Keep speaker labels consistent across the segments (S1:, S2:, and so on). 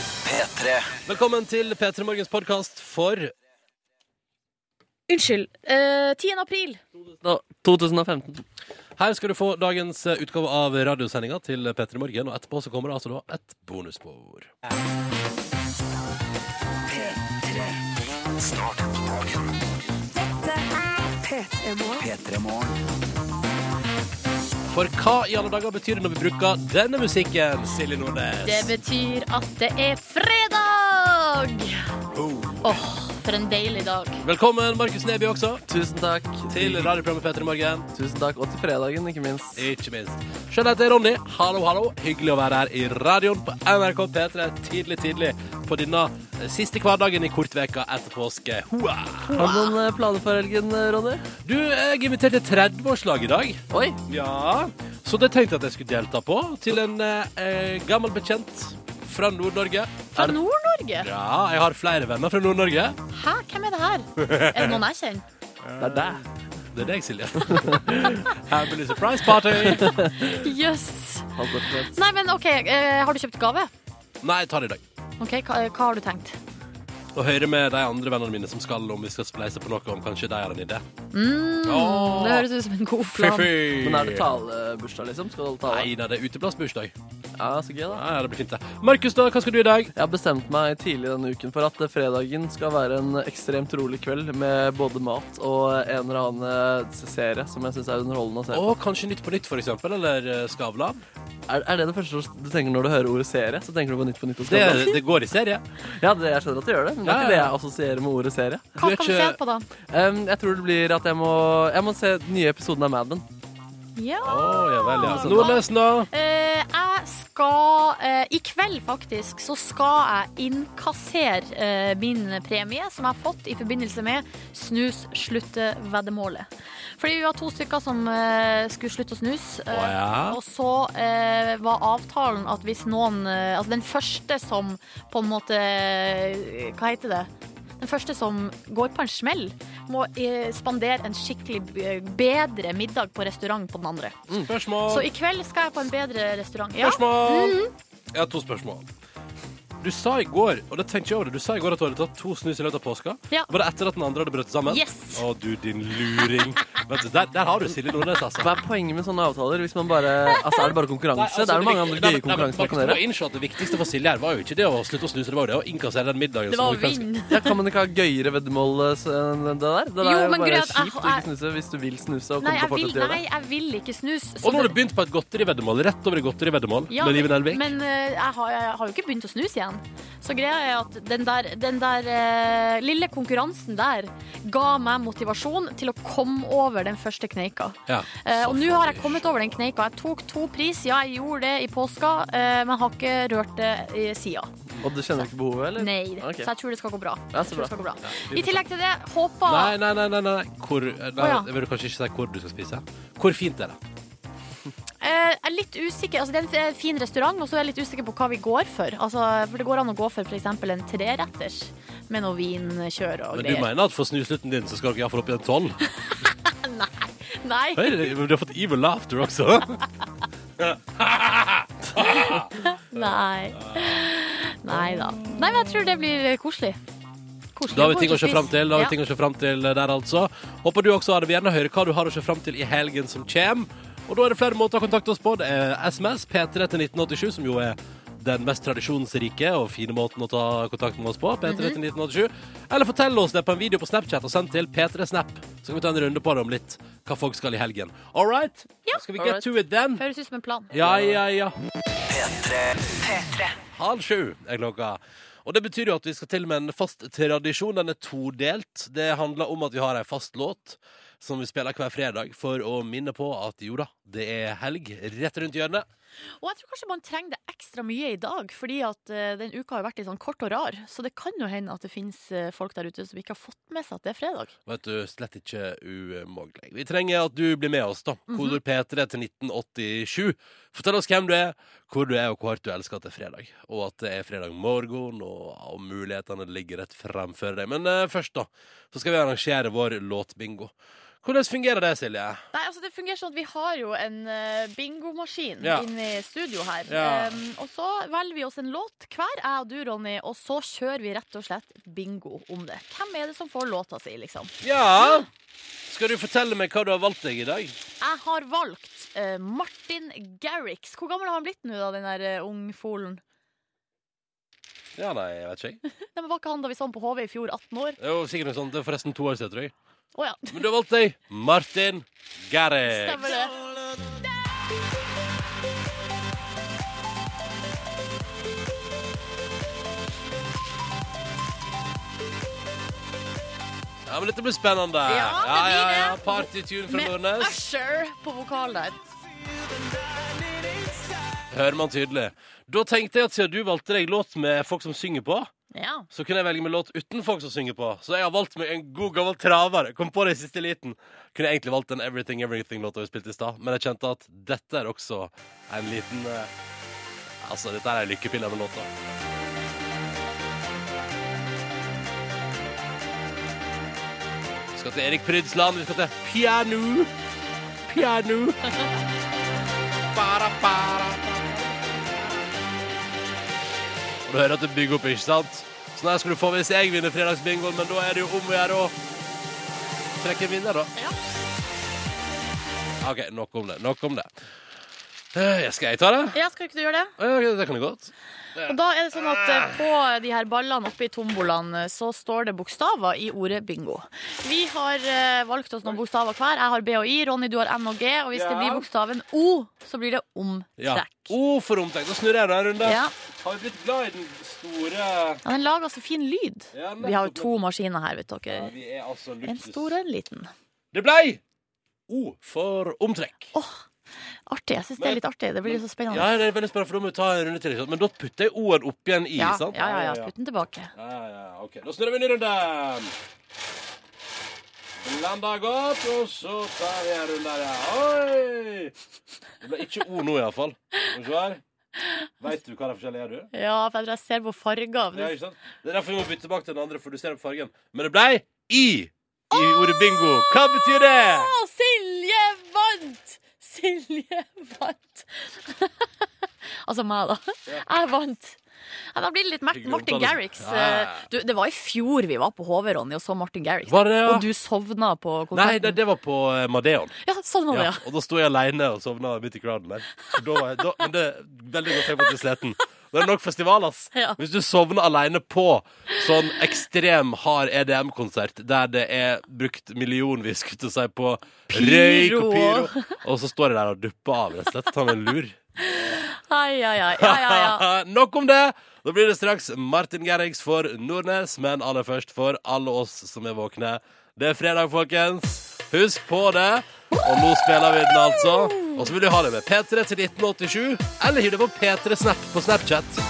S1: P3.
S2: Velkommen til P3 Morgens podkast for
S3: Unnskyld. eh, 10. april.
S4: Da, 2015.
S2: Her skal du få dagens eh, utgave av radiosendinga til P3 Morgen, og etterpå så kommer det altså da et bonusbord.
S1: P3 Morgen.
S2: For hva i alle dager betyr det når vi bruker denne musikken, Silje Nordnes?
S3: Det betyr at det er fredag!
S2: Oh.
S3: Åh, for en deilig dag.
S2: Velkommen, Markus Neby, også
S4: Tusen takk.
S2: til radioprogrammet P3 Morgen.
S4: Tusen takk, og til fredagen, ikke minst.
S2: Ikke minst. Skjønn heter Ronny. Hallo, hallo. Hyggelig å være her i radioen på NRK P3 tidlig, tidlig på denne eh, siste hverdagen i kortveka etter påske. Hoa!
S4: Har du noen eh, planer for helgen, eh, Ronny?
S2: Du, jeg inviterte 30-årslag i dag.
S4: Oi!
S2: Ja. Så det tenkte jeg at jeg skulle delta på, til en eh, eh, gammel bekjent fra Nord-Norge.
S3: Fra
S2: Er det-
S3: Nord-Norge?
S2: Ja, jeg har flere venner fra Nord-Norge.
S3: Hæ, hvem er det her? Er det noen jeg kjenner?
S4: Det er deg.
S2: Det er deg, Silje. Happy surprise party.
S3: Jøss. Yes.
S4: Halvt år for sent.
S3: Nei, men OK, eh, har du kjøpt gave?
S2: Nei, ta det i dag.
S3: Ok, hva, eh, hva har du tenkt?
S2: Og høre med de andre vennene mine som skal, om vi skal spleise på noe, om kanskje de har en idé.
S3: Mm,
S2: Åh.
S3: Det høres ut som en god
S2: Fy,
S3: plan.
S2: fy.
S4: Men er det talebursdag, liksom? Skal du holde tale?
S2: Nei da, det er uteplassbursdag.
S4: Ja, så gøy, da.
S2: Ja, ja, det blir fint, det. Markus, da, hva skal du i dag?
S4: Jeg har bestemt meg tidlig denne uken for at eh, fredagen skal være en ekstremt rolig kveld med både mat og en eller annen eh, serie som jeg syns er underholdende å se.
S2: Å, kanskje Nytt på nytt, for eksempel? Eller eh, Skavlan?
S4: Er, er det det første du tenker når du hører ordet serie? Så tenker du på Nytt på Nytt og
S2: Det,
S4: Skavlan?
S2: det går i serie.
S4: Ja, det, jeg skjønner at du gjør det, men det er ikke det jeg assosierer med ordet serie.
S2: Du
S3: Hva
S2: er
S3: skal vi se
S2: ikke-
S3: på, da?
S4: Um, jeg tror det blir at jeg må, jeg må se den nye episoden av Mad Men. Sånn.
S3: Ja.
S2: Å, ja vel, ja. Nordnesen, da?
S3: Eh, jeg skal eh, I kveld, faktisk, så skal jeg innkassere eh, min premie som jeg har fått i forbindelse med snus slutte veddemålet. Fordi vi var to stykker som eh, skulle slutte å snus. eh,
S2: Å, ja.
S3: Og så eh, var avtalen at hvis noen eh, Altså den første som på en måte eh, Hva heter det? Den første som går på en smell, må eh, spandere en skikkelig b- bedre middag på restaurant på den andre. Så
S2: Spørsmål?
S3: i kveld skal jeg på en bedre restaurant. Ja. Mhm.
S2: Spørsmål? Jeg har to spørsmål. Du sa i går og det tenkte jeg over det, du sa i går at du hadde tatt to snus i løpet av påska.
S3: Ja.
S2: Var det etter at den andre hadde brutt sammen?
S3: Yes.
S2: Å, du, din luring. Vet du, der, der har du Silje Nordnes, altså.
S4: Hva er poenget med sånne avtaler? Hvis man bare, altså Er det bare konkurranse? det er jo mange andre gøye konkurranser man kan gjøre.
S2: innse at det viktigste for Silje her var jo ikke det å slutte å snuse, det var jo det å innkassere den middagen.
S3: Det
S2: som
S3: var
S2: hun
S3: å
S2: kanskje-
S3: vinne.
S4: Ja, kan man ikke ha gøyere veddemål eh, enn det der? Det
S3: Jo,
S4: der er jo
S3: men
S4: bare
S3: grunnen at jeg-
S4: kjipt å ikke snuse hvis du vil snuse og
S3: Nei
S4: kommer til
S3: jeg,
S4: å
S3: vil,
S4: fortsette å gjøre
S3: nei,
S4: det.
S3: jeg vil ikke snus. så
S2: Og nå har
S3: det-
S2: du begynt på et godteriveddemål. Rett over i godteriveddemål
S3: Ja,
S2: med Live Nelvik.
S3: men eh, jeg, har, jeg har jo ikke begynt å snuse igjen. Så greia er at den der, den der eh, lille konkurransen der ga meg motivasjon til å komme over den første kneika.
S2: Ja.
S3: Eh, og
S2: Så
S3: nå har jeg
S2: farlig.
S3: kommet over den kneika. Jeg tok to pris, ja jeg gjorde det i påska, eh, men har ikke rørt det i sida.
S4: Og du kjenner ikke behovet, eller?
S3: Nei.
S4: Ok.
S3: Så jeg tror det skal gå bra.
S4: Ja,
S3: Jeg
S4: så bra.
S3: tror det skal gå bra.
S2: vi
S3: I tillegg til det, håper
S2: Nei, nei, nei. nei, nei. Hvor, nei
S3: ja.
S2: Jeg vil kanskje ikke si hvor du skal spise. Hvor fint er det?
S3: Eh, Jeg er litt usikker, altså Det er en f- fin restaurant, og så er jeg litt usikker på hva vi går for. Altså, for Det går an å gå for f.eks. en treretters med noe vinkjør og
S2: Men du
S3: greier.
S2: mener at for snuslutten din så skal dere iallfall opp i en tolv?
S3: Nei,
S2: Hei, Du har fått evil laughter også.
S3: nei. Nei da. Nei, men jeg tror det blir koselig. Koselig
S2: Da har
S3: gå
S2: vi ting
S3: ut
S2: å
S3: og
S2: se
S3: spise.
S2: fram til. Da har vi
S3: Ja.
S2: ting å se frem til der altså Håper du også har det. Vi gjerne høre hva du har å se fram til i helgen som kommer. Og da er det flere måter å kontakte oss på. Det er SMS P3 til 1987, som jo er den mest tradisjonsrike og fine måten å ta kontakt med oss på. P3 til 1987. Eller fortell oss det på en video på Snapchat og send til P3 Snap. Så kan vi ta en runde på det om litt hva folk skal i helgen. All right? Skal vi get
S4: Alright.
S2: to it then?
S3: Høres ut som en plan.
S2: Ja, ja, ja. Halv sju er klokka. Og det betyr jo at vi skal til med en fast tradisjon. Den er todelt. Det handler om at vi har ei fast låt som vi spiller hver fredag for å minne på at jo da, det er helg rett rundt hjørnet.
S3: Og jeg tror kanskje man trenger det ekstra mye i dag, fordi at eh, den uka har vært litt sånn kort og rar. Så det kan jo hende at det finnes eh, folk der ute som ikke har fått med seg at det er fredag.
S2: Vet du, slett ikke umulig. Vi trenger at du blir med oss, da. Kodord P3 til 1987. Fortell oss hvem du er, hvor du er, og hvor hardt du elsker at det er fredag. Og at det er fredag morgen, og, og mulighetene ligger rett fremfor deg. Men eh, først, da, så skal vi arrangere vår låtbingo. Hvordan fungerer det, Silje?
S3: Nei, altså det fungerer sånn at Vi har jo en eh, bingomaskin
S2: Ja.
S3: inne i studio her.
S2: Ja.
S3: Em, og så velger vi oss en låt hver, jeg og du, Ronny, og så kjører vi rett og slett bingo om det. Hvem er det som får låta si, liksom?
S2: Ja Skal du fortelle meg hva du har valgt deg i dag?
S3: Jeg har valgt eh, Martin Garrix. Hvor gammel har han blitt nå, da, den der eh, ungfolen?
S2: Ja, nei, jeg vet ikke. jeg.
S3: Nei, men Var ikke han da vi så han på HV i fjor, 18 år?
S2: Det var sikkert noe sånt. Det er forresten to år siden, tror jeg.
S3: Å ja,
S2: Men du har valgt deg Martin Garrix.
S3: stemmer det.
S2: Ja, men dette blir spennende.
S3: Ja, det
S2: ja,
S3: blir
S2: ja,
S3: det.
S2: ja. Partytune fra
S3: Med
S2: Nordnes.
S3: Usher på vokal der.
S2: Hører man tydelig. Da tenkte jeg at siden du valgte deg låt med folk som synger på,
S3: Ja.
S2: så kunne jeg velge meg låt uten folk som synger på. Så jeg har valgt meg en god gammel traver. Kom på det i siste liten. Kunne egentlig valgt den Everything Everything-låta vi spilte i stad, men jeg kjente at dette er også en liten eh, Altså, dette er ei lykkepille av en låt. da. Vi skal til Erik Prydsland, vi skal til piano. Piano. Para, para. Og du hører at det bygger opp, ikke sant? Sånn her skal du få hvis jeg vinner fredagsbingoen, men da er det jo om å gjøre å trekke en vinner, da.
S3: Ja.
S2: OK, nok om det. Nok om det. Eh, Skal jeg ta det?
S3: ja, skal ikke du gjøre det?
S2: Ja, ok, det kan jeg godt.
S3: Og da er det sånn at eh, på de her ballene oppe i tombolaen eh, så står det bokstaver i ordet bingo. Vi har eh, valgt oss noen bokstaver hver. Jeg har B og I, Ronny du har M og G, og hvis det blir bokstaven O, så blir det
S2: Ja.
S3: omtrekk.
S2: Oh, for omtrekk. Da snurrer jeg den en runde.
S3: Ja.
S2: Har vi blitt glad i den store
S3: Ja, den lager så fin lyd.
S2: Ja, nettopp,
S3: Vi har jo to maskiner her, vet
S2: Ja,
S3: dere.
S2: vi er altså
S3: En
S2: luksus.
S3: stor og en liten.
S2: Det blei O for omtrekk.
S3: Artig. Jeg syns det er litt artig. Det blir så
S2: Ja,
S3: spennende.
S2: det er veldig spennende, for da må vi ta en runde til. ikke sant? Men da putter jeg O-en opp igjen i,
S3: Ja,
S2: sant?
S3: ja, ja. ja.
S2: ja.
S3: Putt den tilbake.
S2: Ja, ja, ok. Da snurrer vi en ny runde. Blanda godt, og så tar vi en runde her. ja. Oi! Det ble ikke O nå, iallfall. Skal vi se her. Veit du hva det forskjellige er, du?
S3: Ja, for jeg tror jeg ser på farger.
S2: Ja, ikke sant? Det er derfor vi må bytte tilbake til den andre, for du ser på fargen. Men det blei I i ordet bingo. Hva betyr det?
S3: Å, Silje vant! Silje vant. altså meg, da. Jeg vant. Ja, da blir det litt Mart
S2: Hyggelig
S3: Martin
S2: omtale.
S3: Garrix.
S2: Ja, ja, ja.
S3: Eh, Du, det var i fjor vi var på HV, Ronny, og så Martin Garrix.
S2: Var det, ja?
S3: Og du sovna på
S2: Nei, det,
S3: konserten.
S2: det var på eh, Madeon.
S3: Ja, sånn var det,
S2: Ja,
S3: ja.
S2: og da sto jeg aleine og sovna midt i crowden der. Så Da var jeg, da, men det er veldig godt tegn på at du er sliten. Det er nok festival, ass.
S3: Ja.
S2: Hvis du sovner aleine på sånn ekstrem hard EDM-konsert der det er brukt millionvis, skulle jeg til å si, på røyk og pyro, og så står jeg der og dupper av, rett og slett. Tar meg en lur.
S3: Ai, ai, ai. Ja, ja, ja.
S2: Nok om det. Da blir det straks Martin Gerrigs for Nordnes, men aller først for alle oss som er våkne. Det er fredag, folkens. Husk på det. Og nå spiller vi den, altså. Og så vil vi ha det med P3 til 1987, eller hiv det på P3 Snap på Snapchat.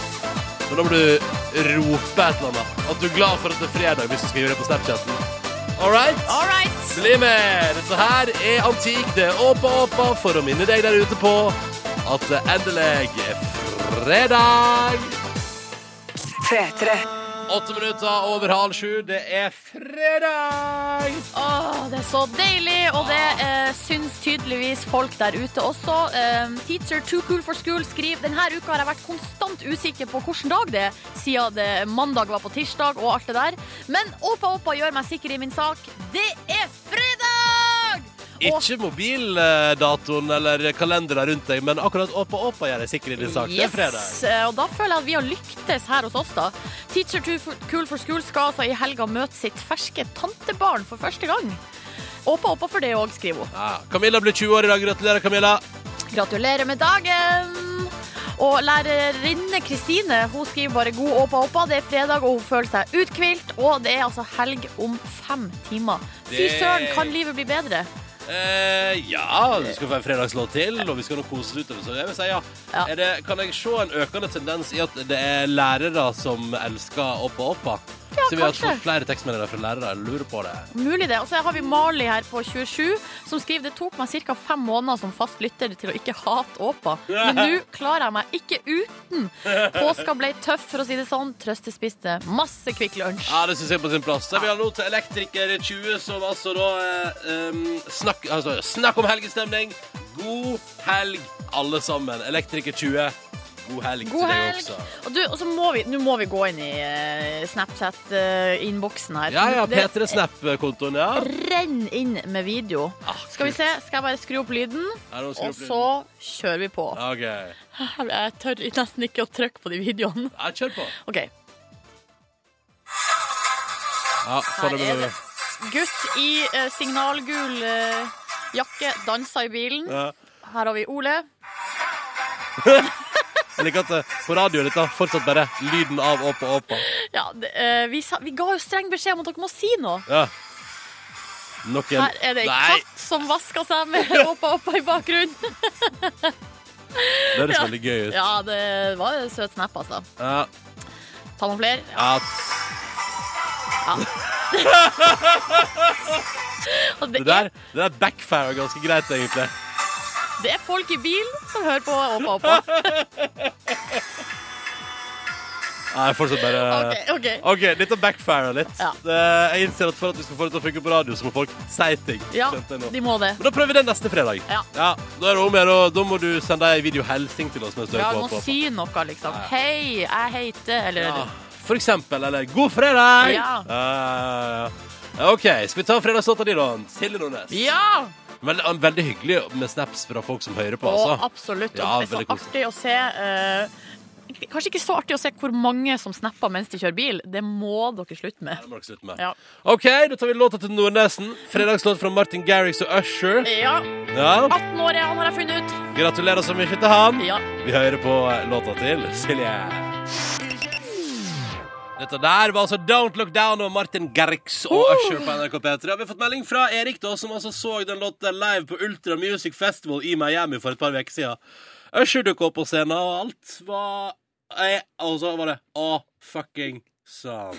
S2: Men da må du rope et eller annet. At du er glad for at det er fredag, hvis du skal gjøre det på Snapchaten. All right?
S3: All right.
S2: Bli med! Dette her er Antik, det er Åpa Åpa, for å minne deg der ute på at det endelig er fredag!
S1: P3.
S2: Åtte minutter over halv sju, det er fredag!
S3: Åh, det er så deilig, og det eh, syns tydeligvis folk der ute også. Eh, teacher Too Cool for School skriver denne uka har jeg vært konstant usikker på hvilken dag det er, siden det mandag var på tirsdag og alt det der. Men Åpa Åpa gjør meg sikker i min sak. Det er fredag! Og-
S2: Ikke mobildatoen eller kalenderen rundt deg, men akkurat Åpa Åpa gjør deg sikker i din sak. Det er fredag.
S3: Yes, eh, og da føler jeg at vi har lyktes her hos oss, da. Teacher Too Fu- Cool for School skal altså i helga møte sitt ferske tantebarn for første gang. Åpa Åpa for det òg, skriver hun.
S2: Ja, Camilla blir 20 år i dag. Gratulerer, Camilla.
S3: Gratulerer med dagen! Og lærerinne Kristine hun skriver bare 'god åpa åpa'. Det er fredag, og hun føler seg uthvilt. Og det er altså helg om fem timer. Fy
S2: Det-
S3: søren, kan livet bli bedre?
S2: Eh, ja, du skal få en fredagslåt til, og vi skal nå kose oss utover. Så jeg vil si ja.
S3: Ja.
S2: Er det, kan jeg se en økende tendens i at det er lærere som elsker Oppa Oppa? Ja, Så vi har
S3: kanskje.
S2: fått flere tekstmeldinger fra lærere. Jeg lurer på det.
S3: Mulig det. Og så har vi Marley her på 27, som skriver det tok meg ca. fem måneder som fast lytter til å ikke hate Åpa. Men nå klarer jeg meg ikke uten. Påska ble tøff, for å si det sånn. Trøstespiste masse Kvikk Lunsj.
S2: Ja, det synes jeg er på sin plass. Så vi har nå til Elektriker 20, som altså da eh, em, snakk, altså, snakk om helgestemning. God helg, alle sammen. Elektriker 20, god helg
S3: God
S2: til deg
S3: helg.
S2: også.
S3: Og, du, og så må vi, nå må vi gå inn i eh, Snapchat-innboksen her.
S2: Ja, ja,
S3: Det
S2: P3 Snap-kontoen, ja.
S3: renner inn med video.
S2: Ah,
S3: Skal vi se, skal jeg bare skru opp lyden,
S2: Ja, nå skrur
S3: og
S2: opp lyden.
S3: så kjører vi på.
S2: OK.
S3: Jeg tør nesten ikke å trykke på de videoene.
S2: Ja, kjør på.
S3: OK.
S2: Ja,
S3: Her er det. Gutt i eh, signalgul eh, jakke danser i bilen.
S2: Ja.
S3: Her har vi Ole.
S2: Jeg liker at eh, på radioen dette er fortsatt bare lyden av Åpa Åpa.
S3: Ja, det, eh, vi, sa, vi ga jo streng beskjed om at dere må si noe.
S2: Ja. Nok en
S3: Her er det ei
S2: Nei,
S3: katt som vasker seg med oppa oppa i bakgrunnen.
S2: det høres veldig gøy ut. Ja.
S3: Ja, det var en søt snap, altså.
S2: Ja.
S3: Ta noen flere. Ja, og
S2: Det
S3: det,
S2: der,
S3: er,
S2: det der backfirer ganske greit, egentlig.
S3: det er folk i bilen som hører på oppa oppa.
S2: Nei, fortsatt bare
S3: OK. ok
S2: OK, dette backfirer litt.
S3: Ja.
S2: Det- Jeg innser at for at vi skal få det til å funke på radio, så må folk si ting.
S3: Ja,
S2: Skjønte jeg nå.
S3: de må det.
S2: Men da prøver vi det neste fredag.
S3: Ja.
S2: Da er det om å gjøre, og da må du sende ei videohilsing til oss. Mens du
S3: Ja,
S2: hører på
S3: du må
S2: Åpa Åpa.
S3: si noe, liksom. Hei, jeg heter Eller
S2: Ja, for eksempel. Eller 'God fredag'!
S3: Ja.
S2: Ja, ja, ja. OK, skal vi ta fredagslåta di, da? Silje Nordnes.
S3: Ja!
S2: Veldig, veldig hyggelig med snaps fra folk som hører på,
S3: Og
S2: altså.
S3: absolutt.
S2: Ja,
S3: og det er
S2: veldig
S3: så artig å se eh, Kanskje ikke så artig å se hvor mange som snapper mens de kjører bil. Det må dere slutte med.
S2: Det må dere slutte med.
S3: Ja.
S2: OK, da tar vi låta til Nordnesen. Fredagslåt fra Martin Garrix og Usher.
S3: Ja,
S2: Ja,
S3: 18 år er han, har jeg funnet ut.
S2: Gratulerer så mye til han.
S3: Ja.
S2: Vi hører på låta til Silje. Dette der var altså Don't Look Down og Martin Garrix og Usher på NRK P3. Og Vi har fått melding fra Erik, da, som altså så den låta live på Ultra Music Festival i Miami for et par uker siden. Usher dukket opp på scenen, og alt var eh, Og så var det Å, fucking sann.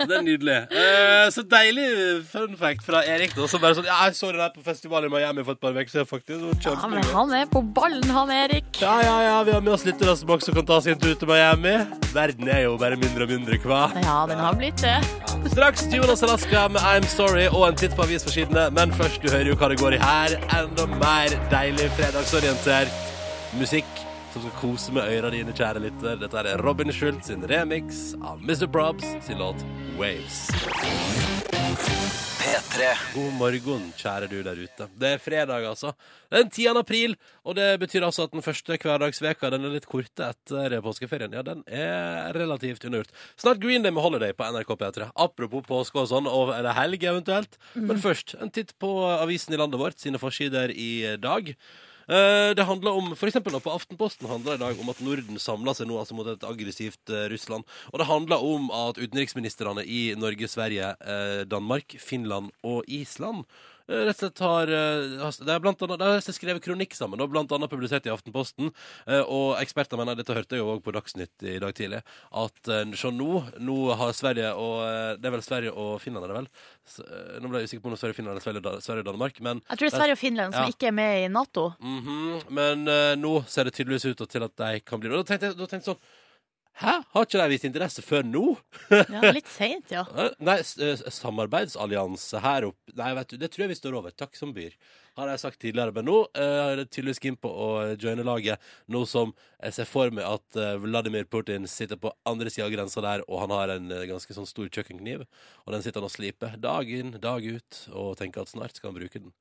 S2: Det er nydelig. Eh, så deilig fun fact fra Erik, da, som bare sånn Ja, jeg så den her på festival i Miami for et par uker siden, faktisk. Det var
S3: Ja, men
S2: kjempegøy.
S3: han er på ballen, han Erik.
S2: Ja, ja, ja, vi har med oss litt til oss som også kan ta sin tur til Miami. Verden er jo bare mindre og mindre hva.
S3: Ja, den har blitt det.
S2: Straks til Jonas Alaska med I'm Sorry og en titt på avisforsidene. Men først, du hører jo hva det går i her. Enda mer deilig fredagsorientert musikk som skal kose med øra dine, kjære lytter. Dette er Robin Schultz sin remix av Mr. Probs sin låt Waves.
S1: P3.
S2: God morgen, kjære du der ute. Det er fredag, altså. Det er den 10. april, og det betyr altså at den første hverdagsveka den er litt korte etter påskeferien. Ja, den er relativt unnagjort. Snart Green Day med Holiday på NRK P3. Apropos påske og sånn, og eller helg eventuelt. Men først, en titt på avisen i landet vårt, sine forsider i dag. Eh, Det handler om, for eksempel nå på Aftenposten handler det i dag om at Norden samler seg nå altså mot et aggressivt eh, Russland. Og det handler om at utenriksministrene i Norge, Sverige, eh, Danmark, Finland og Island eh, rett og slett har, eh, har- det er blant annet, det har jeg skrevet kronikk sammen, og blant annet publisert i Aftenposten. Eh, Og eksperter mener, dette hørte jeg jo også på Dagsnytt i dag tidlig, at eh, så nå, nå har Sverige og eh, Det er vel Sverige og Finland, er det vel? Så, eh, Nå ble jeg usikker på om det er Sverige, Finland eller Sverige, og Dan- Sverige og Danmark, men
S3: Jeg tror det er Sverige og Finland som
S2: Ja.
S3: ikke er med i Nato.
S2: Mhm, Men eh, nå ser det tydeligvis ut til at de kan bli det. Og Da tenkte jeg da tenkte jeg sånn Hæ? Har ikke de vist interesse før nå?
S3: Ja, litt seint, ja.
S2: Eh, Nei, s- eh, samarbeidsallianse her oppe Nei, vet du, det tror jeg vi står over. Takk som byr. Har jeg sagt tidligere, men nå eh, er det tydeligvis keen på å joine laget. Nå som jeg ser for meg at eh, Vladimir Putin sitter på andre sida av grensa der, og han har en eh, ganske sånn stor kjøkkenkniv, og den sitter han og sliper dag inn, dag ut, og tenker at snart skal han bruke den.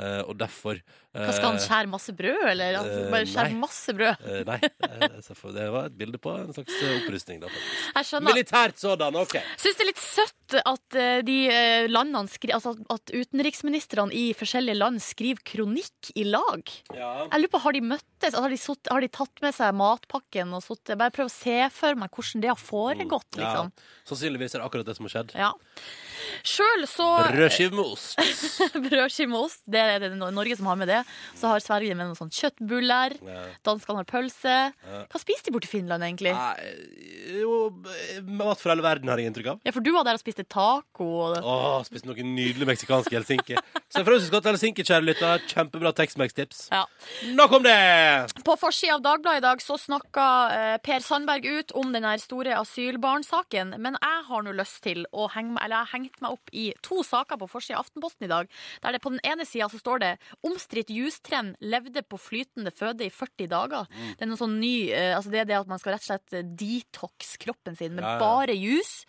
S2: Eh, og derfor
S3: Hva skal han skjære masse brød, eller?
S2: eh,
S3: Bare skjære
S2: nei.
S3: masse brød.
S2: Eh, nei, eh, så for- det var et bilde på en slags eh, opprustning. Da, faktisk.
S3: Jeg skjønner.
S2: Militært sådan, OK.
S3: Syns det er litt søtt at eh, de eh, landene skri altså at- at utenriksministrene i forskjellige land skriver kronikk i lag.
S2: Ja.
S3: Jeg lurer på, Har de møttes? Altså, har, de sutt, har de tatt med seg matpakken? og sutt, Bare prøv å se for meg hvordan det har foregått. liksom.
S2: Sannsynligvis er det akkurat det som har skjedd.
S3: Ja. Sjøl så
S2: Rødskive med ost.
S3: Brødskive med ost, det er det Nor- Norge som har med det. Så har Sverige med noen sånn kjøttbuller.
S2: Ja.
S3: Danskene har pølse. Hva spiser de borte i Finland, egentlig?
S2: Nei, jo, eh, mat fra hele verden har jeg inntrykk av.
S3: Ja, for du var der og spiste taco. Og...
S2: Åh, spiste noe nydelig meksikansk i Helsinki. Så fra Russisk til Helsinki, kjære lytter. Kjempebra Tex-Mex-tips.
S3: Ja.
S2: Nok om det!
S3: På forsida av Dagbladet i dag så snakka eh, Per Sandberg ut om den her store asylbarnsaken. Men jeg har nå lyst til å henge meg, eller jeg har hengt meg opp i to saker på forsida av Aftenposten i dag. Der det på den ene sida så står det 'Omstridt justrend levde på flytende føde i 40 dager'.
S2: Mm.
S3: Det er noe sånn ny eh, altså Det er det at man skal rett og slett eh, detox kroppen sin med
S2: Ja, ja.
S3: bare jus.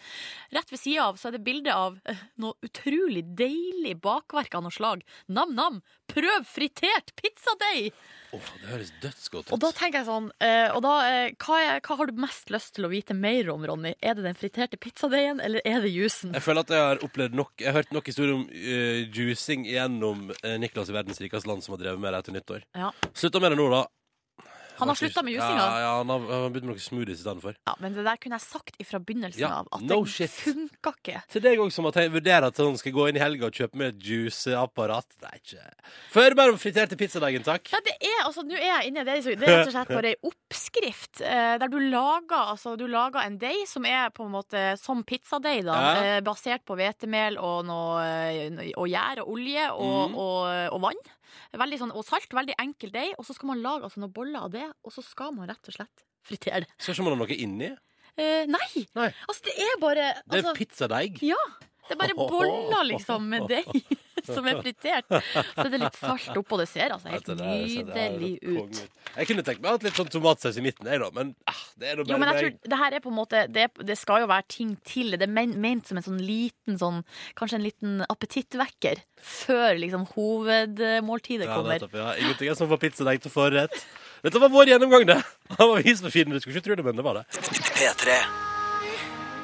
S3: Rett ved sida av så er det bilde av eh, noe utrolig deilig bakverk av noe slag. Nam-nam, prøv fritert pizzadeig!
S2: Åh, det høres dødsgodt
S3: Og da tenker jeg sånn eh, og da, eh, hva, er, hva har du mest lyst til å vite mer om, Ronny? Er det den friterte pizzadeigen, eller er det jusen?
S2: Jeg føler at jeg har opplevd nok Jeg har hørt nok historier om eh, juicing gjennom eh, Niklas i verdens rikeste land som har drevet med det etter nyttår.
S3: Ja.
S2: Slutta med det nå, da.
S3: Han har slutta med jusinga.
S2: Ja, ja, han har, han har begynt med noe smoothies i stedet for.
S3: Ja, men det der kunne jeg sagt ifra begynnelsen
S2: Ja,
S3: av. At
S2: no
S3: det
S2: shit.
S3: funka ikke.
S2: Til deg også, som har tenkt- vurderer at han skal gå inn i helga og kjøpe med et juiceapparat. Det er ikke Før bare om friterte pizzadagen, takk.
S3: Ja, det er, altså, nå er jeg inne i det. så Det er rett og slett bare ei oppskrift eh, der du lager, altså, du lager en deig som er på en måte som pizzadeig, da.
S2: Ja.
S3: eh, basert på hvetemel og, noe, eh, og gjær og olje og,
S2: Mhm.
S3: og, og vann. Veldig sånn, og salt. Veldig enkel deig. Og så skal man lage altså, noen boller av det, og så skal man rett og slett fritere det.
S2: Skal ikke man ha noe inni?
S3: Eh, nei.
S2: Nei.
S3: Altså, det er bare
S2: Det er
S3: altså,
S2: pizzadeig.
S3: ja. Det er bare boller, liksom, med deig som er fritert. Så det er litt salt oppå. Det ser altså helt
S2: Dette der- dette der er
S3: nydelig
S2: konge.
S3: ut.
S2: Jeg kunne tenkt meg å ha litt sånn tomatsaus i midten, jeg, da. Men ah, det er nå
S3: Jo,
S2: bare
S3: men jeg
S2: meg.
S3: tror det her er på en måte Det, det skal jo være ting til. Det er men, ment som en sånn liten sånn Kanskje en liten appetittvekker før liksom hovedmåltidet
S2: Ja,
S3: kommer.
S2: nettopp, ja. Ingenting er som får pizzadeig til forrett. Dette var vår gjennomgang, det. Han var vis på fiden. Du skulle ikke tro det, men det var det.
S1: P3.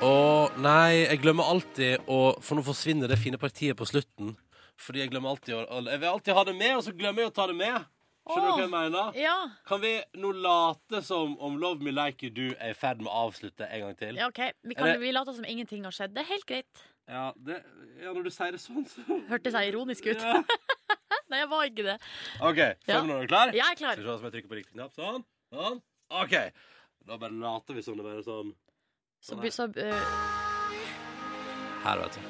S2: Og nei, jeg glemmer alltid å For nå forsvinner det fine partiet på slutten. Fordi jeg glemmer alltid å å- Jeg vil alltid ha det med, og så glemmer jeg å ta det med. Skjønner du hva jeg mener?
S3: Ja,
S2: Kan vi nå late som om Love Me Like You Do er i ferd med å avslutte en gang til?
S3: ja OK. Vi, kan,
S2: Er det-
S3: vi later som ingenting har skjedd. Det er helt greit.
S2: Ja, det, ja når du sier det sånn, så
S3: Hørtes jeg ironisk ut?
S2: Ja.
S3: Nei, jeg var ikke det.
S2: OK.
S3: Ja.
S2: Følg med når du er klar.
S3: Jeg er klar.
S2: Skal vi se om jeg trykker på riktig knapp. Sånn. sånn. OK. Da bare later vi som det bare er sånn.
S3: Så, bu- så, øh,
S2: Her, vet du.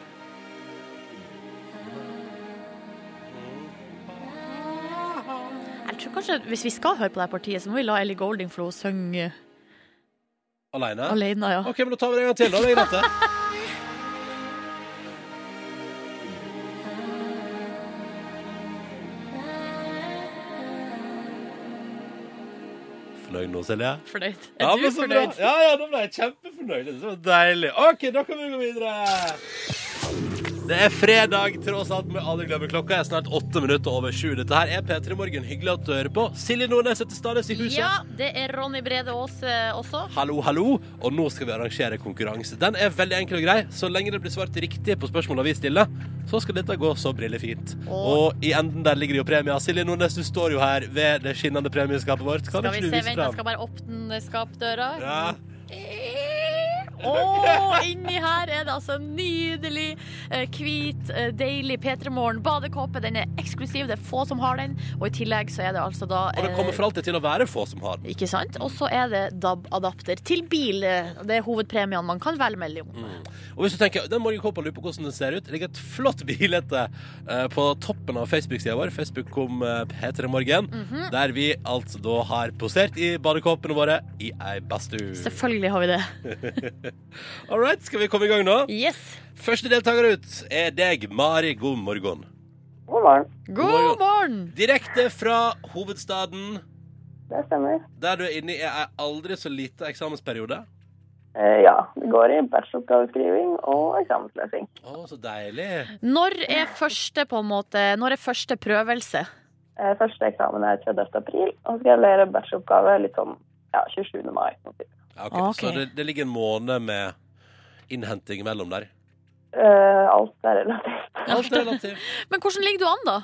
S3: jeg tror kanskje Hvis vi skal høre på det her partiet, så må vi la Ellie Goldingflo synge øh,
S2: Aleine?
S3: alene. Ja.
S2: OK, men da tar vi det en gang til. Da legger jeg dette. Fornøyd nå, Silje?
S3: Fornøyd. Er
S2: Ja,
S3: du
S2: men så bra.
S3: fornøyd?
S2: Ja, ja, da ble jeg kjempefornøyd. Det var deilig. OK, da kan vi gå videre. Det er fredag, tross alt, med alle glemmer klokka. Jeg er snart åtte minutter over sju. Dette her er P3 Morgen. Hyggelig at du hører på. Silje Nordnes heter Stades i huset.
S3: Ja, det er Ronny Brede Aas øh, også.
S2: Hallo, hallo, og nå skal vi arrangere konkurranse. Den er veldig enkel og grei. Så lenge det blir svart riktig på spørsmåla vi stiller, så skal dette gå så brillefint.
S3: Og-
S2: Og i enden der ligger det jo premie. Silje Nordnes, du står jo her ved det skinnende premieskapet vårt. Kan
S3: Skal vi
S2: ikke du
S3: se,
S2: vise
S3: vent, jeg
S2: fram?
S3: skal bare åpne skapdøra.
S2: Ja.
S3: Å, inni her er det altså en nydelig, eh, hvit, eh, deilig P3 Morgen badekåpe. Den er eksklusiv, det er få som har den. Og i tillegg så er det altså da
S2: Og det
S3: eh,
S2: kommer for alltid til å være få som har den.
S3: Ikke sant? Og så er det DAB-adapter til bil. eh, Det er hovedpremiene man kan velge mellom.
S2: Mm. Og hvis du tenker, den morgenkåpa lurer på hvordan den ser ut, det ligger et flott bilde eh, på toppen av Facebook-sida vår, Facebook kom eh, P3 Morgen,
S3: Mhm.
S2: der vi altså da har posert i badekåpene våre i ei badstue.
S3: Selvfølgelig har vi det.
S2: All right, skal vi komme i gang nå?
S3: Yes.
S2: Første deltaker ut er deg, Mari. God morgen.
S5: God morgen.
S3: God
S2: morgen.
S3: morgen!
S2: Direkte fra hovedstaden,
S5: Det stemmer.
S2: der du er inne i ei aldri så lita eksamensperiode.
S5: Eh, ja, det går i bacheloroppgaveskriving og eksamenslesing.
S2: Å, så deilig.
S3: Når er første, på en måte, når er første prøvelse?
S5: Eh, første eksamen er 30. april, og så skal jeg levere bacheloroppgave litt sånn ja, 27. mai. sånn typ.
S2: Ja, ok,
S3: Ok.
S2: Så det, det ligger en måned med innhenting imellom der.
S5: Eh, alt er relativt.
S2: Alt er relativt.
S3: Men hvordan ligger du an, da?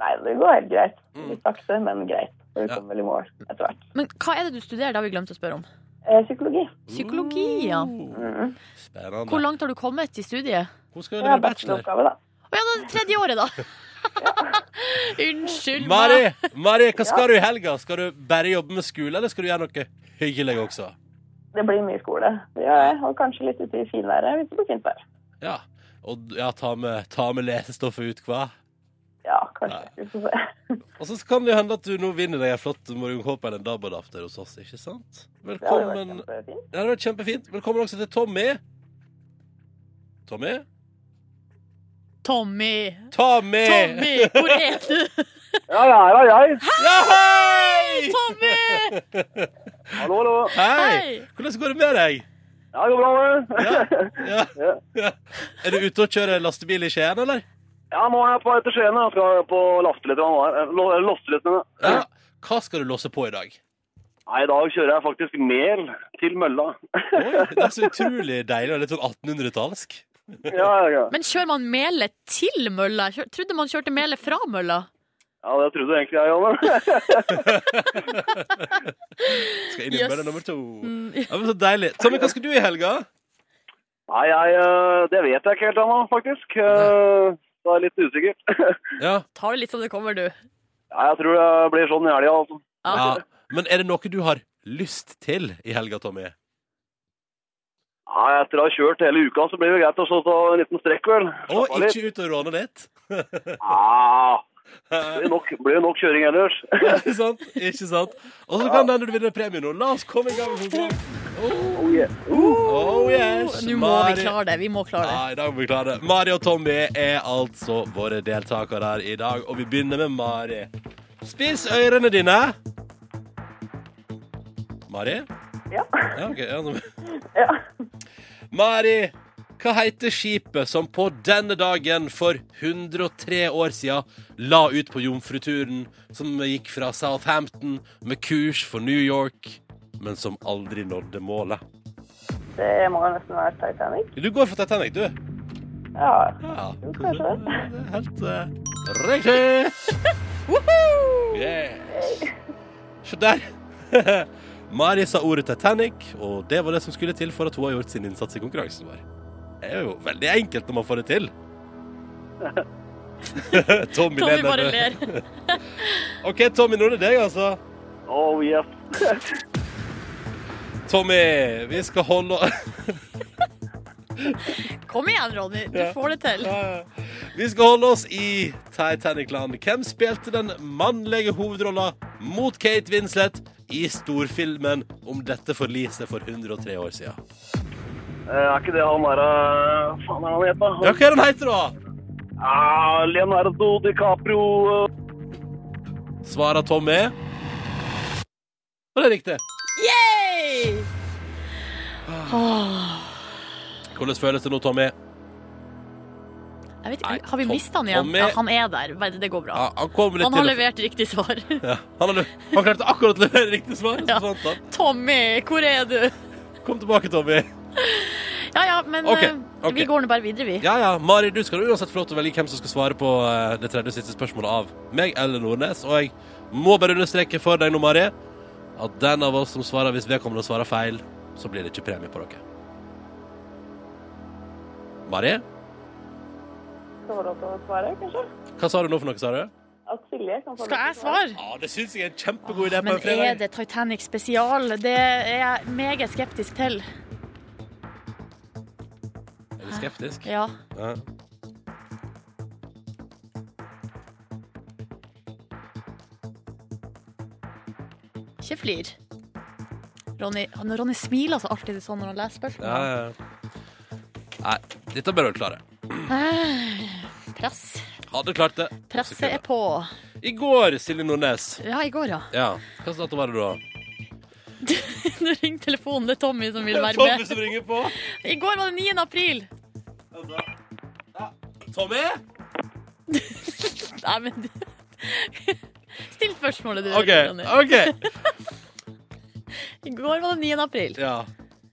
S5: Nei, det går helt greit.
S2: Mm.
S5: Litt sakte, men greit. Så vi
S2: Ja.
S5: kommer vel i mål etter hvert.
S3: Men hva er det du studerer? Det har vi glemt å spørre om.
S5: Eh, psykologi.
S3: Psykologi, ja.
S2: Uh,
S5: Mm.
S2: Spennende.
S3: Hvor langt har du kommet i studiet?
S2: Hvor Hun skal jo
S5: Jeg har
S2: levere bachelor.
S5: bacheloroppgave, da.
S3: Å ja, det er det tredje året, da. Unnskyld meg.
S2: Mari, Mari, hva skal du i helga? Skal du bare jobbe med skole, eller skal du gjøre noe hyggelig også?
S5: Det blir mye skole. Det gjør jeg. Og kanskje litt ute i finværet hvis det blir fint vær.
S2: Ja, og ja, ta, med, ta med lesestoffet ut, hva?
S5: Ja, kanskje. Vi får se.
S2: Og så kan det jo hende at du nå vinner deg en flott morgenkåpe eller en dabadafter hos oss, ikke sant?
S5: Det hadde vært
S2: Velkommen,
S5: kjempefint.
S2: ja, det har vært kjempefint. Velkommen også til Tommy. Tommy?
S3: Tommy.
S2: Tommy!
S3: Tommy, hvor er du?
S6: Ja, ja, her er jeg.
S2: Ja, hei!
S3: Tommy!
S6: Hallo, hallo.
S2: Hei!
S3: Hei.
S2: Hvordan går det med deg?
S6: Ja, det går bra, det.
S2: Ja. Ja. Er du ute og kjører lastebil i Skien, eller?
S6: Ja, nå er jeg på vei til Skien. Jeg skal på lastelettene nå. her. Eh, lo- eh, Lastelettene.
S2: Ja. Hva skal du låse på i dag?
S6: Nei, i dag kjører jeg faktisk mel til mølla.
S2: Oi, det er så utrolig deilig og litt sånn 1800-tallsk.
S6: Ja, ja, ja.
S3: Men kjører man melet til mølla? Jeg kjør- trodde man kjørte melet fra mølla.
S6: ja det trodde jeg egentlig jeg òg.
S2: Skal inn i
S3: Yes.
S2: mølle nummer to.
S3: Mm,
S2: Ja, men så deilig. Tommy, hva skal du i helga?
S6: Nei, jeg, eh, det vet jeg ikke helt ennå, faktisk. Eh, Det er litt usikkert.
S2: Ja.
S3: Ta det litt som det kommer, du.
S6: Ja, jeg tror det blir sånn i helga, altså.
S2: ja. Men er det noe du har lyst til i helga, Tommy?
S6: Nei, etter å ha kjørt hele uka, så blir det greit å så ta en liten strekk, vel.
S2: Og
S6: Slappe av litt.
S2: ikke ut og råne litt?
S6: Ja, det
S2: Ikke
S6: blir nok, blir nok kjøring ellers.
S2: sant? Ikke sant? Og så kan det hende du vinner premie nå. La oss komme i gang med konkurransen. Oh.
S6: Oh, yeah.
S2: Oh, yes.
S3: Nå må
S2: Mari- Ah.
S3: vi klare det. Vi må klare det.
S2: Ja, i dag må vi klare det. Mari og Tommy er altså våre deltakere her i dag, og vi begynner med Mari. Spis ørene dine. Mari?
S5: Ja.
S2: Ja, ok. Ja, nå-
S5: Ja.
S2: Mari, hva heter skipet som på denne dagen for 103 år siden la ut på jomfruturen, som gikk fra Southampton med kurs for New York, men som aldri nådde målet?
S5: Det må jo nesten være Titanic.
S2: Du går for Titanic, du.
S5: Ja.
S2: Ja.
S5: Jo, kanskje det.
S2: Helt eh, riktig! Yes. Se der. Mari sa ordet Titanic, og det var det som skulle til for at hun har gjort sin innsats i konkurransen vår. Det er jo veldig enkelt når man får det til. Tommy,
S3: Tommy bare
S2: du.
S3: ler.
S2: OK, Tommy, nå er det deg, altså.
S6: Oh, yes.
S2: Tommy, vi skal holde
S3: Kom igjen, Ronny. Du
S2: Ja.
S3: får det til.
S2: Vi skal holde oss i Titanic-land. Hvem spilte den mannlige hovedrolla mot Kate Winslet i storfilmen om dette forliset for 103 år siden?
S6: Eh, Er ikke det han der eh, Faen, er han het, da?
S2: Ja, hva er den heter da?
S6: Ja, Leonardo DiCaprio eh,
S2: Svarer Tommy. Og det er riktig.
S3: Yay!
S2: Ah.
S3: Åh.
S2: Hvordan føles det nå, Tommy?
S3: Jeg vet,
S2: Nei,
S3: ikke, har vi
S2: Tom-
S3: mista han igjen?
S2: Tommy-
S3: Ja, han er der. Bare Det går bra.
S2: Ja, han Ah, kom litt
S3: Han har
S2: til.
S3: levert riktig svar.
S2: Ja, han, har lev- han klarte akkurat å levere riktig svar.
S3: Ja.
S2: Så fant han.
S3: Tommy, hvor er du?
S2: Kom tilbake, Tommy.
S3: Ja ja, men
S2: Ok,
S3: eh,
S2: ok.
S3: vi går nå bare videre, vi.
S2: Ja, ja, Mari, du skal uansett få lov til å velge hvem som skal svare på eh, det tredje og siste spørsmålet av meg eller Nordnes. Og jeg må bare understreke for deg nå, Mari, at den av oss som svarer, hvis vedkommende svarer feil, så blir det ikke premie på dere. Mari,
S5: Skal få lov til å svare, kanskje?
S2: hva sa du nå for noe, sa du?
S5: At Silje kan få
S3: Skal
S5: lov
S3: jeg
S5: til å
S3: svare?
S2: Ja, det syns jeg er en kjempegod idé på
S3: Men
S2: en
S3: er
S2: fredag.
S3: det Titanic spesial? Det er jeg meget skeptisk til.
S2: Er du skeptisk?
S3: Ja.
S2: Ja.
S3: Ikke flir. Ronny, han- Ronny smiler altså alltid sånn når han leser
S2: Ja,
S3: spørsmål.
S2: ja, ja. Nei, dette bør du klare.
S3: Eh, Press.
S2: Hadde klart det.
S3: Presset er på.
S2: I går, Silje Nordnes.
S3: Ja, i går, ja.
S2: Ja, hva slags dato var det da?
S3: Nå ringer telefonen. Det er Tommy som vil være
S2: Tommy
S3: med.
S2: som ringer på.
S3: I går var det 9. april.
S2: Tommy?
S3: Nei, men du- Still spørsmålet, du.
S2: OK.
S3: Ronny.
S2: ok
S3: I går var det 9. april.
S2: Ja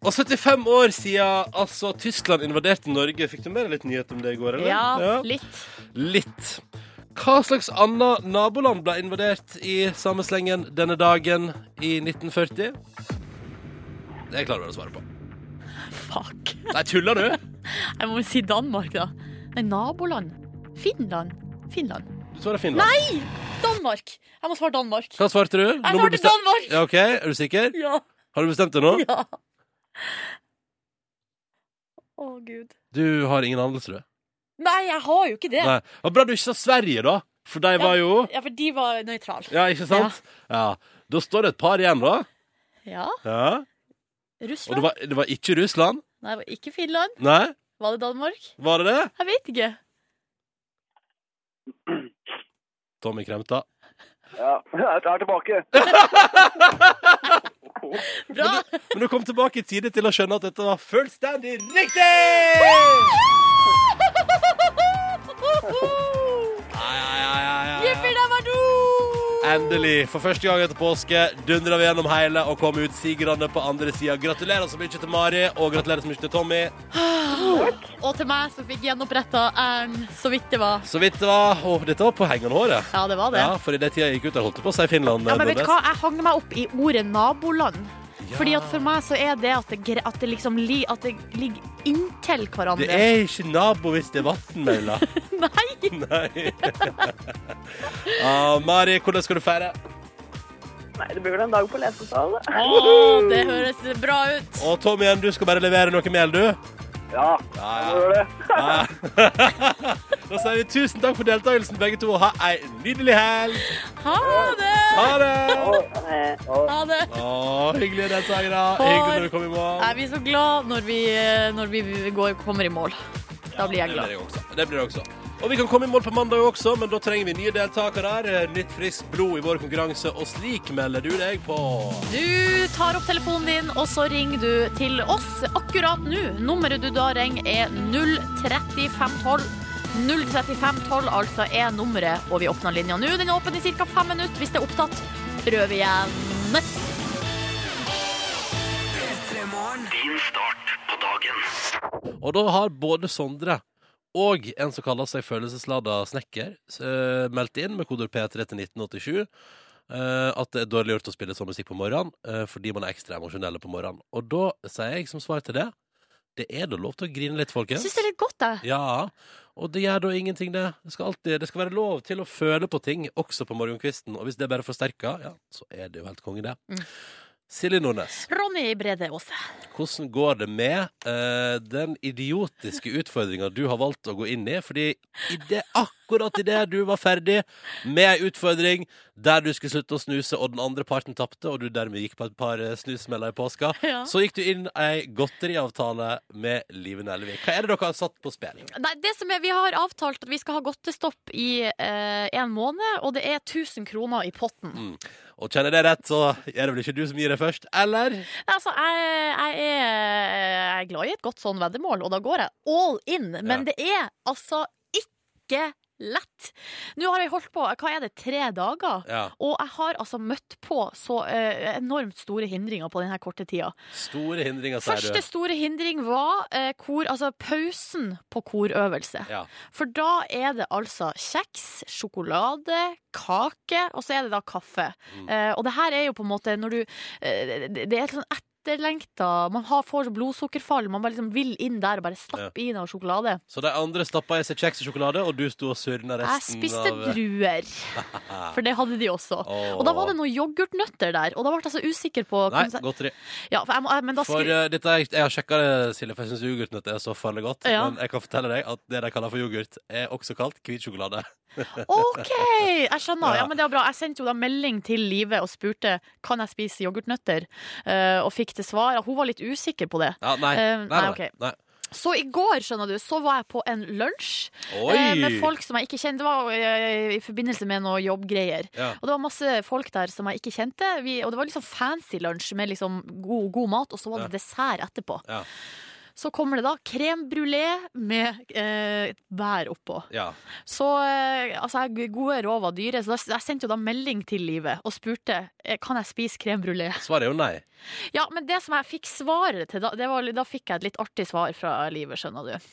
S2: Og 75 år siden altså, Tyskland invaderte Norge. Fikk du med deg litt nyhet om det i går? eller?
S3: Ja, litt.
S2: Litt. Hva slags annet naboland ble invadert i samme slengen denne dagen i 1940? Det klarer du vel å svare på.
S3: Fuck.
S2: Nei, tuller du?
S3: Jeg må vel si Danmark, da. Nei, naboland. Finland. Finland.
S2: Du svarer Finland. Nei!
S3: Danmark! Jeg må svare Danmark.
S2: Hva svarte du?
S3: Jeg
S2: Nå må du
S3: svarte
S2: bestem-
S3: Danmark!
S2: Ja, ok, Er du sikker?
S3: Ja.
S2: Har du bestemt det nå?
S3: ja. Å, gud.
S2: Du har ingen anelse, du.
S3: Nei, jeg har jo ikke det.
S2: Nei. Det var bra du ikke sa Sverige, da. For de var jo
S3: Ja, for de var nøytrale.
S2: Ja, ikke sant? Ja. Da står det et par igjen, da.
S3: Ja.
S2: Ja. Og det
S3: Russland?
S2: var, det var ikke Russland?
S3: Nei, det var ikke Finland.
S2: Nei?
S3: Var det Danmark?
S2: Var det det?
S3: Jeg vet ikke.
S2: Tommy Kremta.
S6: Ja, jeg er tilbake.
S3: Bra!
S2: Men du kom tilbake i tide til å skjønne at dette var fullstendig riktig! Ja, ja, ja, ja, ja, ja.
S3: Jippi dabadu!
S2: Endelig, for første gang etter påske, dundra vi gjennom hele og kom ut sigrende på andre sida. Gratulerer så mye til Mari, og gratulerer så mye til Tommy.
S3: Og til meg som fikk gjenoppretta æren så vidt det var.
S2: Så vidt det var. Å, dette var på hengende håret.
S3: Ja, det var det.
S2: Ja, for i den tida jeg gikk ut der, holdt jeg på å si Finland. eh,
S3: Ja, men vet du
S2: Nordnes.
S3: hva? Jeg hang meg opp i ordet naboland. Fordi at For meg så er det at det, gre- at det liksom li, at det ligger inntil hverandre.
S2: Det er ikke nabo hvis det er vannmølla.
S3: Nei!
S2: Nei. ah, Mari, hvordan skal du feire?
S5: Nei, det blir vel en dag på lesesal, da.
S3: Å, det høres bra ut.
S2: Og Tom igjen, du skal bare levere noe mel, du.
S6: Ja,
S2: Ja,
S6: jeg må
S2: ja.
S6: gjøre det.
S2: Ja. da sier vi tusen takk for deltakelsen, begge to. Ha ei nydelig helg.
S3: Ha det!
S2: Ha det!
S5: Eh,
S3: Ha det.
S2: Å, hyggelige deltakere. Hyggelig når du kom i
S3: Jeg
S2: mål.
S3: blir så glad når vi, når vi går, kommer i mål. Da blir
S2: Det blir
S3: jeg glad.
S2: jeg også. Det blir jeg også. Og vi kan komme i mål på mandag også, men da trenger vi nye deltakere. Nytt friskt blod i vår konkurranse, og slik melder du deg på.
S3: Du tar opp telefonen din, og så ringer du til oss akkurat nå. Nummeret du da ringer, er 03512. 03512 altså er nummeret, og vi åpner linja nå. Den er åpen i ca. fem minutter. Hvis det er opptatt, prøv igjen.
S2: Og da har både Sondre og en som kaller seg følelsesladda snekker, s- eh, meldt inn med kodord P3 til 1987 eh, at det er dårlig gjort å spille sånn musikk på morgenen eh, fordi man er ekstra emosjonelle på morgenen. Og da sier jeg som svar til det det er da lov til å grine litt,
S3: Jeg
S2: folkens.
S3: syns det er litt godt, jeg.
S2: Ja, og det gjør da ingenting, det. Det skal, alltid, det skal være lov til å føle på ting, også på morgenkvisten. Og hvis det bare forsterker, ja, så er det jo helt konge, det.
S3: Mm.
S2: Silje Nordnes,
S3: Ronny Brede Aase.
S2: hvordan går det med eh, den idiotiske utfordringa du har valgt å gå inn i? Fordi i det, akkurat idet du var ferdig med ei utfordring der du skulle slutte å snuse, og den andre parten tapte, og du dermed gikk på et par eh, snusmeller i påska,
S3: Ja.
S2: så gikk du inn ei godteriavtale med Live Nelvik. Hva er det dere har satt på spill?
S3: Nei, det som er, Vi har avtalt at vi skal ha godtestopp i eh, en måned, og det er 1000 kroner i potten.
S2: Og kjenner jeg det rett, så er det vel ikke du som gir det først, eller?
S3: Nei, altså, jeg, jeg, er, jeg er glad i et godt sånn veddemål, og da går jeg all in.
S2: Ja.
S3: Men det er altså ikke lett. Nå har jeg holdt på hva er det, tre dager,
S2: Ja.
S3: og jeg har altså møtt på så eh, enormt store hindringer på denne korte tida.
S2: Store hindringer, sier
S3: Første
S2: du.
S3: store hindring var eh, kor, altså pausen på korøvelse.
S2: Ja.
S3: For da er det altså kjeks, sjokolade, kake, og så er det da kaffe.
S2: Mm.
S3: Eh, og det her er jo på en måte når du eh, Det det er et sånn etterlengta Man har, får blodsukkerfall, man bare liksom vil inn der og bare stappe i noe sjokolade.
S2: Så de andre stappa i seg kjeks og sjokolade, og du sto og surna
S3: Jeg
S2: resten
S3: spiste
S2: av
S3: druer, for det hadde de også.
S2: Åh.
S3: Og da var det noen yoghurtnøtter der, og da ble jeg så usikker på
S2: Nei, godteri.
S3: ja, for jeg må, men da
S2: For
S3: skri...
S2: eh, dette, er- jeg har sjekka det, Silje, for jeg syns yoghurtnøtt er så farlig godt.
S3: Ja.
S2: Men jeg kan fortelle deg at det de kaller for yoghurt, er også kalt hvit sjokolade.
S3: OK! Jeg skjønner.
S2: Ja.
S3: Ja, men det var bra. Jeg sendte jo da melding til Live og spurte kan jeg spise yoghurtnøtter, Eh, og fikk til svar at hun var litt usikker på det.
S2: Ja, nei.
S3: Eh,
S2: nei, nei,
S3: nei, ok.
S2: nei.
S3: Så i går, skjønner du, så var jeg på en lunsj
S2: Oi!
S3: eh, med folk som jeg ikke kjente. Det var eh, i forbindelse med noe jobbgreier.
S2: Ja.
S3: Og det var masse folk der som jeg ikke kjente. Vi, og det var liksom fancy lunsj med liksom god, god mat, og så var det dessert etterpå.
S2: Ja.
S3: Så kommer det da krem brulé med eh, bær oppå.
S2: Ja.
S3: Så eh, altså, jeg- gode råd var dyre, så da, jeg sendte jo da melding til livet og spurte eh, kan jeg spise krem brulé.
S2: Svaret er jo nei.
S3: Ja, men det som jeg fikk svaret til, da, det var, da fikk jeg et litt artig svar fra livet, skjønner du.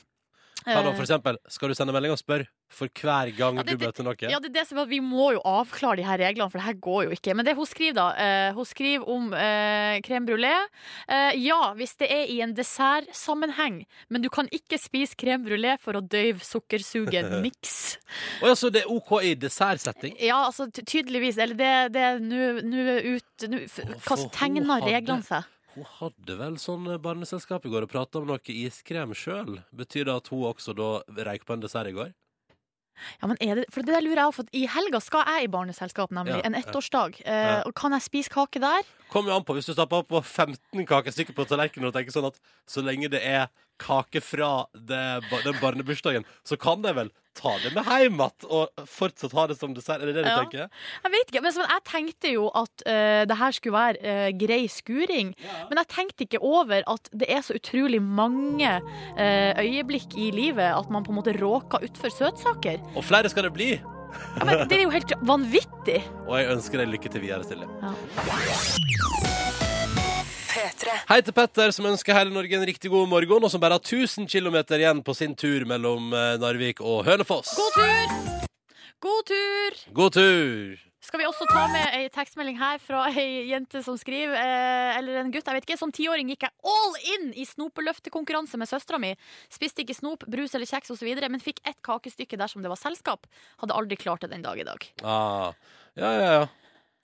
S2: Ta da for eksempel, skal du sende melding og spørre for hver gang
S3: Eh. Ja, det-
S2: du møter noen?
S3: Ja, det er det som er at Vi må jo avklare de her reglene, for det her går jo ikke. Men det hun skriver, da eh, Hun skriver om uh, crème brulé. Eh, ja, hvis det er i en dessertsammenheng, men du kan ikke spise crème brulé for å døyve sukkersuget. Niks.
S2: Å ja, så det er OK i dessertsetting?
S3: Ja, altså ty- tydeligvis. Eller det det er nå nå ut nå f-
S2: Å,
S3: Hva
S2: for hun
S3: tegner
S2: hadde-
S3: reglene seg?
S2: Hun hadde vel sånn barneselskap i går og prata om noe iskrem sjøl. Betyr det at hun også da røyk på en dessert i går?
S3: Ja, men er det, for det der lurer jeg også, for I helga skal jeg i barneselskap, nemlig.
S2: Ja,
S3: En
S2: ja.
S3: ettårsdag. Eh,
S2: Ja.
S3: og Kan jeg spise kake der?
S2: Kom jo an på hvis du stapper opp på 15 kakestykker på tallerkenen og tenker sånn at så lenge det er kake fra det, ba- den barnebursdagen, så kan de vel ta det med hjem igjen og fortsatt ha det som dessert? Er det det du
S3: Ja.
S2: tenker?
S3: Jeg vet ikke, men så- men jeg tenkte jo at eh, det her skulle være eh, grei skuring. Men jeg tenkte ikke over at det er så utrolig mange eh, øyeblikk i livet at man på en måte råker utfor søtsaker.
S2: Og flere skal det bli!
S3: Ja, men det er jo helt vanvittig.
S2: Og jeg ønsker deg lykke til videre, Silje.
S3: Ja.
S1: P3.
S2: Hei til Petter, som ønsker hele Norge en riktig god morgen, og som bare har 1000 km igjen på sin tur mellom eh, Narvik og Hønefoss.
S3: God tur! God tur!
S2: God tur!
S3: Skal vi også ta med ei tekstmelding her fra ei jente som skriver, eh, eller en gutt, jeg vet ikke. Som tiåring gikk jeg all in i snopeløftekonkurranse med søstera mi. Spiste ikke snop, brus eller kjeks osv., men fikk ett kakestykke dersom det var selskap. Hadde aldri klart det den dag i dag.
S2: Ah, ja, ja, ja.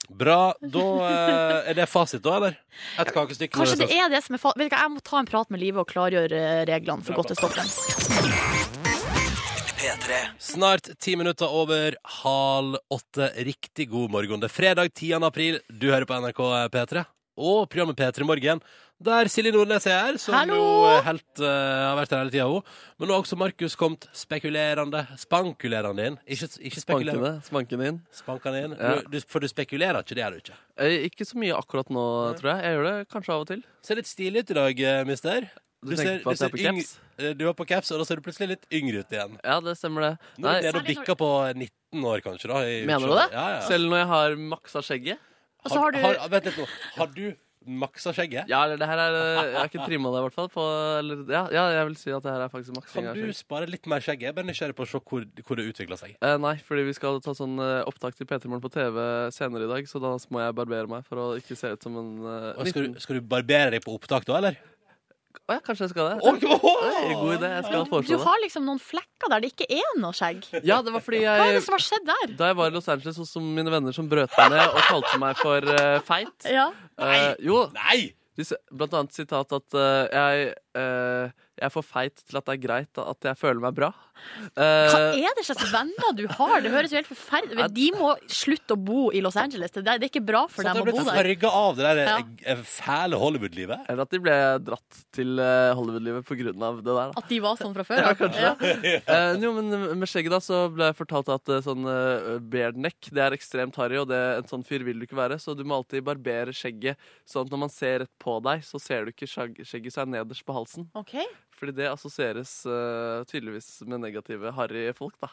S2: Bra. Da eh, er det fasit, da, eller? Et kakestykke.
S3: Kanskje det er det som er fa Vet du hva, Jeg må ta en prat med Live og klargjøre eh, reglene for godt til stoppen.
S2: Snart ti minutter over halv åtte. Riktig god morgen. Det er fredag 10. april. Du hører på NRK P3 og programmet P3 Morgen, der Silje Nordnes er her, som
S3: Hallo!
S2: jo er helt, eh, har vært her hele tida, hun. Men nå har også Markus kommet spekulerende, spankulerende inn. Ikke, ikke spekulerende.
S4: Spankene, spankene inn.
S2: Spankende inn.
S4: Ja.
S2: Du, du, for du spekulerer ikke, det gjør du ikke.
S4: Eh, Ikke så mye akkurat nå, tror jeg. Jeg gjør det kanskje av og til.
S2: Ser litt stilig ut i dag, eh, mister.
S4: Du, tenker på at jeg er på
S2: yng-
S4: caps?
S2: eh, Du var på caps, og da ser du plutselig litt yngre ut igjen.
S4: Ja, det stemmer det.
S2: Nå
S4: Nei,
S2: er du nede og
S3: Særlig når-
S2: bikker på 19 år, kanskje. da i
S4: Mener du
S2: utseendet.
S4: det?
S2: Ja, ja.
S4: selv når jeg har maksa skjegget
S3: Og så har du-
S2: vent litt nå. Har du maksa skjegget?
S4: Ja, eller det her er eh, Jeg har ikke trimma det, i hvert fall. På, eller, ja, ja, jeg vil si at det her er faktisk maksing
S2: Kan
S4: av
S2: du
S4: skjegg.
S2: spare litt mer skjegg? Jeg er bare nysgjerrig på å se hvor, hvor det utvikler seg.
S4: Eh, nei, fordi vi skal ta sånn eh, opptak til P3 Morgen på TV senere i dag, så da må jeg barbere meg for å ikke se ut som en eh,
S2: Og skal,
S4: 19.
S2: du, skal du barbere deg på opptak da, eller?
S4: Å ja, kanskje jeg skal det.
S2: Oi,
S4: Oi, god idé. Jeg skal
S3: Du
S4: foreslå det.
S3: har liksom noen flekker der det ikke er noe skjegg.
S4: Ja, det var fordi
S3: Hva er det
S4: jeg
S3: som har skjedd der?
S4: da jeg var i Los Angeles hos mine venner som brøt meg ned og kalte meg for eh, feit.
S3: Ja.
S4: Eh, jo,
S2: Nei!
S4: de s- blant annet sitat at eh, jeg, eh, jeg er for feit til at det er greit at jeg føler meg bra. Eh,
S3: Hva er det slags venner du har? Det høres jo helt forferdelig ut. De må slutte å bo i Los Angeles. Det er det er ikke bra for
S2: Så
S3: dem
S2: du
S3: å
S2: har blitt
S3: bo der.
S2: farga av det der
S3: Ja.
S2: eh, fæle Hollywood-livet?
S4: Eller at de ble dratt til eh, Hollywood-livet på grunn av det der. Da.
S3: At de var sånn fra før? Ja, kanskje.
S4: Eh, jo, men med skjegget da, så ble jeg fortalt at eh, sånn eh, beard neck, det er ekstremt harry, og det, en sånn fyr vil du ikke være, så du må alltid barbere skjegget, sånn at når man ser rett på deg, så ser du ikke skjegg- skjegget seg nederst på halsen.
S3: Ok,
S4: Fordi det assosieres eh, tydeligvis med negative harry folk, da.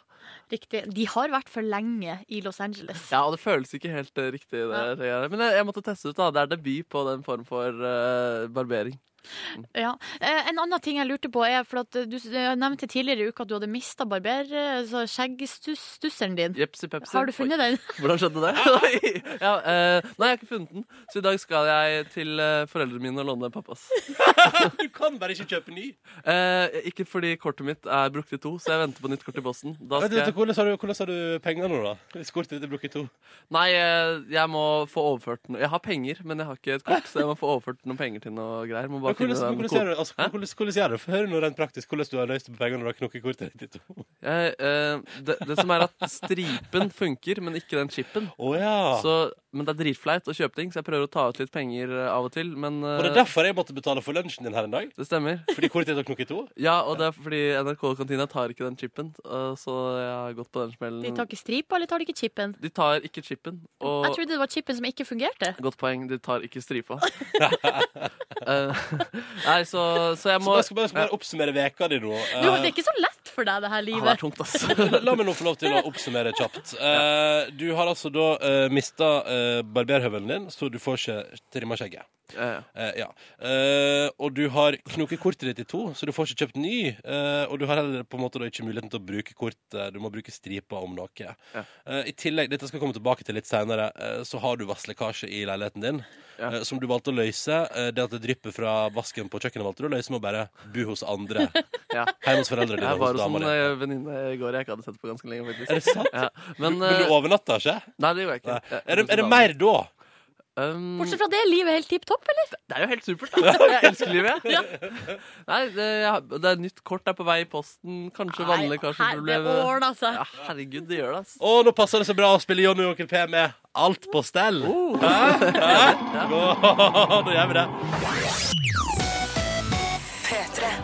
S3: Riktig. De har vært for lenge i Los Angeles.
S4: Ja, og det føles ikke helt eh, riktig, det
S3: Ja.
S4: jeg gjør. Men eh, jeg, jeg måtte teste ut, da. Det er debut på den form for eh, barbering.
S3: Ja. Eh, En annen ting jeg lurte på er, for at eh, du s- eh, nevnte tidligere i uka at du hadde mista barber, eh, så skjeggstusseren din.
S4: Jepsi pepsi.
S3: Har du funnet den?
S4: Hvordan skjedde det? Oi. ja, eh, nei, jeg har ikke funnet den. Så i dag skal jeg til eh, foreldrene mine og låne pappas.
S2: Du kan bare ikke kjøpe ny.
S4: Eh, ikke fordi kortet mitt er brukt i to, så jeg venter på nytt kort i posten. Da
S2: Vent
S4: skal
S2: litt,
S4: jeg...
S2: hvordan, har du, hvordan har du penger nå, da? Hvis kortet ditt er brukt i to.
S4: Nei, eh, jeg må få overført noe. Jeg har penger, men jeg har ikke et kort, så jeg må få overført noen penger til noe greier. Må
S2: Men
S4: bare
S2: Hvordan
S4: finne
S2: hvordan
S4: den
S2: gjør
S4: koden.
S2: du altså, hvordan- hvordan gjør du det? Hør nå rent praktisk hvordan du har løst det på pengene når du har knukket kortet ditt i to.
S4: Jeg, eh, det, det som er at stripen funker, men ikke den chipen.
S2: Å ja.
S4: Så, men det er dritflaut å kjøpe ting, så jeg prøver å ta ut litt penger eh, av og til. Men eh,
S2: Og det er derfor jeg måtte betale for lunsjen din her en dag.
S4: det stemmer.
S2: Fordi kortet ditt har knukket i to.
S4: Ja, og det er fordi NRK-kantina tar ikke den chipen, eh, så jeg har gått på den
S3: De
S4: smellen.
S3: tar ikke stripa, eller tar de ikke chipen?
S4: De tar ikke chipen. Og
S3: Jeg trodde det var chipen som ikke fungerte.
S4: Godt poeng. De tar ikke stripa. Eh, nei, så, så jeg
S2: Så
S4: må
S2: bare skal bare, skal bare oppsummere veka di nå. Eh.
S3: Du, det er ikke så lett for deg, det her
S4: Ja, det er
S3: livet.
S4: tungt, ass.
S2: La la meg nå få lov til å oppsummere kjapt. Eh, du har altså da uh, mista eh, barberhøvelen din, så du får ikke trimma skjegget.
S4: Ja, ja.
S2: Eh, ja. Eh, og du har knoket kortet ditt i to, så du får ikke kjøpt ny. eh, og du har heller på en måte da ikke muligheten til å bruke kortet. Du må bruke stripa om noe. Eh, I tillegg, dette skal jeg komme tilbake til litt senere, eh, så har du vasslekkasje i leiligheten din.
S4: Ja.
S2: eh, som du valgte å løse. Eh, det at det drypper fra vasken på kjøkkenet, valgte du å løse med å bare bo hos andre.
S4: Ja.
S2: Hjemme hos foreldrene dine.
S4: Jeg
S2: Hos
S4: var hos
S2: dama
S4: en
S2: di.
S4: eh, venninne i går jeg ikke hadde sett på ganske lenge. faktisk
S2: Er det sant?
S4: Ja. Men,
S2: Men du
S4: eh,
S2: overnatta ikke?
S4: Nei, det gjorde jeg ikke.
S2: Nei.
S4: Jeg-
S2: Er det, er det mer da?
S4: Um,
S3: Bortsett fra det, livet er helt tipp topp, eller?
S4: det er jo helt supert, da. Jeg elsker livet, jeg. Nei, det, jeg har- det er nytt kort er på vei i posten. Kanskje
S3: her, det
S4: vannlekkasjeproblem.
S3: ordna seg.
S4: Ja, herregud, det altså. gjør det, ass.
S2: Å, nå passer det så bra å spille Johnny og Onkel P med alt på stell. Hæ? Hæ? Nå gjør vi det.
S1: P3.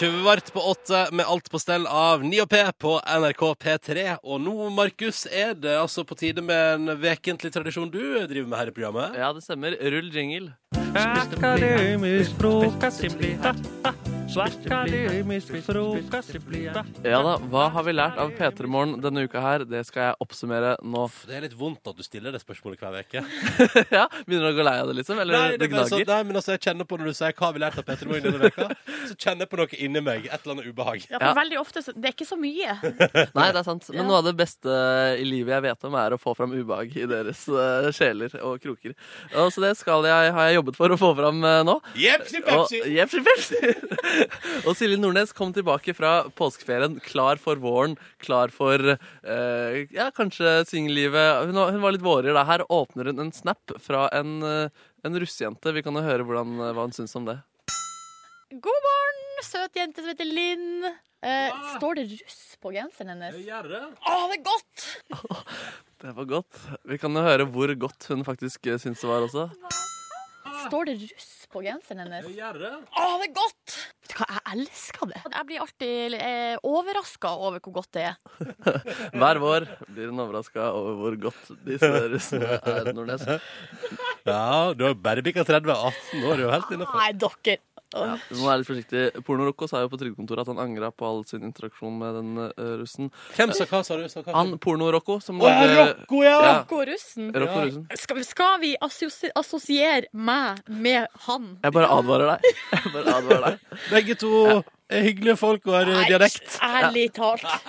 S2: Kvart på åtte med alt på stell av 9 og P på NRK P3. Og nå, Markus, er det altså på tide med en vekentlig tradisjon du driver med her i programmet.
S4: Ja, det stemmer. Rull jingle.
S7: Akademisk frokost simply ha, ha. Akademisk frokost simply ha.
S4: Ja da, Hva har vi lært av P3 Morgen denne uka her? Det skal jeg oppsummere nå.
S2: Det er litt vondt at du stiller det spørsmålet hver uke.
S4: ja, Begynner du å gå lei av det, liksom? Eller
S2: Nei, det
S4: det
S2: er bare sånn-
S4: gnager?
S2: nei, men altså, jeg kjenner på når du sier 'hva har vi lært av Petter Moen denne veka', så kjenner jeg på noe inni meg. Et eller annet ubehag.
S3: Ja,
S4: Ja.
S3: for veldig ofte, så, Det er ikke så mye.
S4: Nei, det er sant. Men
S3: Ja.
S4: noe av det beste i livet jeg vet om, er å få fram ubehag i deres eh, sjeler og kroker. Og så det skal jeg, har jeg jobbet for å få fram eh, nå.
S2: Jepsi,
S4: Og,
S2: pepsi!
S4: Jeps, jeps, jeps. og Silje Nordnes kom tilbake fra påskeferien klar for våren, klar for eh, ja, kanskje singellivet. Hun, var- hun var litt vårere da. Her åpner hun en snap fra en, eh, en russejente. Vi kan jo høre hvordan, eh, hva hun syns om det.
S3: God morgen, søt jente som heter Linn. Eh, står det russ på genseren hennes? Å, det er godt!
S4: Det var godt. Vi kan jo høre hvor godt hun faktisk eh, syns det var også.
S3: Står det russ på genseren hennes? Å, det er godt! Vet du hva, jeg elsker det. Jeg blir alltid eh, overraska over hvor godt det er.
S4: Hver vår blir hun overraska over hvor godt disse russene er, Nordnes.
S2: Ja, du har bare bikka 30. 18 år, du er jo helt innafor.
S3: Nei, dere.
S4: Ja, vi må være litt forsiktige. Pornorocco sa jo på trygdekontoret at han angra på all sin interaksjon med den eh, russen.
S2: Hvem sa hva, sa du? Sa hva?
S4: Han Pornorocco, som
S2: Å, ja, Rocco, ja!
S4: Ja.
S3: Gå russen.
S4: Rocco russen.
S3: Skal, skal vi assosi- assosiere meg med han?
S4: Jeg bare advarer deg. Jeg bare advarer deg.
S2: Begge to er hyggelige folk og har eh, dialekt.
S3: Ærlig talt.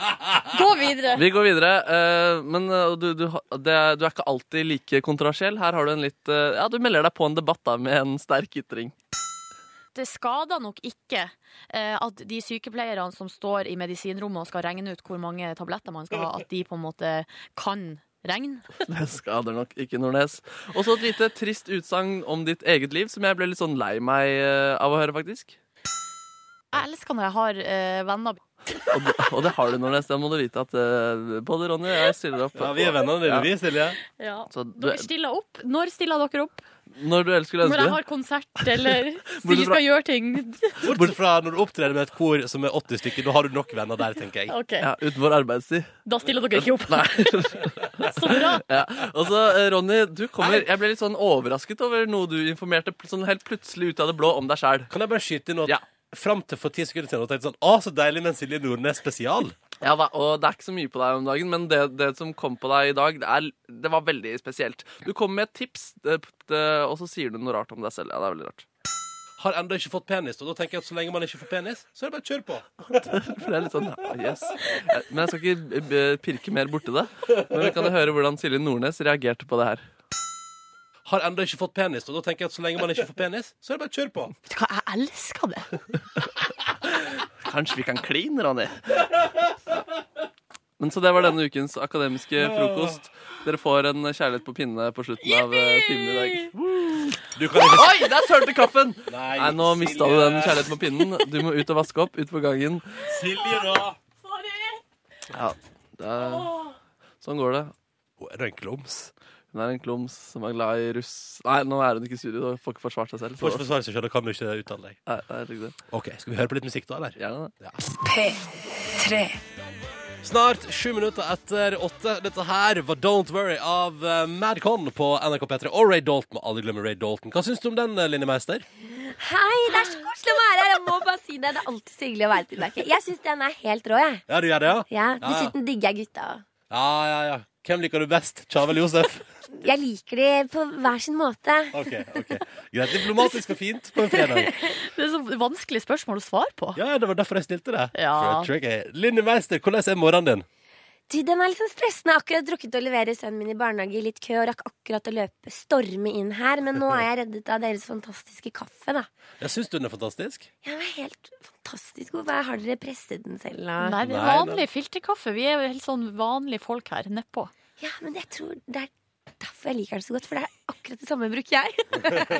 S3: Gå videre.
S4: Vi går videre. eh, men eh, du, du, ha- det, er- du er ikke alltid like kontroversiell. Her har du en litt eh, Ja, du melder deg på en debatt da, med en sterk ytring.
S3: det skader nok ikke eh, at de sykepleierne som står i medisinrommet og skal regne ut hvor mange tabletter man skal ha, at de på en måte kan regne.
S4: Det skader nok ikke Nordnes. Og så et lite trist utsagn om ditt eget liv, som jeg ble litt sånn lei meg eh, av å høre, faktisk.
S3: Jeg elsker når jeg har eh, venner.
S4: Og det, og det har du, Nordnes. Det må du vite at eh, både Ronny og jeg stiller opp.
S2: Ja, vi er vennene dine, vi, Silje.
S4: Så du,
S3: Dere stiller opp. Når stiller dere opp?
S4: når du elsker,
S3: Når jeg
S4: elsker du.
S3: har konsert eller
S4: Hvor du
S3: vi skal gjøre ting.
S2: Bort fra når du opptrer med et kor som er 80 stykker. Da har du nok venner der, tenker jeg.
S3: Ok,
S4: Ja, utenfor arbeidstid.
S3: Da stiller dere ikke opp. Så bra.
S4: Ja. Og så, eh, Ronny, du kommer Jeg ble litt sånn overrasket over noe du informerte pl- sånn helt plutselig ut av det blå om deg sjæl.
S2: Kan jeg bare skyte inn at
S4: Ja.
S2: fram til for ti sekunder siden tenkte jeg sånn Å, så deilig med en Silje Nordnes spesial.
S4: Ja, da, og det er ikke så mye på deg om dagen, men det, det som kom på deg i dag, det, er, det var veldig spesielt. Du kom med et tips, det, det, og så sier du noe rart om deg selv. Ja, det er veldig rart.
S2: Har ennå ikke fått penis. Og da tenker jeg at så lenge man ikke får penis, så er det bare å kjøre på.
S4: For det er litt sånn, ja, yes. Men jeg skal ikke eh, pirke mer borti det. Men vi kan jo høre hvordan Silje Nordnes reagerte på det her.
S2: Har ennå ikke fått penis. Og da tenker jeg at så lenge man ikke får penis, så er det bare å kjøre på.
S3: Vet du hva, jeg elsker det.
S4: Kanskje vi kan kline, Ronny? Men så det var denne ukens akademiske frokost. Dere får en kjærlighet på pinne på slutten av eh, timen i dag.
S2: Du kan ikke
S4: Oi, der sølte kaffen!
S2: Nei,
S4: Nei, nå mista du den kjærligheten på pinnen. Du må ut og vaske opp. Ut på gangen.
S2: Silje, da.
S4: Ja, det er... Sånn går det.
S2: Hun er en klums.
S4: Hun er en klums som er glad i russ... Nei, nå er hun ikke i studio. Hun får ikke forsvart seg selv.
S2: Får ikke
S4: Så...
S2: forsvare seg sjøl, da kan du ikke uttale deg.
S4: Nei, det er ikke det.
S2: OK, skal vi høre på litt musikk da, eller?
S4: Gjerne det.
S1: P3.
S2: Snart sju minutter etter åtte. Dette her var Don't Worry av eh, Madcon på NRK P3. Og Ray Dalton. Må aldri glemme Ray Dalton. Hva syns du om den, eh, Linni Meister?
S8: Hei, det er så koselig å være her. Jeg må bare si si det. Det er alltid så hyggelig å være tilbake. Jeg syns den er helt rå, jeg.
S2: Ja, du gjør det, ja?
S8: Ja,
S2: ja.
S8: dessuten digger jeg gutta.
S2: Ja, ja, ja. Hvem liker du best? Tjavel Josef?
S8: Jeg liker de på hver sin måte.
S2: OK. ok. Greit. Diplomatisk og fint på en fredag.
S3: Det er så vanskelig spørsmål å svare på.
S2: Ja, det var derfor jeg stilte det.
S3: Ja.
S2: For det er tricky. Linni Meister, hvordan er morgenen din?
S8: Du, den er litt sånn stressende. Jeg har akkurat drukket å levere sønnen min i barnehage i litt kø og rakk akkurat å løpe storme inn her, men nå er jeg reddet av deres fantastiske kaffe, da.
S2: Jeg syns den er fantastisk.
S8: Ja, den er helt fantastisk. Hvorfor har dere presset den selv? da?
S3: Nei, det er
S2: Nei,
S3: vanlig filterkaffe. Vi er jo helt sånn vanlige folk her nedpå.
S8: Ja, men jeg tror det er derfor jeg liker den så godt, for det er akkurat det samme bruker jeg.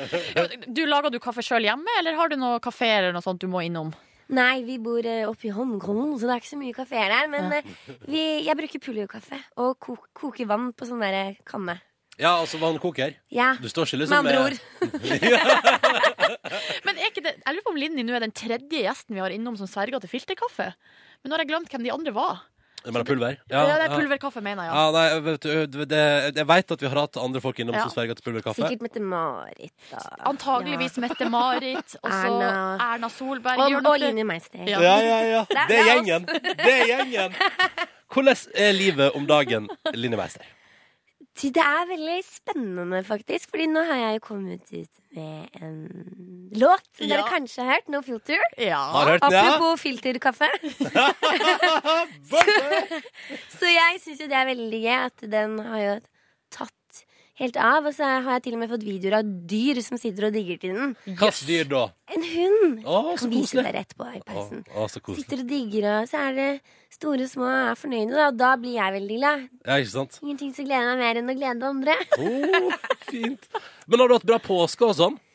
S3: Du, Lager du kaffe sjøl hjemme, eller har du noe kafé eller noe sånt du må innom?
S8: Nei, vi bor eh, oppe i Hongkong, så det er ikke så mye kafeer der. Men
S3: Ja.
S8: eh, vi, jeg bruker pulverkaffe og ko koker vann på sånn der kanne.
S2: Ja, altså vannkoker.
S8: Ja,
S2: Du står ikke
S8: med
S2: liksom
S8: andre ord.
S3: Men er ikke det, Jeg lurer på om Linni nå er den tredje gjesten vi har innom som sverger til filterkaffe. Men nå har jeg glemt hvem de andre var.
S2: Jeg mener pulver?
S3: Ja, det er pulverkaffe, mener jeg.
S2: Ja, nei, vet du, det, jeg veit at vi har hatt andre folk innom
S3: Ja.
S2: som sverger til pulverkaffe.
S8: Sikkert Mette-Marit og
S3: Antageligvis Mette-Marit, og så
S8: Erna.
S3: Erna
S8: ja.
S3: Solberg.
S8: Og,
S3: Gjør
S8: og
S3: dere-
S8: Line Meister.
S3: Ja.
S2: Ja, ja, ja.
S8: er-
S2: Det er
S8: det er
S2: gjengen. Det er gjengen. Hvordan er livet om dagen, Linni Meister?
S8: Du, Det er veldig spennende, faktisk. Fordi nå har jeg jo kommet ut med en låt som
S3: Ja.
S8: dere kanskje har hørt. No filter.
S3: Ja.
S2: Har du hørt den? Ja?
S8: Apropos filterkaffe. Så jeg syns jo det er veldig gøy at den har jo tatt helt av. Og så har jeg til og med fått videoer av dyr som sitter og digger til den.
S2: Hvilket dyr da?
S8: En hund!
S2: Å,
S8: Jeg
S2: så
S8: kan vise
S2: koselig.
S8: dere etterpå i
S2: Å,
S8: pausen.
S2: å, så koselig.
S8: Sitter og digger, og så er det store og små og er fornøyde, da. Og da blir jeg veldig glad.
S2: Ja, ikke sant?
S8: Ingenting som gleder meg mer enn å glede andre.
S2: Å, fint. Men har du hatt bra påske og sånn?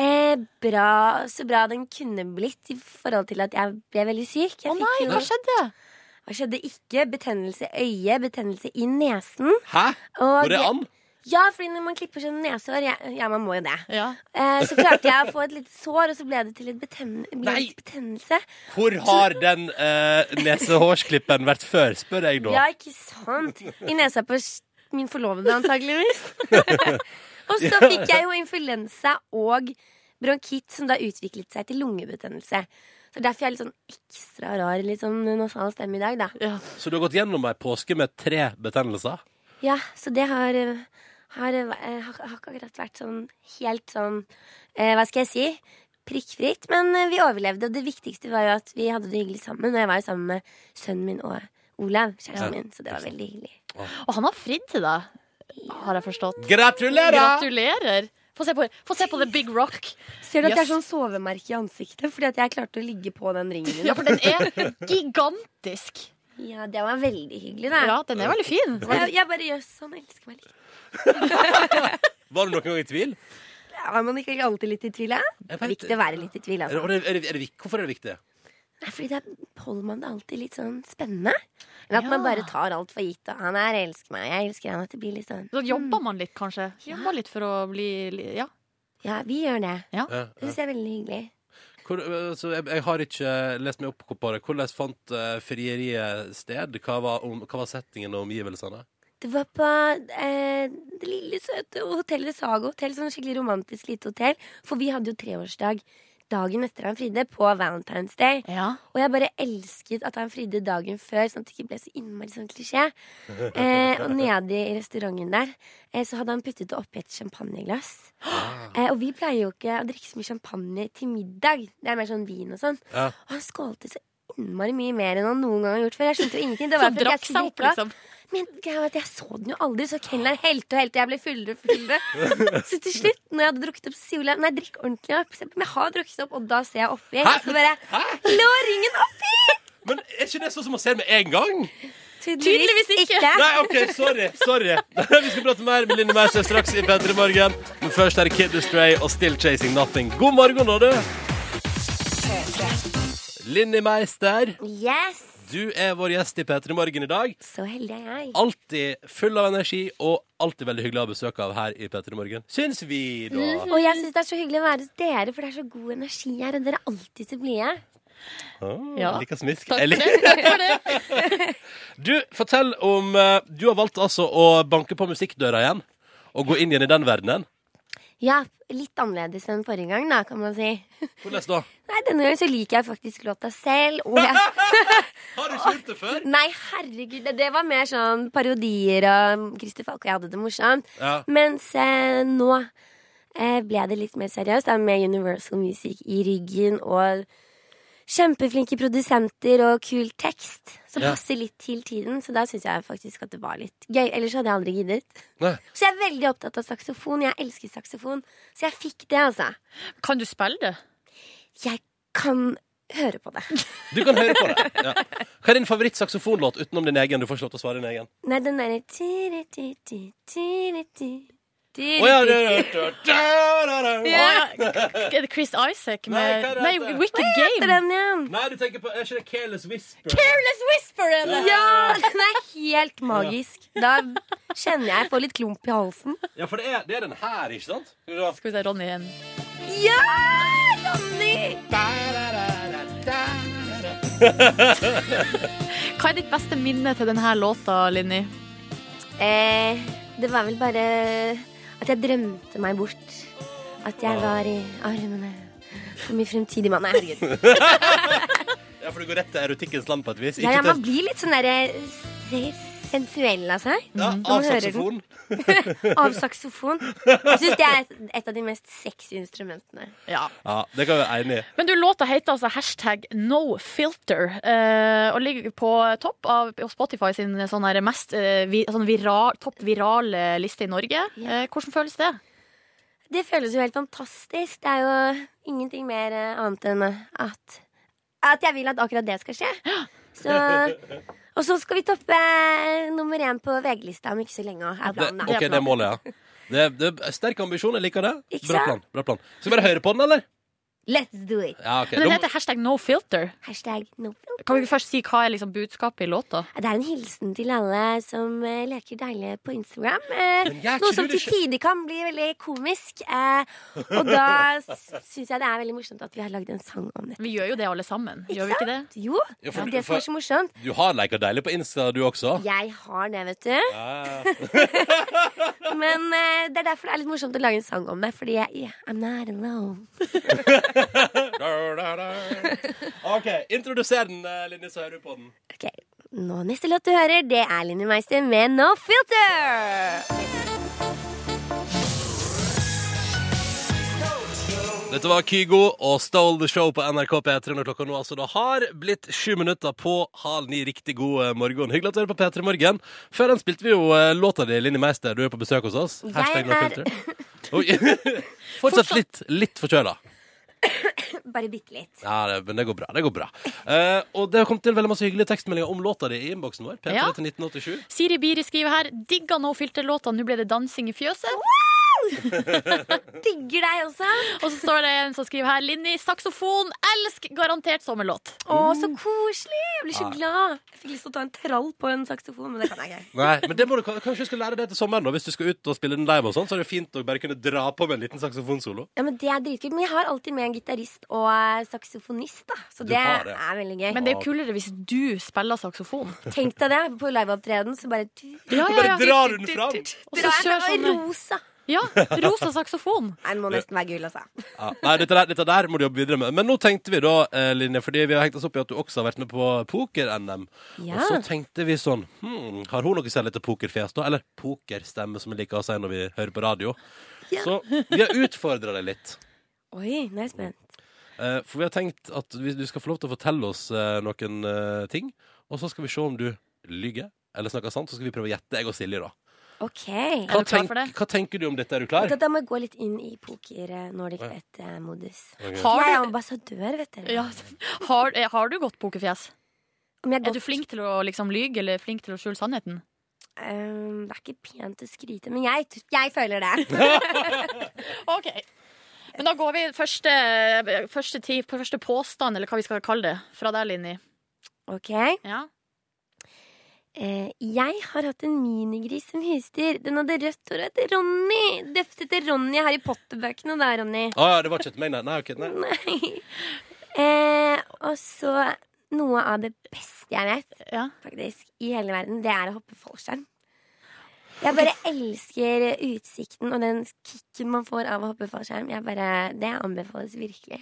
S8: Eh, bra, så bra den kunne blitt i forhold til at jeg ble veldig syk. Jeg
S3: Å nei,
S8: fikk jo-
S3: hva skjedde?
S8: Hva skjedde ikke? Betennelse i øyet, betennelse i nesen.
S2: Hæ?
S8: Og
S2: Går det an?
S8: Ja, fordi når man klipper seg nesehår ja, ja, man må jo det.
S3: Ja.
S8: Eh, så klarte jeg å få et lite sår, og så ble det til et beten ble
S2: Nei.
S8: det betennelse.
S2: Hvor har den eh, nesehårsklippen vært før, spør jeg da.
S8: Ja, ikke sant? I nesa på s- min forlovede, antageligvis. og så fikk jeg jo influensa og bronkitt, som da utviklet seg til lungebetennelse. Så derfor er jeg litt sånn ekstra rar, litt sånn nasal stemme i dag, da.
S3: ja.
S2: Så du har gått gjennom ei påske med tre betennelser?
S8: Ja, så det har, eh, har, eh, har, har ikke akkurat vært sånn helt sånn eh, Hva skal jeg si? Prikkfritt. Men eh, vi overlevde, og det viktigste var jo at vi hadde det hyggelig sammen. Og jeg var jo sammen med sønnen min og Olav, kjæresten
S2: Ja.
S8: min, så det var veldig hyggelig.
S3: Og han har fridd til deg, har jeg forstått.
S2: Gratulerer!
S3: Gratulerer. Få se på, få se på The Big Rock.
S8: Ser du at jeg har
S3: Yes.
S8: sånn sovemerke i ansiktet fordi at jeg klarte å ligge på den ringen min?
S3: Ja, for den er gigantisk.
S8: Ja, det var veldig hyggelig, da.
S3: Ja, den er veldig fin.
S8: Så Jeg, jeg bare jøss, han elsker meg litt.
S2: Var du noen gang i tvil?
S8: Ja, Er man ikke alltid litt i tvil, ja?
S2: Jeg vet-
S8: Viktig å være litt i tvil,
S2: Er det,
S8: altså.
S2: er det, er det, er det, hvorfor er det viktig?
S8: Nei, fordi da holder man det alltid litt sånn spennende. Enn at
S3: Ja.
S8: man bare tar alt for gitt. Og han er 'elsker meg', jeg elsker han. At det blir litt sånn
S3: Så jobber man litt, kanskje. Jobber litt for å bli li- Ja.
S8: Ja, vi gjør det.
S2: Ja,
S8: Det syns jeg er veldig hyggelig.
S2: Hvor, eh, så jeg, jeg har ikke lest meg opp på det. Hvordan fant eh, frieriet sted? Hva var, om, hva var settingen og omgivelsene?
S8: Det var på eh, det lille, søte hotellet Sago Hotell. Sånn skikkelig romantisk lite hotell. For vi hadde jo treårsdag dagen etter han fridde, på Valentine's Day.
S3: ja.
S8: Og jeg bare elsket at han fridde dagen før, sånn at det ikke ble så innmari sånn klisjé. Eh, og nede i restauranten der eh, så hadde han puttet det oppi et champagneglass. Eh, og vi pleier jo ikke å drikke så mye champagne til middag. Det er mer sånn vin og sånn.
S2: Ja.
S8: Og han skålte så innmari mye mer enn han noen gang har gjort før. Jeg skjønte jo ingenting. Det
S3: Så
S8: var
S3: han
S8: fordi jeg
S3: drakk
S8: skulle
S3: seg opp,
S8: drikke opp.
S3: liksom.
S8: Men greia var at jeg så den jo aldri, så kelneren helte og helte. Jeg ble fullere og fullere. Så til slutt, når jeg hadde drukket opp, så sier Olav nei, drikk ordentlig opp. Så jeg, Men jeg har drukket opp, og da ser jeg oppi.
S2: Hæ?
S8: Så bare lå ringen oppi!
S2: Men er ikke det sånn som man ser med en gang?
S3: Tydeligvis ikke.
S2: Nei, OK, sorry. sorry Vi skal prate mer med Linni Meister straks i P3 Morgen. Men først er det Kid Astray og Still Chasing Nothing. God morgen, da, du. Linni Meister,
S8: Yes!
S2: du er vår gjest i P3 Morgen i dag.
S8: Så heldig er jeg.
S2: Alltid full av energi og alltid veldig hyggelig å ha besøk av her i P3 Morgen. Syns vi, da.
S8: Mm. Og jeg syns det er så hyggelig å være hos dere, for det er så god energi her. Og dere er alltid så blide.
S2: Ah,
S3: Ja.
S2: Liker smisk.
S3: Takk
S2: Jeg
S3: for
S2: liker-
S3: det. Takk for det.
S2: Du, fortell om eh, Du har valgt altså å banke på musikkdøra igjen. Og gå inn igjen i den verdenen.
S8: Ja, litt annerledes enn forrige gang, da, kan man si.
S2: Hvordan da?
S8: Nei, denne gangen så liker jeg faktisk låta selv. Og jeg
S2: Har du ikke gjort det før?
S8: Nei, herregud, det, det var mer sånn parodier og Christer Falk og jeg hadde det morsomt.
S2: Ja.
S8: Mens eh, nå eh, ble det litt mer seriøst, da, med Universal Music i ryggen og kjempeflinke produsenter og kul tekst som
S2: Ja.
S8: passer litt til tiden. Så da syns jeg faktisk at det var litt gøy. Ellers hadde jeg aldri giddet.
S2: Nei.
S8: Så jeg er veldig opptatt av saksofon. Jeg elsker saksofon. Så jeg fikk det, altså.
S3: Kan du spille det?
S8: Jeg kan høre på det.
S2: Du kan høre på det. Ja. Hva er din favorittsaksofonlåt utenom din egen? Du får ikke lov til å svare din egen.
S8: Nei, den derre Å
S2: Å, ja, ja, ja, ja.
S3: Er det Chris Isaac
S2: Nei,
S3: med
S2: hva er det
S3: Nei,
S2: heter?
S3: With The
S8: heter
S3: Game?
S8: den igjen?
S2: Nei, du tenker på Er ikke det Careless Whisper?
S3: Careless Whisper er det!
S8: Ja, den er helt magisk. Da kjenner jeg jeg får litt klump i halsen.
S2: Ja, for det er, det er den her, ikke sant? Skal vi se.
S3: Skal vi se Ronny igjen.
S8: Ja, Ronny!
S3: Hva er ditt beste minne til denne låta, Linni?
S8: Eh, det var vel bare eh, at jeg drømte meg bort. At
S2: Ah.
S8: jeg var i armene på min fremtidige mann. Nei, herregud.
S2: Ja, for du går rett til erotikkens land på et vis.
S8: Ja, ja, man
S2: til
S8: blir litt sånn derre sensuell av seg.
S2: ja,
S8: Når man
S2: av
S8: hører den.
S2: saksofon.
S8: Av saksofon. Jeg syns det er et, et av de mest sexy instrumentene.
S3: Ja.
S2: Ja, det kan vi være enig i.
S3: Men du, låta heter altså hashtag no filter, eh, og ligger på topp av på Spotify sin sånn her mest eh, vi, sånn viral, topp virale liste i Norge.
S8: Ja.
S3: Eh, hvordan føles det?
S8: Det føles jo helt fantastisk. Det er jo ingenting mer eh, annet enn at At jeg vil at akkurat det skal skje. Så, og så skal vi toppe eh, nummer én på VG-lista om ikke så lenge. Er
S2: Det,
S8: planen, da.
S2: OK, det er målet, ja. Det, det er Sterk ambisjon. Jeg liker det.
S8: Ikke
S2: Bra
S8: sant?
S2: plan. bra plan Skal vi bare høre på den, eller?
S8: Let's do it.
S2: Ja, ok
S3: Men den
S2: Da-
S3: heter hashtag no filter.
S8: Hashtag no filter.
S3: Kan vi ikke først si hva er liksom budskapet i låta?
S8: Det er en hilsen til alle som eh, leker deilige på Instagram. eh,
S2: Men gjør ikke
S8: Noe som
S2: du det
S8: til tider kan bli veldig komisk. eh, Og da syns jeg det er veldig morsomt at vi har lagd en sang om det.
S3: Vi gjør jo det alle sammen, gjør vi
S8: sant?
S3: ikke det?
S8: Jo,
S2: Ja,
S8: det
S2: for-
S8: er det som
S2: for-
S8: er så morsomt.
S2: Du har leika deilig på Insta, du også.
S8: Jeg har det, vet du.
S2: Ja.
S8: Men eh, det er derfor det er litt morsomt å lage en sang om det. Fordi jeg yeah, I'm not alone.
S2: Da, da, da. OK, introduser den, eh, Linni, så hører du på den.
S8: Ok, nå Neste låt du hører, det er Linni Meister med No Filter.
S2: Dette var Kygo og Stole the Show på NRK P3 når klokka nå altså da har blitt sju minutter på halv ni. Riktig god eh, morgen. Hyggelig at du hører på P3 Morgen. Før den spilte vi jo eh, låta di, Linni Meister. Du er på besøk hos oss.
S8: Jeg
S2: Hashtag no
S8: er-
S2: filter. Oi. Fortsatt litt, litt forkjøla.
S8: Bare bitte litt.
S2: Ja, det, men det går bra. Det går bra. Eh, og det har kommet til veldig masse hyggelige tekstmeldinger om låta di i innboksen vår. P3
S3: Ja.
S2: til 1987.
S3: Siri Biri skriver her 'digga no filter-låta, nå ble det dansing i fjøset'.
S8: Digger deg også.
S3: Og så står det en som skriver her 'Linni, saksofon, elsk garantert sommerlåt'.
S8: Å, så koselig. Jeg blir så glad. Jeg fikk lyst til å ta en trall på en saksofon, men det kan jeg ikke.
S2: Nei, men det må du, Kanskje du skal lære det til sommeren, da. Hvis du skal ut og spille den live og sånn, så er det fint å bare kunne dra på med en liten saksofonsolo.
S8: Ja, men det er dritkult. Men jeg har alltid med en gitarist og eh, saksofonist, da. Så
S2: Du
S8: det
S2: har det.
S8: er veldig gøy.
S3: Men det er jo kulere hvis du spiller saksofon.
S8: Tenk deg det. På liveopptreden så bare
S3: Ja,
S2: Bare drar du den fram!
S3: Og så
S8: Dra
S3: kjør
S8: en
S3: sånn
S8: rosa.
S3: Ja, rosa saksofon.
S8: Nei, den må nesten være gul, altså.
S2: Ja. Nei, dette der, dette der må du jobbe videre med. Men nå tenkte vi da, eh, Linje, fordi vi har hengt oss opp i at du også har vært med på poker-NM.
S8: Ja.
S2: Og så tenkte vi sånn hmm, Har hun noe særlig til pokerfjes, da? Eller pokerstemme, som vi liker å si når vi hører på radio. Så vi har utfordra deg litt.
S8: Oi, nå er jeg spent.
S2: Eh, for vi har tenkt at vi, du skal få lov til å fortelle oss eh, noen eh, ting. Og så skal vi se om du lyver eller snakker sant. Så skal vi prøve å gjette, jeg og Silje, da.
S8: Ok.
S3: Er
S2: Hva,
S3: du klar for det?
S2: hva tenker du om dette? Er du
S8: Vet
S2: klar?
S8: du at Da må jeg gå litt inn i poker-Nordic Bet-modus.
S2: Ok.
S3: Har
S8: Jeg er
S3: du-
S8: ambassadør, vet dere.
S3: Ja. Har, eh, har du godt pokerfjes?
S8: Om jeg
S3: Er
S8: godt,
S3: du flink til å liksom lyge eller flink til å skjule sannheten?
S8: Ehm, det er ikke pent å skryte, men jeg, t- jeg føler det.
S3: OK. Men da går vi første, første, ti, på første påstand, eller hva vi skal kalle det, fra deg, Linni.
S8: Ok.
S3: Ja.
S8: Eh, jeg har hatt en minigris som husdyr. Den hadde rødt hår og het Ronny. Døpt etter Ronny i Harry Potter-bøkene da, Ronny.
S2: Å ja, det var ikke til meg, nei. Nei, ok, nei.
S8: Nei. Eh, og så noe av det beste jeg vet,
S3: ja.
S8: faktisk, i hele verden, det er å hoppe fallskjerm. Jeg bare elsker utsikten og den kicken man får av å hoppe fallskjerm. Jeg bare, det anbefales virkelig.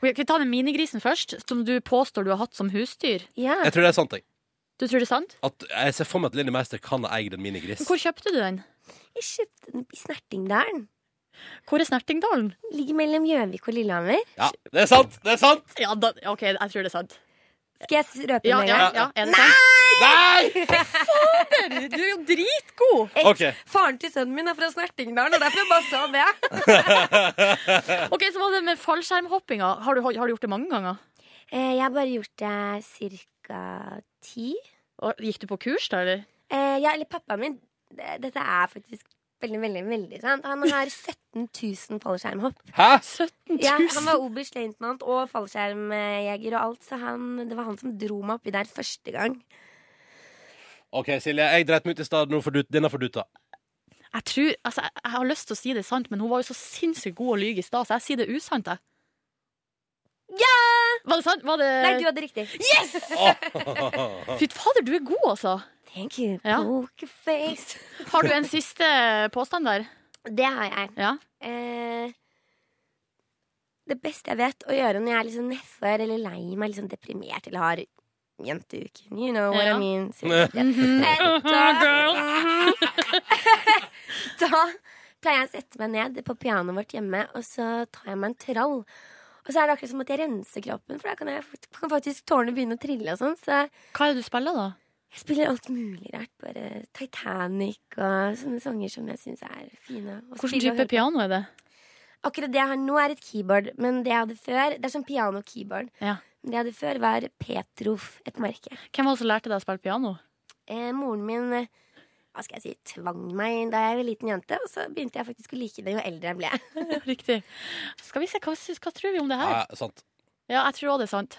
S3: Ok, Kan vi ta den minigrisen først, som du påstår du har hatt som husdyr?
S8: Ja.
S2: Jeg tror det er sant, jeg.
S3: Du tror det er sant?
S2: At jeg ser for meg at Linni Meister kan ha eid en minigris.
S3: Men Hvor kjøpte du den?
S8: Jeg kjøpte den i Snertingdalen.
S3: Hvor er Snertingdalen?
S8: Ligger mellom Gjøvik og Lillehammer.
S2: Ja, det er sant! Det er sant!
S3: Ja, da, OK, jeg tror det er sant.
S8: Skal jeg røpe
S3: Ja,
S8: med en
S3: ja,
S8: gang?
S3: ja, er det sant?
S2: Nei!
S3: Du er jo dritgod!
S2: OK.
S8: Faren til sønnen min er fra Snertingdalen, og derfor bare sa det.
S3: Ok, Så var det med fallskjermhoppinga. Har du, har du gjort det mange ganger?
S8: Eh, Jeg har bare gjort det ca. ti.
S3: Og Gikk du på kurs, da, eller?
S8: Eh, Ja, eller pappaen min. det- Dette er faktisk veldig, veldig, veldig sant. Han har 17 000 fallskjermhopp.
S2: Hæ?
S3: 17 000?
S8: Ja, han var oberstløytnant og fallskjermjeger og alt, så han, det var han som dro meg oppi der første gang.
S2: OK, Silje. Jeg dreit meg ut i stad. Nå får du- Denne får du ta.
S3: Jeg tror, altså, jeg, jeg har lyst til å si det er sant, men hun var jo så sinnssykt god å lyge i stad, så jeg sier det er usant, jeg. Ja! Var det sant? Var det
S8: Nei, du hadde riktig.
S2: Åh.
S3: Fy fader, du er god, altså!
S8: Thank you,
S3: Ja.
S8: pokerface.
S3: Har du en siste påstand der?
S8: Det har jeg.
S3: Ja.
S8: Eh, det beste jeg vet å gjøre når jeg er liksom nedfor eller lei meg, liksom deprimert eller har jenteuken, you know what I
S3: Ja.
S8: mean. Så, Eh, da, da pleier jeg å sette meg ned på pianoet vårt hjemme, og så tar jeg meg en trall. Og så er det akkurat som at jeg renser kroppen, for da kan, jeg, fakt- kan faktisk tårene begynne å trille og sånn. Så jeg
S3: Hva er det du spiller, da?
S8: spiller alt mulig rart. Bare Titanic og sånne sanger som jeg syns er fine. å
S3: Hvilken
S8: spille og
S3: type
S8: høre på.
S3: piano er det?
S8: Akkurat det jeg har nå, er et keyboard. Men det jeg hadde før Det er sånn piano-keyboard.
S3: Ja.
S8: Men det jeg hadde før, var Petrof, et merke.
S3: Hvem var det som lærte deg å spille piano?
S8: Eh, moren min eh, hva skal jeg si, tvang meg da jeg var liten jente, og så begynte jeg faktisk å like det jo eldre jeg ble.
S3: Riktig. Skal vi se, hva, syns- hva tror vi om det her?
S2: Ja, sant.
S3: Ja, jeg tror òg det er sant.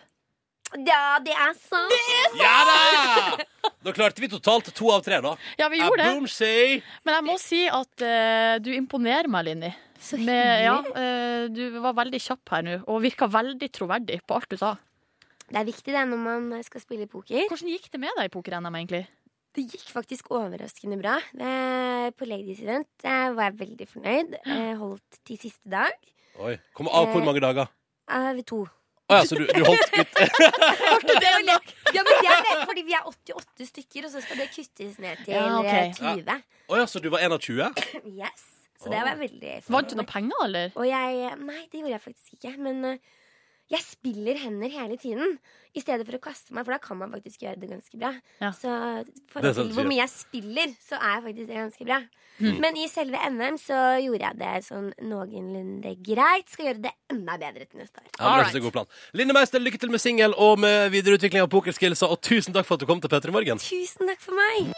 S8: Ja, det er sant!
S2: Ja da! Da klarte vi totalt to av tre, da.
S3: Ja, vi
S2: Ja,
S3: gjorde det.
S2: Boom, say.
S3: Men jeg må si at eh, du imponerer meg, Linni.
S8: Så
S3: Med,
S8: hyggelig.
S3: ja, eh, du var veldig kjapp her nå, og virka veldig troverdig på alt du sa.
S8: Det er viktig det når man skal spille poker.
S3: Hvordan gikk det med deg i poker-NM, egentlig?
S8: Det gikk faktisk overraskende bra. Eh, på Ladies Event eh, var jeg veldig fornøyd. Eh, holdt til siste dag.
S2: Oi. Kom av hvor mange dager?
S8: Eh, ved to.
S2: Å ja, så du, du holdt ut
S8: Ja, men det er det, fordi vi er 88 stykker, og så skal det kuttes ned til
S3: Ja, ok.
S8: eh,
S2: Å ja, så du var en av 20?
S8: 20. Yes. Så det var jeg veldig
S3: Vant du noe penger, eller?
S8: Og jeg Nei, det gjorde jeg faktisk ikke. Men eh, jeg spiller hender hele tiden. I stedet for å kaste meg, for da kan man faktisk gjøre det ganske bra.
S3: Ja.
S8: Så for
S2: Det er sant
S8: til
S2: du
S8: hvor
S2: sier.
S8: mye jeg spiller, så er faktisk det ganske bra. Men i selve NM så gjorde jeg det sånn noenlunde greit. Skal gjøre det enda bedre til neste år.
S2: Ja, men det synes jeg er god plan. Linne Meister, lykke til med singel og med videreutvikling av pokerskillsa, og tusen takk for at du kom til Petter i morgen.
S8: Tusen takk for meg!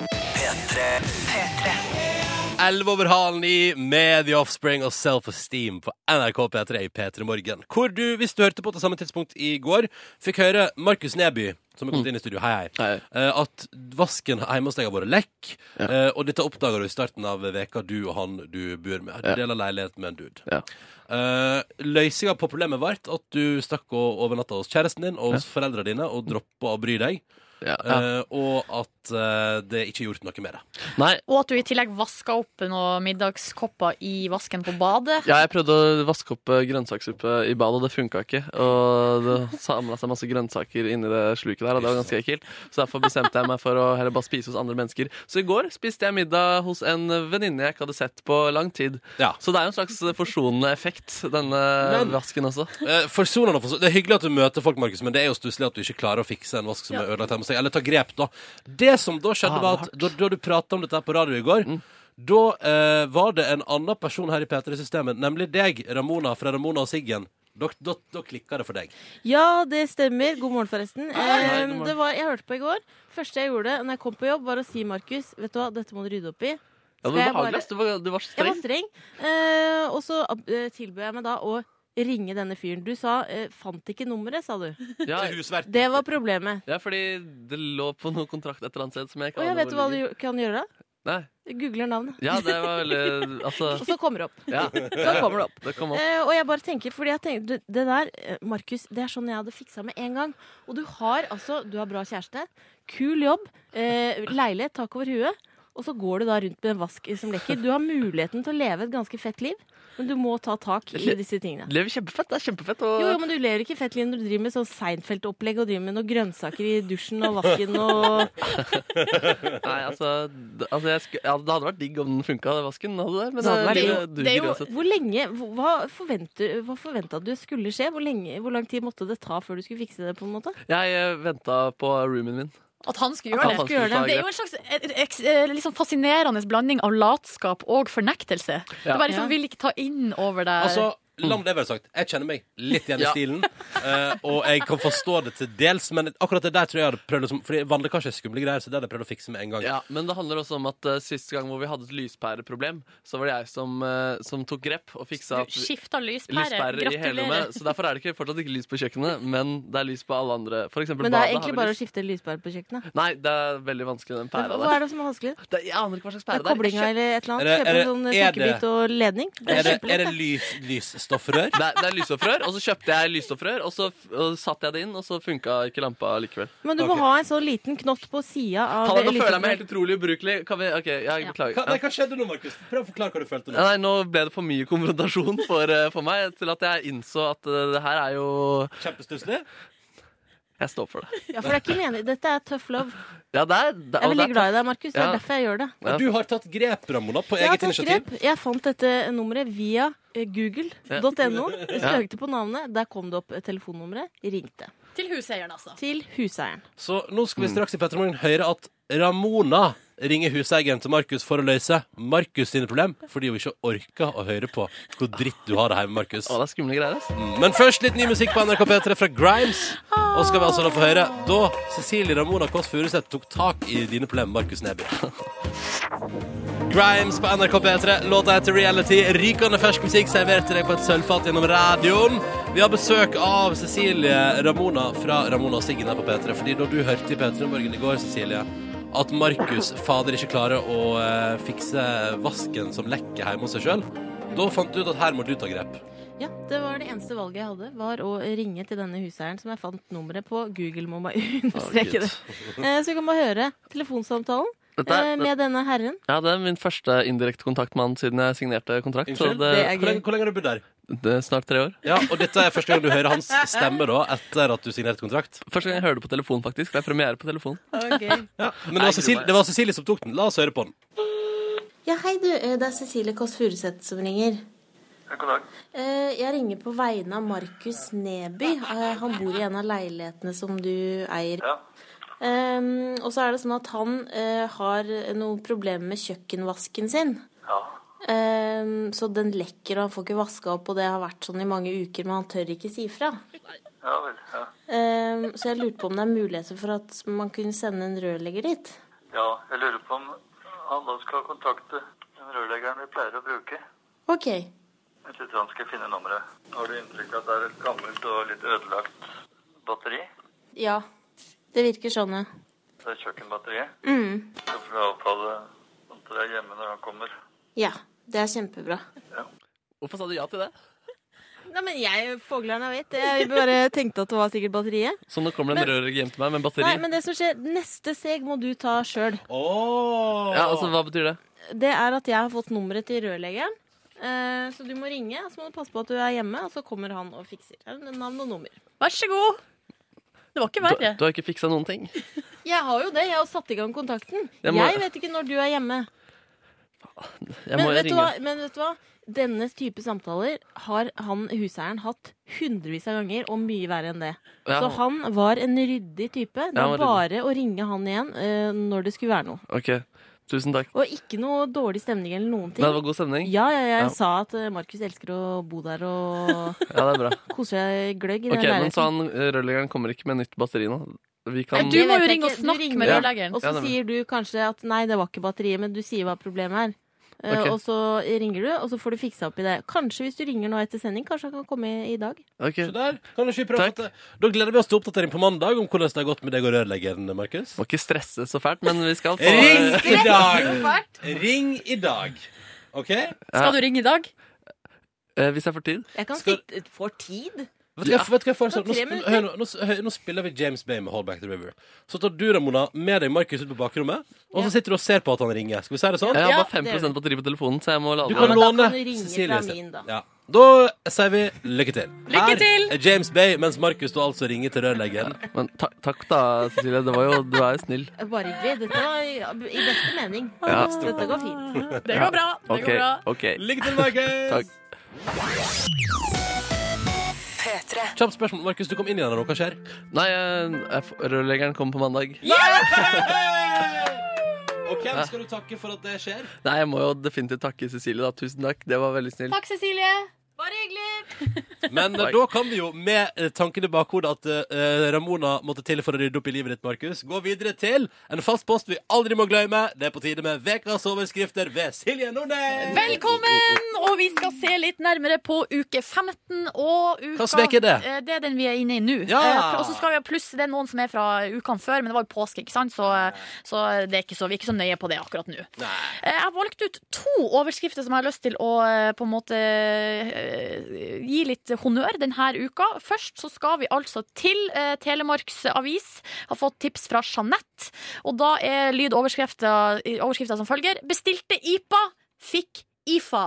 S2: 11 over halen i med The Offspring og Self-Esteem på NRK P3 i P3 Morgen. Hvor du, hvis du hørte på til samme tidspunkt i går, fikk høre Markus Neby, som er kommet inn i studio, hei hei,
S4: Mm. Hei.
S2: eh, at vasken hjemme hos deg har vært lekk, eh, og dette oppdager du i starten av veka, du og han du bor med. Du
S4: Ja.
S2: deler leilighet med en dude.
S4: Ja.
S2: Eh, Løsninga på problemet ble at du stakk og overnatta hos kjæresten din og hos foreldrene dine og droppa å bry deg,
S4: Ja, ja.
S2: eh, og at eh, det ikke er gjort noe med det.
S4: Nei,
S3: Og at du i tillegg vaska opp noen middagskopper i vasken på badet.
S4: ja, jeg prøvde å vaske opp eh, grønnsakssuppe i badet, og det funka ikke. Og det samla seg masse grønnsaker inni det sluket der, og det var ganske ekkelt. Så derfor bestemte jeg meg for å heller bare spise hos andre mennesker. Så i går spiste jeg middag hos en venninne jeg ikke hadde sett på lang tid.
S2: Ja.
S4: Så det er jo en slags forsonende effekt, denne
S2: Men-
S4: vasken også.
S2: Eh, Forsonende og forson- Det er hyggelig at du møter folk, Markus, men det er jo stusslig at du ikke klarer å fikse en vask som er ødelagt hjemme hos deg. Eller ta grep, da. Det som da skjedde,
S4: Ah,
S2: var Mm. at da, da du prata om dette her på radio i går, da eh, var det en annen person her i P3-systemet, nemlig deg, Ramona fra Ramona og Siggen. Da, da, da klikka det for deg.
S9: Ja, det stemmer. God morgen, forresten.
S4: hei, god
S9: Eh,
S4: morgen.
S9: Det var, jeg hørte på i går. første jeg gjorde når jeg kom på jobb, var å si Markus, vet du hva, dette må du rydde opp i.
S4: Ja, du
S9: Skal
S4: var
S9: jeg
S4: behagelig. ass. Du var, du var
S9: Jeg var
S4: streng.
S9: streng. Eh, og så eh, tilbød jeg meg da å ringe denne fyren. Du sa eh, 'fant ikke nummeret', sa du.
S4: Ja,
S2: Til husvert.
S9: Det var problemet.
S4: ja, fordi det lå på noe kontrakt et eller annet sted som jeg ikke
S9: Og jeg
S4: aner
S9: vet du hva du
S4: ligger.
S9: gj- kan gjøre da?
S4: Nei.
S9: Googler navnet.
S4: Ja, det var veldig Altså,
S9: Og så kommer det opp.
S4: ja.
S9: Så kommer det opp.
S4: Det kom opp.
S9: Eh, og jeg bare tenker, fordi jeg tenker, det, det der, eh, Markus, det er sånn jeg hadde fiksa med en gang. Og du har altså, du har bra kjæreste, kul jobb, eh, leilighet, tak over huet. Og så går du da rundt med en vask som lekker. Du har muligheten til å leve et ganske fett liv, men du må ta tak i disse tingene.
S4: Det lever kjempefett. Det er kjempefett. Og
S9: Jo, jo, men du lever ikke fett liv når du driver med sånn Seinfeld-opplegg og driver med noen grønnsaker i dusjen og vasken og
S4: Nei, altså, d- altså jeg sku, ja, Det hadde vært digg om den funka, den vasken. Hadde det, men
S9: eh, Det hadde
S4: det,
S9: vært digg.
S4: duger
S9: det er jo,
S4: uansett.
S9: Hvor lenge hvor- Hva forventer- hva forventa du skulle skje? Hvor, lenge, hvor lang tid måtte det ta før du skulle fikse det? på en måte?
S4: Jeg venta på roomien min.
S3: At han skulle
S4: At
S3: gjøre
S4: han
S3: det.
S4: skulle gjøre det.
S3: Det er jo en slags eh, eks- eh, litt sånn fascinerende blanding av latskap og fornektelse. Du bare
S9: Ja.
S3: liksom vil ikke ta inn over deg
S2: Altså, la meg det være sagt. Jeg kjenner meg litt igjen i
S4: Ja.
S2: stilen. eh, og jeg kan forstå det til dels, men akkurat det der tror jeg hadde prøvd liksom, Fordi vannlekkasje er skumle greier, så det hadde jeg prøvd å fikse med en gang.
S4: Ja, men det handler også om at uh, siste gang hvor vi hadde et lyspæreproblem, så var det jeg som, eh, som tok grep og fiksa
S3: Du
S4: at
S3: skifta lyspære.
S4: lyspærer i hele
S3: Gratulerer.
S4: rommet. Så derfor er det ikke, fortsatt ikke lys på kjøkkenet, men det er lys på alle andre. For eksempel
S9: Men det er
S4: badet har
S9: egentlig
S4: vi
S9: bare å
S4: lys.
S9: skifte lyspære på kjøkkenet.
S4: Nei, det er veldig vanskelig, den pæra
S9: Hva
S4: der.
S9: er det som er vanskelig?
S4: Det, jeg aner ikke hva slags pære
S9: Det er
S4: det er.
S9: koblinga eller et eller
S2: Er det- er
S9: annet? Kjøpe
S2: det-
S9: en sånn
S2: er det-
S9: sukkerbit og ledning? Det
S2: Er
S9: er
S2: det,
S9: kjempelett,
S2: er det
S9: det.
S2: lys, lysstoffrør?
S4: Det er, det er lysstoffrør, og så kjøpte jeg lysstoffrør, og så f- og satte jeg det inn, og så funka ikke lampa likevel.
S9: Men du må
S2: Ok.
S9: ha en sånn liten knott på sida av
S4: Faen, nå
S9: lyset.
S4: føler jeg meg helt utrolig ubrukelig. Kan vi, ok, jeg
S2: Hva,
S4: beklager.
S2: nei, hva skjedde nå, Markus? Prøv å forklare hva du følte
S4: Ja,
S2: nå.
S4: Nei, nå ble det for mye konfrontasjon for, eh, for meg til at jeg innså at eh, det her er jo
S2: Kjempestusslig?
S4: Jeg står for det.
S9: Ja, for det er ikke meningen. Dette er tough love.
S4: Ja, det er, det,
S9: Jeg er
S4: og det
S9: veldig
S4: er
S9: glad i deg, Markus. Det
S4: Ja.
S9: er derfor jeg gjør det.
S4: Ja.
S2: Du har tatt grep, Ramona, på
S9: Jeg har
S2: eget
S9: tatt
S2: initiativ.
S9: grep. Jeg fant dette nummeret via eh, google.no. Jeg Søkte på navnet. Der kom det opp telefonnummeret. Ringte.
S3: Til huseieren, altså.
S9: Til huseieren.
S2: Så nå skal vi
S4: Mm.
S2: straks i Petremorgen høre at Ramona ringer huseieren til Markus for å løse Markus sine problem, fordi hun ikke orker å høre på hvor dritt du har det hjemme, Markus. Mm.
S4: Å, det er skumle greier. ass.
S2: Men først litt ny musikk på NRK P3 fra Grimes. Og skal vi altså da få høre da Cecilie Ramona Kåss Furuseth tok tak i dine problemer, Markus Neby. Grimes på NRK P3, låta heter Reality. Rykende fersk musikk servert til deg på et sølvfat gjennom radioen. Vi har besøk av Cecilie Ramona fra Ramona og Siggen her på P3. Fordi da du hørte i P3 Morgen i går, Cecilie, at Markus fader ikke klarer å eh, fikse vasken som lekker hjemme hos seg sjøl, da fant du ut at her må du ta grep.
S9: Ja, det var det eneste valget jeg hadde, var å ringe til denne huseieren som jeg fant nummeret på Google, må man understreke det. Eh, Så vi kan bare høre telefonsamtalen
S4: Dette
S9: eh,
S4: er,
S9: med denne herren.
S4: ja, det er min første indirekte kontakt med han siden jeg signerte kontrakt. Så det,
S2: Unnskyld?
S9: Det er
S2: Hvor lenge, hvor lenge har du bodd der?
S4: det er snart tre år.
S2: Ja, og dette er første gang du hører hans stemme da, etter at du signerte kontrakt.
S4: Første gang jeg hører det på telefon, faktisk. Det er premiere på telefon.
S2: Men det var, Cecilie, det var Cecilie som tok den. La oss høre på den.
S10: Ja, hei du. Eh, Det er Cecilie Kåss Furuseth som ringer. Eh, Jeg ringer på vegne av Markus Neby. Eh, Han bor i en av leilighetene som du eier. Ehm, Og så er det sånn at han eh, har noen problemer med kjøkkenvasken sin. Ehm, Så den lekker, og han får ikke vaska opp, og det har vært sånn i mange uker, men han tør ikke si fra. Ehm, Så jeg lurte på om det er muligheter for at man kunne sende en rørlegger dit.
S7: Ja, jeg lurer på om han da skal kontakte den rørleggeren vi pleier å bruke.
S10: Ok.
S7: Jeg tror han skal finne nummeret. Har du inntrykk av at det er et gammelt og litt ødelagt batteri?
S10: Ja. Det virker sånn, ja.
S7: Det er kjøkkenbatteriet.
S10: Mm.
S7: Så får du avtale om det er hjemme når han kommer.
S10: Ja, det er kjempebra.
S4: Hvorfor sa du ja til det?
S9: Nei, men jeg, foglerne vet, jeg bare tenkte at det var sikkert batteriet.
S4: Så nå kommer det en rørlegger hjem til meg med en batteri.
S9: Nei, men det som skjer, neste steg må du ta sjøl.
S2: Oh.
S4: Ja, altså, Hva betyr det?
S9: Det er at jeg har fått nummeret til rørleggeren. Eh, Så du må ringe, og så må du passe på at du er hjemme, og så kommer han og fikser. Eh, Navn og nummer.
S3: Vær så god. Det var ikke
S4: Du,
S3: verre.
S4: du har ikke fiksa noen ting.
S9: Jeg har jo det, jeg har satt i gang kontakten.
S4: Jeg
S9: Jeg,
S4: må-
S9: vet ikke når du er hjemme.
S4: Jeg
S9: Men
S4: må
S9: vet, du
S4: ringe.
S9: hva, men vet du hva? Denne type samtaler har han huseieren hatt hundrevis av ganger, og mye verre enn det.
S4: Ja,
S9: Så han var en ryddig type. Det
S4: Ja, han
S9: var
S4: var
S9: bare å ringe han igjen eh, når det skulle være noe.
S4: ok, Tusen takk.
S9: Og ikke noe dårlig stemning eller noen ting.
S4: Nei, det var god stemning.
S9: Ja, ja, jeg
S4: Ja.
S9: sa at eh, Markus elsker å bo der og
S4: Ja, det er bra.
S9: kose seg gløgg i
S4: Ok,
S9: den
S4: men Så han
S9: leiligheten.
S4: eh, rørleggeren kommer ikke med nytt batteri nå? Vi
S3: Nei,
S4: kan
S3: du
S9: Det
S3: må
S9: vet
S3: jo
S9: jeg
S3: ringe og
S9: ikke. Du
S3: snakke med
S9: ringer.
S3: rørleggeren.
S9: Og så
S4: Ja, nemlig.
S9: sier du kanskje at nei, det var ikke batteriet, men du sier hva problemet er. Eh,
S4: Ok.
S9: Og så ringer du, og så får du fiksa opp i det. Kanskje hvis du ringer nå etter sending, kanskje han kan komme i dag.
S4: Ok,
S2: Så der, kan du ikke prøve
S4: Takk.
S2: at det- Da gleder vi oss til oppdatering på mandag om hvordan det har gått med deg og rørleggeren, Markus.
S4: Må ikke stresse så fælt, men vi skal få
S2: Ring i dag!
S3: Fælt.
S2: Ring i dag. OK?
S4: Ja,
S3: Skal du ringe i dag?
S4: eh, Hvis jeg får tid.
S9: Jeg kan
S2: Skal-
S9: sitte For tid?
S2: Vet du, jeg, vet du hva jeg føler sånn?
S11: Det var tre
S2: Nå, sp-
S11: minutter.
S2: hør nå, nå, s- hør, nå spiller vi James Bay med Hold Back the River. Så tar du, Ramona, med deg Markus ut på bakrommet, og så sitter du og ser på at han ringer. Skal vi si det sånn?
S4: Jeg har bare 5 batteri på telefonen, så jeg må lade
S2: Du kan
S4: den.
S2: låne
S9: du ringe fra
S2: Cecilie sin.
S9: min, da.
S2: Ja. Da sier vi lykke til.
S9: Lykke til!
S2: Her er James Bay, mens Markus da altså ringer til rørleggeren.
S4: Men ta takk da, Cecilie. Det var jo, du er jo snill.
S9: Bare hyggelig. Dette var i i beste mening.
S4: Ja.
S9: Ah, Dette går fint.
S4: Det går bra, det går Ok, bra. ok.
S2: Lykke til, Markus!
S4: Takk.
S1: P3.
S2: Kjapt spørsmål. Markus, du kom inn igjen her nå. Hva skjer?
S4: Nei, jeg- jeg f- rørleggeren kommer på mandag.
S2: Og hvem skal du takke for at det skjer?
S4: Nei, jeg må jo definitivt takke Cecilie, da. Tusen takk. Det var veldig snill.
S3: Takk, Cecilie. Bare hyggelig.
S2: Men eh, da kan vi jo, med eh, tanken i bakhodet at eh, Ramona måtte til for å rydde opp i livet ditt, Markus, gå videre til en fast post vi aldri må glemme. Det er på tide med Vekas overskrifter ved Silje Nordnes.
S3: Velkommen! Og vi skal se litt nærmere på uke 15 og uka
S2: Hva svek er det?
S3: Eh, Det er den vi er inne i nå.
S2: Ja!
S3: Eh, Og så skal vi ha pluss Det er noen som er fra ukene før, men det var jo påske, ikke sant? Så, eh, så, det er ikke så vi er ikke så nøye på det akkurat nå. Eh, Jeg har valgt ut to overskrifter som jeg har lyst til å eh, på en måte eh, gi litt honnør denne uka. Først så skal vi altså til eh, Telemarks Avis. Har fått tips fra Jeanette. Og da er lydoverskrifta overskrifta som følger. Bestilte IPA, fikk IFA.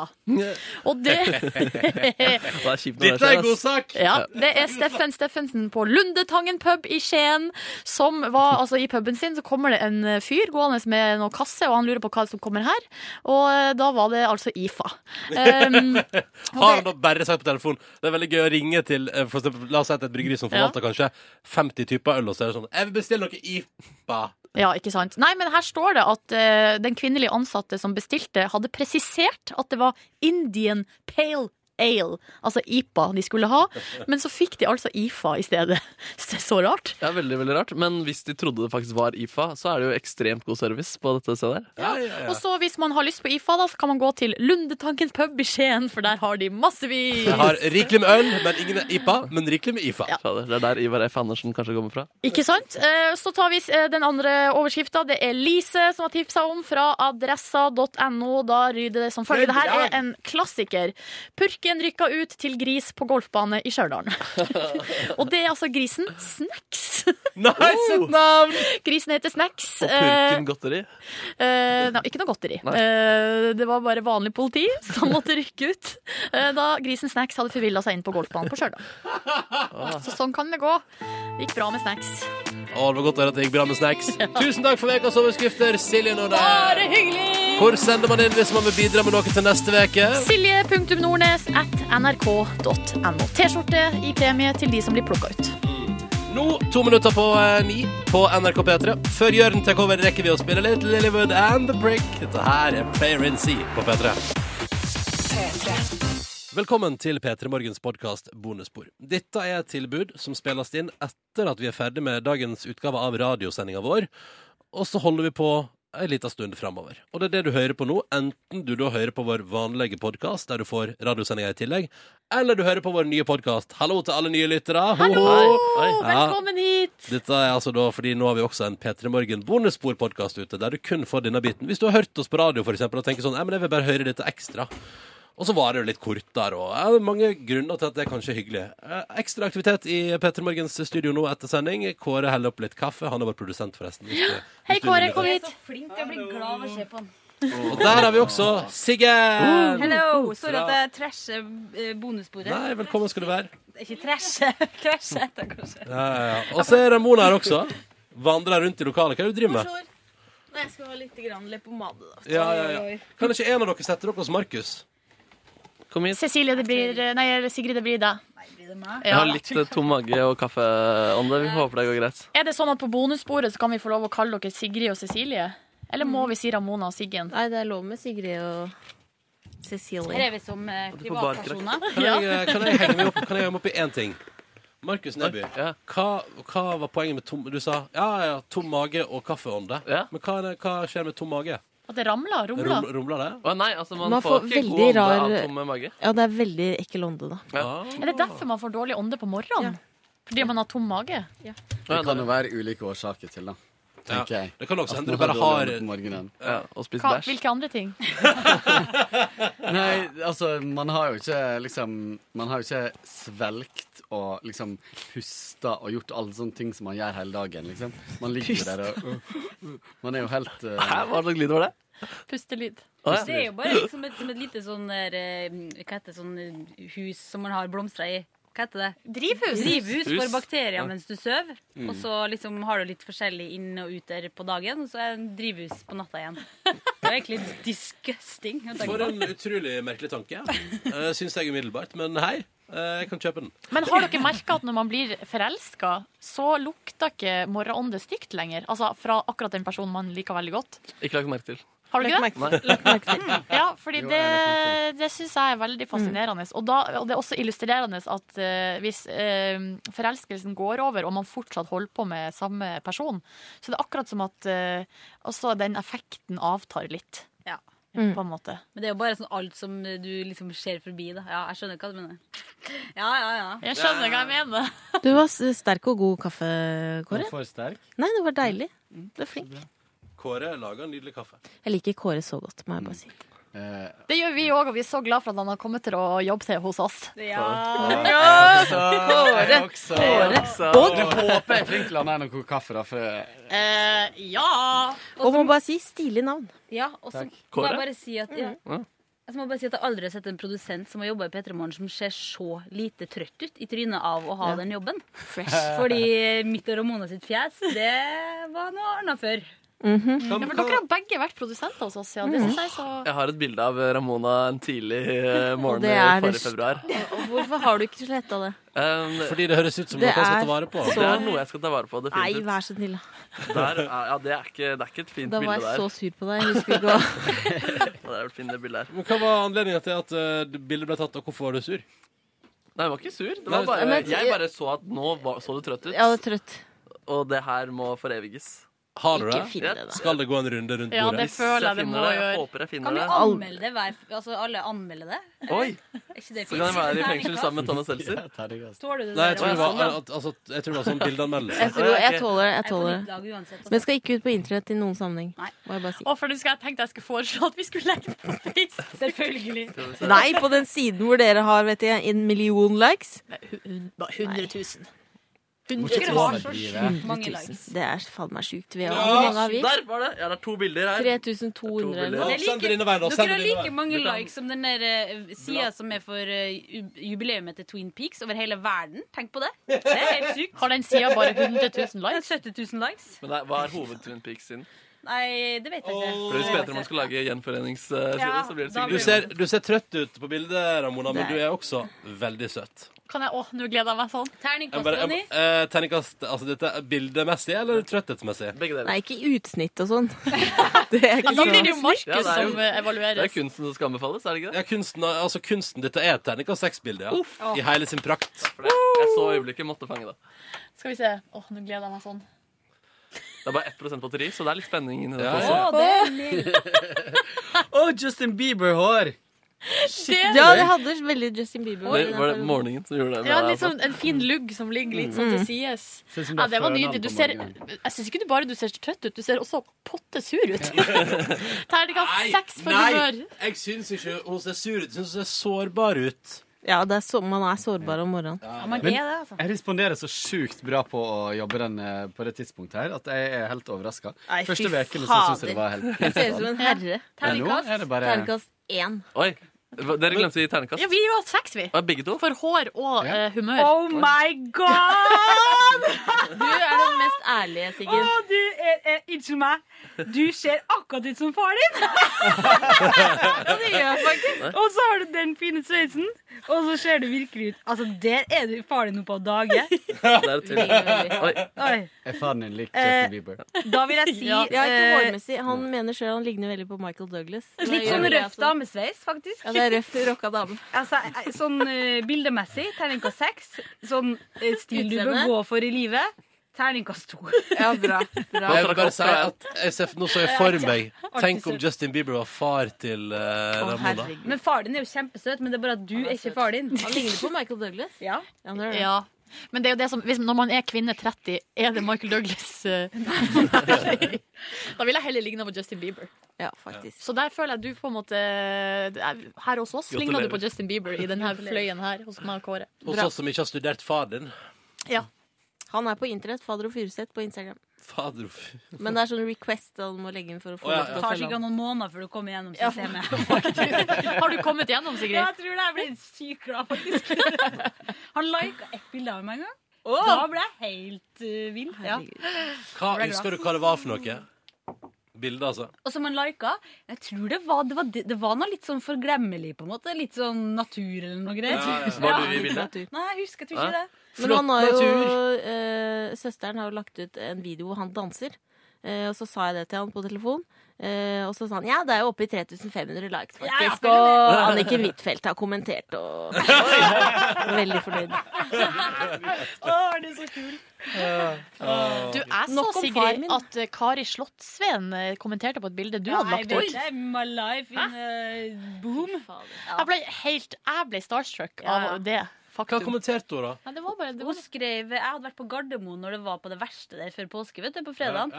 S3: Og det
S4: er kjipt når det
S2: Dette er
S4: skjer,
S2: god
S4: ass.
S2: sak!
S3: Ja, det er Steffen Steffensen på Lundetangen pub i Skien. Som var, altså I puben sin så kommer det en fyr gående med noen kasse, og han lurer på hva som kommer her. Og eh, da var det altså IFA. Um,
S2: Har han da bare sagt på telefonen Det er veldig gøy å ringe til eh, for eksempel, La oss si at et bryggeri som forvalter kanskje 50 typer øl, og så er det sånn Jeg vil bestille noe IPA.
S3: ja, ikke sant. Nei, men her står det at eh, den kvinnelige ansatte som bestilte, hadde presisert at det var Indian Pale Ale, altså IPA, de skulle ha. Men så fikk de altså IFA i stedet. Så det er så rart.
S4: Ja, veldig, veldig rart. Men hvis de trodde det faktisk var IFA, så er det jo ekstremt god service på dette stedet. her.
S3: Og så hvis man har lyst på IFA, da, så kan man gå til Lundetanken pub i Skien, for der har de massevis.
S2: Jeg har rikelig med øl, men ingen IPA. Men rikelig med IFA.
S4: Fader, Det er der Ivar F. Andersen kanskje kommer fra.
S3: Ikke sant? Eh, Så tar vi eh, den andre overskrifta. Det er Lise som har tipsa om fra adressa.no. Da ryder det som følger. Det her er en klassiker. Purken rykka ut til gris på golfbane i Stjørdal. Og det er altså grisen Snacks.
S2: Nice
S4: et navn!
S3: Grisen heter Snacks.
S4: Og
S3: Eh,
S4: Oh! purken godteri.
S3: Eh, nei, ikke noe godteri.
S4: Nei.
S3: Eh, det var bare vanlig politi som måtte rykke ut eh, da grisen Snacks hadde forvilla seg inn på golfbanen på Stjørdal.
S4: Ah.
S3: Så sånn kan det gå. Det gikk bra med Snacks.
S2: Å, det var godt å høre at det gikk bra med snacks. Tusen takk for ukas overskrifter, Silje Nordnes.
S3: Bare hyggelig!
S2: Hvor sender man inn hvis man vil bidra med noe til neste uke?
S3: Silje.nordnes at nrk.no. T-skjorte i premie til de som blir plukka ut.
S2: Nå to minutter på eh, ni på NRK P3. Før Jørn tar over, rekker vi å spille litt Lillywood and The Brick. Dette her er Player in Sea på P3. Velkommen til P3 Morgens podkast Bonusspor. Dette er et tilbud som spilles inn etter at vi er ferdig med dagens utgave av radiosendinga vår. Og så holder vi på en liten stund framover. Og det er det du hører på nå, enten du da hører på vår vanlige podkast, der du får radiosendinga i tillegg, eller du hører på vår nye podkast. Hallo til alle nye lyttere! Ho,
S3: Hallo!
S2: ho! Ja.
S3: Velkommen hit!
S2: Dette er altså da fordi nå har vi også en P3 Morgen bonussporpodkast ute, der du kun får denne biten. Hvis du har hørt oss på radio for eksempel, og tenker sånn, «Nei, men jeg vil bare høre dette ekstra. Og så varer det jo litt kort der, og ja, det er mange grunner til at det er kanskje hyggelig. Eh, Ekstra aktivitet i P3 Morgens studio nå etter sending. Kåre heller opp litt kaffe. Han er vår produsent, forresten. hvis du-
S3: Hei,
S2: hvis du
S3: Kåre,
S2: lurer.
S3: kom hit.
S12: Flink, jeg blir glad av å se på den.
S2: Og der har vi også Siggen!
S12: Uh, Hello! Sorry at jeg trasher eh, bonussporet.
S2: Uh. Nei, velkommen skal du være.
S12: Ikke trashe, krasje heter det kanskje.
S2: Ja, ja, ja. Og så er Ramona her også. Vandrer rundt i lokalet. Hva er det du driver med?
S12: Nei, jeg skal ha litt grann leppepomade, da.
S2: Ja, ja, ja. Kan ikke en av dere sette dere hos Markus? Kom hit.
S3: Cecilie, det blir eh, Nei, Sigrid, det blir deg.
S4: Jeg har litt eh, tom mage og kaffeånde. Vi får håpe det går greit.
S3: Er det sånn at på bonussporet så kan vi få lov å kalle dere Sigrid og Cecilie? Eller må vi si Ramona og Siggen?
S9: Mm. Nei, det er lov med Sigrid og
S12: Her
S9: Cecilie.
S12: er vi som eh,
S9: Du får bare
S12: privatpersoner.
S2: Kan jeg, eh, kan jeg henge meg opp, kan jeg henge meg opp i én ting? Markus Neby, hva, hva var poenget med tom Du sa ja, ja, ja, tom mage og kaffeånde. Men hva, er det, hva skjer med tom mage?
S3: At det ramler? Rumler?
S2: Rum- Rumler det?
S4: Å, nei, altså, man,
S9: Man
S4: får,
S9: får
S4: ikke
S9: veldig
S4: god ånde
S9: rar
S4: av tom mage.
S9: Ja, det er veldig ekkel ånde, da.
S4: Ja.
S3: Er det derfor man får dårlig ånde på morgenen? Fordi man har tom mage?
S13: Det kan jo være ulike årsaker til, da.
S11: tenker jeg.
S2: Det kan også
S11: At
S2: hende
S11: man
S2: du bare har-
S11: det på morgenen.
S2: Ja,
S11: og
S3: Hva, hvilke andre ting?
S11: Nei, altså, man har jo ikke liksom Man har jo ikke svelgt og liksom pusta og gjort alle sånne ting som man gjør hele dagen, liksom. Man ligger jo
S4: Pusta.
S11: der og uh, uh, Man er jo helt uh,
S4: Hæ, hva slags lyd var det?
S3: Pustelyd.
S12: Det er jo bare liksom et, som et lite sånn der, eh, Hva heter det, sånn eh, hus som man har blomstra i? Hva heter det?
S3: Drivhus.
S12: Drivhus
S3: Hus.
S12: for bakterier
S3: Ja.
S12: mens du sover.
S11: Mm.
S12: Og så liksom har du litt forskjellig inn og ut der på dagen, og så er det en drivhus på natta igjen. Det er egentlig disgusting. å tenke
S2: For
S12: på.
S2: en utrolig merkelig tanke. Uh, Syns jeg umiddelbart. Men hei, eh, jeg kan kjøpe den.
S3: Men har dere merka at når man blir forelska, så lukter ikke morgenånde stygt lenger? Altså fra akkurat den personen man liker veldig godt.
S4: Ikke lagt merke til.
S3: Har du
S4: Lagt
S3: ikke
S4: merke
S3: det?
S4: til. Lagt merke
S3: Mm. Ja, fordi
S4: Jo, jeg
S3: det,
S4: har
S3: det syns jeg er veldig fascinerende. Og, da, og det er også illustrerende at eh, hvis eh, forelskelsen går over, og man fortsatt holder på med samme person, så det er akkurat som at eh, også den effekten avtar litt. Mm.
S12: Ja.
S3: På en måte.
S12: Men det er jo bare sånn alt som du liksom ser forbi. da Ja, Jeg skjønner hva du mener. Ja, ja, ja.
S3: Jeg skjønner hva jeg mener.
S9: Du var s- sterk og god kaffe, Kåre.
S11: For sterk.
S9: Nei, det var deilig. Mm, Du er flink.
S2: Kåre lager en nydelig kaffe.
S9: Jeg liker Kåre så godt, må jeg bare si.
S11: eh,
S3: Det gjør vi òg, og vi er så glad for at han har kommet til å jobbe til hos oss.
S11: Ja.
S3: Kåre.
S11: Kåre.
S9: Og-
S11: Jeg håper jeg Trinkland er noe kaffe, da, for
S3: Eh, ja!
S9: Og må bare si stilig navn.
S12: Ja, og så
S11: Takk.
S12: må
S11: Kåre?
S12: jeg bare si at ja.
S11: Mm.
S12: Altså, Jeg må bare si at jeg aldri har sett en produsent som har jobba i P3 Morgen som ser så lite trøtt ut i trynet av å ha
S9: Ja.
S12: den jobben.
S9: Fresh.
S12: Fordi mitt og Ramona sitt fjes, det var noe annet før.
S4: Mhm.
S3: Ja, men dere har begge vært produsenter hos oss, ja. Det synes jeg så
S4: Jeg har et bilde av Ramona en tidlig eh,
S9: Og
S4: morgen
S9: det
S4: i
S9: er det
S4: forrige
S9: st-
S4: februar.
S9: Og Hvorfor har du ikke sletta det?
S4: Um,
S2: Fordi det høres ut som Det noe jeg skal ta vare på.
S4: Det er noe jeg skal ta vare på.
S9: Nei,
S4: definitivt.
S9: vær så snill.
S4: Der, er- ja, det, er ikke, det er ikke et fint
S9: Da var
S4: bilde der.
S9: jeg så sur på deg. Jeg husker ikke hva
S4: Ja, det er et fint bilde der.
S2: Men Hva var anledningen til at eh, bildet ble tatt, og hvorfor var du sur?
S4: Nei, jeg var ikke sur. Det
S2: Nei,
S4: var bare,
S2: men-
S4: jeg bare så at nå var, så du trøtt ut.
S9: Ja, det er trøtt.
S4: Og det her må foreviges.
S2: Har du
S4: Ikke
S2: det?
S4: finn det, da.
S2: Skal det gå en runde rundt
S4: Ja,
S2: bordet?
S4: det føler jeg det må
S2: finner
S4: gjøre.
S2: håper jeg
S12: Kan vi anmelde det? hver- Altså, alle anmelde det?
S2: Oi!
S12: Er ikke det
S4: Så kan jeg være i fengsel
S12: Terningkast?
S4: sammen med Thomas Seltzer.
S12: Tåler
S2: Nei,
S12: du det der
S2: jeg tror det var,
S12: også, da?
S2: at- altså, jeg tror det var sånn bildeanmeldelse.
S9: Jeg, tror, jeg tåler det. Jeg
S12: Jeg er på
S9: tåler.
S12: ditt lag
S9: det.
S12: uansett, altså.
S9: Men jeg skal ikke ut på internett i noen sammenheng. Må jeg bare si.
S3: Å, for nå skal jeg tenkte jeg skulle foreslå at vi skulle legge den på Facebook.
S12: Selvfølgelig.
S9: Nei, på den siden hvor dere har vet jeg, en million likes.
S3: 100 000.
S9: Hun
S4: Dere har så sjukt
S12: mange
S9: likes. Det er faen meg sjukt. Vi har,
S4: Ja,
S9: hvor mange har vi?
S4: der var det! Ja, det er to bilder her.
S9: 3200 eller
S4: Ja,
S12: Det
S9: noe.
S12: er like-
S4: send det inn og vær nå, send
S12: Dere har
S4: det inn og
S12: like
S4: vær.
S12: mange
S4: Du kan-
S12: likes som den der eh, sida som er for eh, ju- jubileumet til Twin Peaks over hele verden. Tenk på det. Det er helt sykt.
S3: Har den sida bare 100 000 likes?
S12: 70 000 likes.
S4: Men nei, hva er hoved-Twin Peaks sin?
S12: Nei, det vet jeg ikke.
S4: For Hvis Peter man skal lage gjenforeningsside,
S12: Ja,
S4: så blir det
S12: da
S4: sikkert
S2: Du ser, du ser trøtt ut på bildet, Ramona, men
S3: Nei.
S2: du er også veldig søt.
S3: Kan jeg, å, nå gleder jeg meg sånn.
S2: Jeg bare- jeg- eh, Terningkast altså, dette er bildemessig eller trøtthetsmessig?
S4: Begge
S9: Nei, ikke utsnitt og sånn. Det
S2: Ja,
S9: er ikke
S2: da blir
S9: sånn.
S2: det jo Markus Ja, det er jo- som, eh,
S9: evaluerer.
S4: Det er kunsten som skal anbefales, er det ikke det?
S2: Ja, kunsten, altså, kunsten dette er et terningkast seks-bilde, ja.
S3: Uff.
S2: I hele sin prakt.
S4: For det, jeg så øyeblikket måtte fange det.
S3: Skal vi se. Å, nå gleder jeg meg sånn.
S4: Det er bare 1 batteri, så det er litt spenning inni det.
S2: Ja,
S3: Å, det er mildt.
S11: Å, Justin Bieber-hår!
S9: Ja, det hadde veldig Justin Bieber.
S4: Var det, var det morgenen som gjorde det? med
S3: Ja,
S4: deg,
S3: litt
S4: altså?
S3: sånn en fin lugg som ligger litt sånn
S9: Mm.
S3: til sides.
S4: Ser ut som
S3: Ja,
S4: det
S3: det
S4: er
S3: var
S4: før
S3: nydelig.
S4: navn
S3: Du
S4: på
S3: ser,
S4: morgenen.
S3: jeg syns ikke du bare du ser trøtt ut, du ser også potte sur ut. Terningkast seks for humør.
S2: Jeg syns ikke hun ser sur ut. Jeg syns hun ser sårbar ut.
S9: Ja, det er så, man er sårbar om morgenen. Ja, altså.
S11: Jeg responderer så sjukt bra på å jobbe den eh, på det tidspunktet her at jeg er helt overraska.
S9: Nei, fy
S11: Første ukene så syns jeg det var helt
S9: fader. Jeg ser ut som en herre.
S11: Men nå er det bare-
S9: Terningkast én.
S4: Oi, hva- dere glemte å gi ternekast.
S3: Ja, vi gir jo seks, vi.
S4: Ja, begge to?
S3: For hår og eh, humør.
S9: Oh
S12: my god!
S9: Du er den mest ærlige, Siggen.
S12: Å, du er, er Unnskyld meg. Du ser akkurat ut som far din! ja, det gjør jeg faktisk. Og så har du den fine sveisen, og så ser du virkelig ut Altså, der er du far din oppe av dage.
S4: Der til. Oi.
S12: Oi.
S11: Er faren din lik
S12: Eh,
S11: Justin Bieber?
S12: Da vil jeg si
S9: ja, ja, ikke
S12: eh,
S9: hårmessig. Han mener sjøl han ligner veldig på Michael Douglas.
S12: Litt sånn røff damesveis, faktisk.
S9: altså. Ja, det er røff, rocka dame.
S12: Altså, eh, sånn eh, bildemessig, terningkast seks. Sånn eh, stil du bør
S9: Utseende.
S12: gå for i livet. Terningkast to.
S9: Ja, bra.
S2: Jeg vil bare si at jeg ser, nå så jeg for meg Tenk om
S12: Artig søt.
S2: Justin Bieber var far til eh, Ramona.
S12: Men far din er jo kjempesøt, men det er bare at du er ikke far din.
S9: Han ligner på Michael Douglas.
S12: Ja.
S9: Ja, han gjør det.
S3: Ja. Men det er jo det som, hvis, når man er kvinne 30, er det Michael Douglas eh, Da vil jeg heller ligne på Justin Bieber.
S9: Ja, faktisk.
S3: Så der føler jeg du på en måte Her hos oss ligner du på Justin Bieber i denne fløyen her hos meg og Kåre.
S2: Hos oss som ikke har studert far din.
S3: Ja.
S9: Han er på internett, Fader og Furuseth på Instagram.
S2: Fader
S9: Men det er sånn request han må legge inn for å
S2: Å,
S9: få
S2: ja,
S12: Det
S9: deg til å
S12: tar
S9: følge
S12: sikkert
S9: ham.
S12: noen måneder før du kommer gjennom systemet.
S3: Har du kommet gjennom, Sigrid?
S12: Ja, jeg tror det. Jeg ble sykt glad, faktisk. Han lika ett bilde av meg en gang.
S9: Åh!
S12: Da ble jeg helt uh, vill. Ja.
S2: Hva,
S12: Jeg ble glad.
S2: husker du hva det var for noe? Bildet, altså.
S12: Og som han lika. Jeg tror det var, det, var, det, det var noe litt sånn forglemmelig, på en måte. Litt sånn natur eller noe greier.
S2: Ja, ja, ja. Var du i bildet?
S12: Natur. Nei, jeg husker jeg tror ikke
S9: Ja.
S12: det.
S9: Men han har jo eh, Søsteren har jo lagt ut en video hvor han danser. Eh, og så sa jeg det til han på telefon. eh, og så sa han ja, det er jo oppe i 3500 likes, faktisk. og Anniken Huitfeldt har kommentert og Veldig fornøyd.
S12: Å, det er så kul.
S3: Du, jeg så,
S9: Nok om far
S3: Sigrid,
S9: min.
S3: at eh, Kari Slottsveen eh, kommenterte på et bilde du hadde lagt
S12: Oi,
S3: ut.
S12: det er my life in a boom.
S3: Jeg ble helt Jeg ble starstruck
S12: Ja.
S3: av det.
S2: Hva kommenterte hun, da?
S12: det var bare, Hun skrev Jeg hadde vært på Gardermoen når det var på det verste der før påske, vet du, på fredag.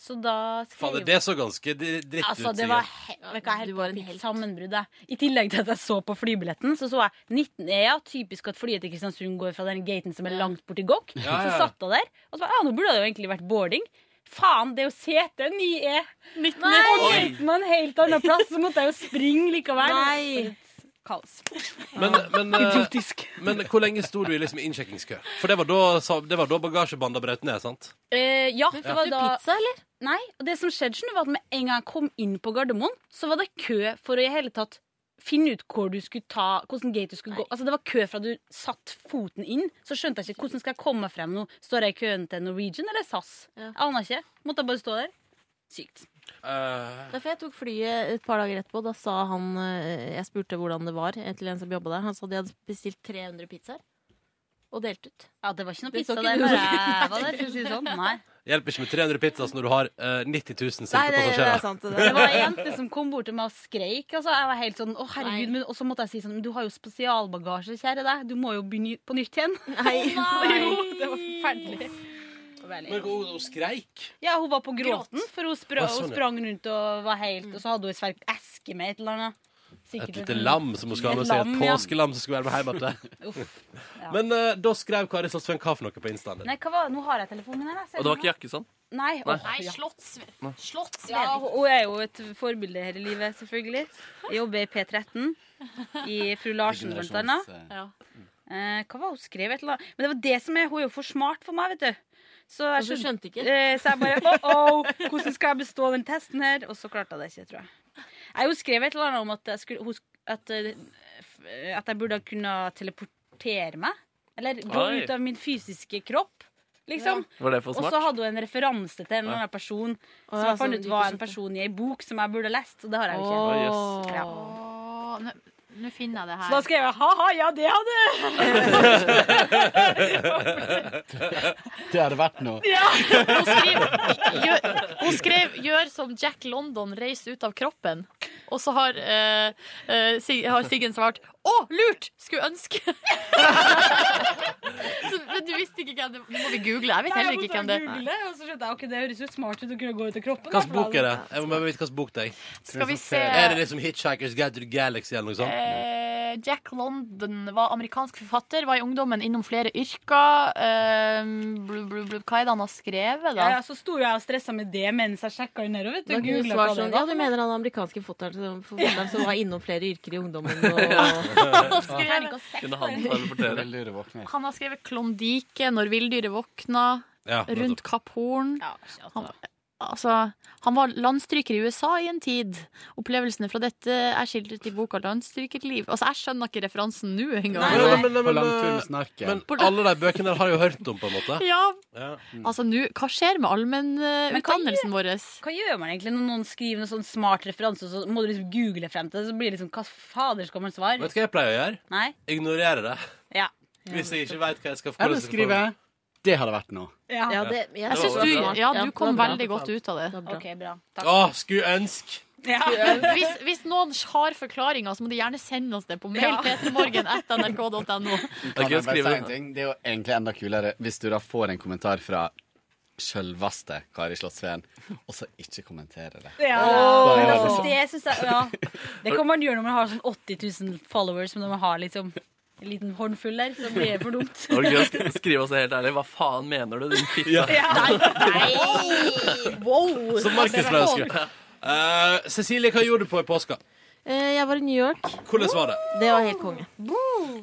S12: Så da skrev
S2: Fader, det så ganske dri- dritt
S12: Altså,
S2: ut.
S12: det
S2: Sigrid.
S12: var he vet du hva, helt fikk sammenbrudd. jeg. I tillegg til at jeg så på flybilletten, så så jeg 19 EA. Typisk at flyet til Kristiansund går fra den gaten som er langt borti Gokk.
S2: Ja, ja.
S12: Så satt jeg der, og så bare, ja, nå burde det jo egentlig vært boarding. Faen, det er jo sete, ny E. Nei, og
S2: Oi.
S12: gaten var en helt annen plass, så måtte jeg jo springe likevel.
S9: Nei.
S12: Kaos.
S2: Men, men, eh, men hvor lenge sto du i liksom innsjekkingskø? For det var da, sa- det var da bagasjebanda brøt ned, sant?
S12: Eh, ja,
S2: Men
S12: det
S2: fikk
S12: var
S2: du
S12: da...
S9: pizza, eller?
S12: Nei, og det som skjedde skjønner du, var at med en gang jeg kom inn på Gardermoen, så var det kø for å i hele tatt finne ut hvor du skulle ta, hvordan gate du skulle gå. Altså, det var kø fra du satt foten inn, så skjønte jeg ikke hvordan skal jeg komme meg frem nå. Står jeg i køen til Norwegian eller SAS? Jeg aner ikke. Måtte jeg bare stå der? Sykt. Eh.
S9: Derfor jeg tok flyet et par dager etterpå. Da sa han eh, Jeg spurte hvordan det var eh, til en som jobba der. Han sa de hadde bestilt 300 pizzaer og delt ut.
S12: Ja, det var ikke noe
S9: Det så
S12: pizza
S9: ikke
S12: der
S9: du.
S12: når jeg var der, for å si det sånn. Nei.
S2: Hjelper ikke med 300 pizzas når du har eh, 90 000 sinte
S12: Nei, det-
S2: passasjerer.
S12: det er sant, Det var ei jente som kom bort til meg og skreik. Altså. Jeg var helt sånn, å herregud, men, Og så måtte jeg si sånn Men du har jo spesialbagasje, kjære deg. Du må jo begynne på nytt igjen.
S9: Nei.
S12: jo, det var forferdelig.
S2: Men hun, hun skreik.
S12: Ja, hun var på gråten, for hun, spra
S2: Å, sånn,
S12: hun
S2: ja.
S12: sprang rundt og var helt Og så hadde hun ei svær eske med et eller annet. Sikkert
S2: Et
S12: et
S2: lite lam som hun skal ha med seg. Et
S12: lam, ja.
S2: påskelam som skulle være med hjem igjen.
S12: Uff, ja.
S2: Men eh, da skrev Kari Slottsveen hva for noe på Instaen din?
S12: Nei, hva var det? Nå har jeg telefonen min her. jeg ser
S2: Og det var
S12: den
S2: ikke jakkesand?
S12: nå. Nei,
S2: Nei.
S12: åh, ja.
S2: Nei.
S12: Ja, hun er jo et forbilde her i livet, selvfølgelig. Jeg jobber i P13, i Fru Larsen blant annet. Eh, hva var det hun skrev? Et eller annet? Men det var det som er, hun er jo for smart for meg, vet du. Så jeg
S9: Og så skjønte ikke.
S12: Eh, så jeg bare oh, oh, hvordan skal jeg bestå den testen her? Og så klarte jeg det ikke, tror jeg. Jeg hun skrev et eller annet om at jeg, skulle, hun, sk- at, eh, f- eh, at jeg burde kunne teleportere meg. Eller gå
S4: Oi.
S12: ut av min fysiske kropp, liksom.
S4: Var det for
S12: Og
S4: smart?
S12: så hadde hun en referanse til en
S4: Ja.
S12: eller annen person
S3: Å,
S12: som
S3: ja,
S12: jeg fant
S3: sånn,
S12: ut
S3: du
S12: var
S3: ikke
S12: en person i ei bok som jeg burde lest. Og det har jeg jo
S3: Åh,
S12: ikke.
S3: yes.
S12: Ja.
S3: Åh, nå- Nå finner jeg det her.
S12: Så da skrev jeg ha-ha, ja, det hadde
S11: Det hadde vært noe.
S3: Ja! Hun skrev, gjør, hun skrev 'gjør som Jack London, reis ut av kroppen'. Og så har, eh, eh, Sig, har Siggen svart 'Å, lurt! Skulle ønske'. så, men du visste ikke hvem det var. Nå må vi google. Jeg vet heller ikke hvem det er.
S12: Og så skjønte jeg ok, det høres ut smart ut å kunne gå ut av kroppen. da,
S2: Hvilken
S12: for
S2: bok er det?
S12: da-
S2: Jeg må bare vite hvilken bok det er.
S3: Skal vi se.
S2: Er det liksom Hitchhiker's Guide to the Galaxy eller noe sånt?
S3: Eh, Jack London var amerikansk forfatter, var i ungdommen innom flere yrker. Eh, blu, blu, blu. Hva er det han har skrevet, da?
S12: Ja, ja, så sto jeg og stressa med det mens jeg sjekka under. og vet du,
S9: Da kunne du
S12: googlet hva
S9: svart
S12: det
S9: sånn
S12: var
S9: Ja, du
S12: for noe.
S9: mener han amerikanske forfatteren som- forfatteren som var innom flere yrker i ungdommen og
S3: Han skrev-
S4: Kunne han teleportere?
S3: Han har skrevet 'Klondyke', 'Når villdyret våkna',
S4: Ja, nettopp.
S3: 'Rundt Kapp Horn'. han, altså, han var landstryker i USA i en tid. Opplevelsene fra dette er skildret i boka 'Landstrykerliv'. Altså, jeg skjønner ikke referansen nå engang.
S2: Men- men- men-
S11: På
S2: men-
S11: langtur med snorken.
S2: Men alle de bøkene der har jeg jo hørt om, på en måte.
S3: Ja.
S2: Ja.
S9: Mm.
S3: Altså, nå, hva skjer med allmennutdannelsen vår?
S12: Hva gjør man egentlig når noen skriver noen sånn smart referanse, og så må du liksom google frem til det? Så blir det liksom Hva fader skal man svare?
S2: Vet du hva jeg pleier å gjøre?
S12: Nei?
S2: Ignorere det.
S12: Ja.
S2: Hvis jeg ikke veit hva jeg skal
S11: Eller
S2: forholde meg til.
S11: skrive 'Det hadde vært noe'.
S12: Ja.
S9: Ja, det- jeg
S2: Det var
S9: synes
S2: bra.
S9: du-
S3: Ja,
S9: Ja,
S3: du
S9: det
S3: kom
S9: var bra.
S3: veldig godt ut av det.
S12: OK, bra.
S2: Å, skulle ønske
S12: Ja.
S3: Hvis, hvis noen har forklaringer, så må de gjerne sende oss det på mail.
S12: Ja.
S3: p3morgen.nrk.no.
S11: Kan
S4: ikke
S11: jeg bare si
S4: skrive-
S11: en ting? Det er jo egentlig enda kulere hvis du da får en kommentar fra sjølveste Kari Slottsveen, og så ikke kommenterer det.
S12: Ja.
S11: Da er
S12: Men
S11: det
S12: altså,
S11: liksom-
S12: det, synes jeg, ja. det kan man gjøre når man har sånn 80 000 followers, men når man har liksom en liten håndfull der, så blir det for dumt.
S4: Det var gøy å sk- skrive oss helt ærlig. Hva faen mener du, din fitte?
S3: Wow!
S2: Som Markus
S9: Altså,
S2: pleier å skrive. Eh, Cecilie, hva gjorde du på i påska?
S9: Eh, Jeg var i New York.
S2: Hvordan var det?
S9: Det var helt konge.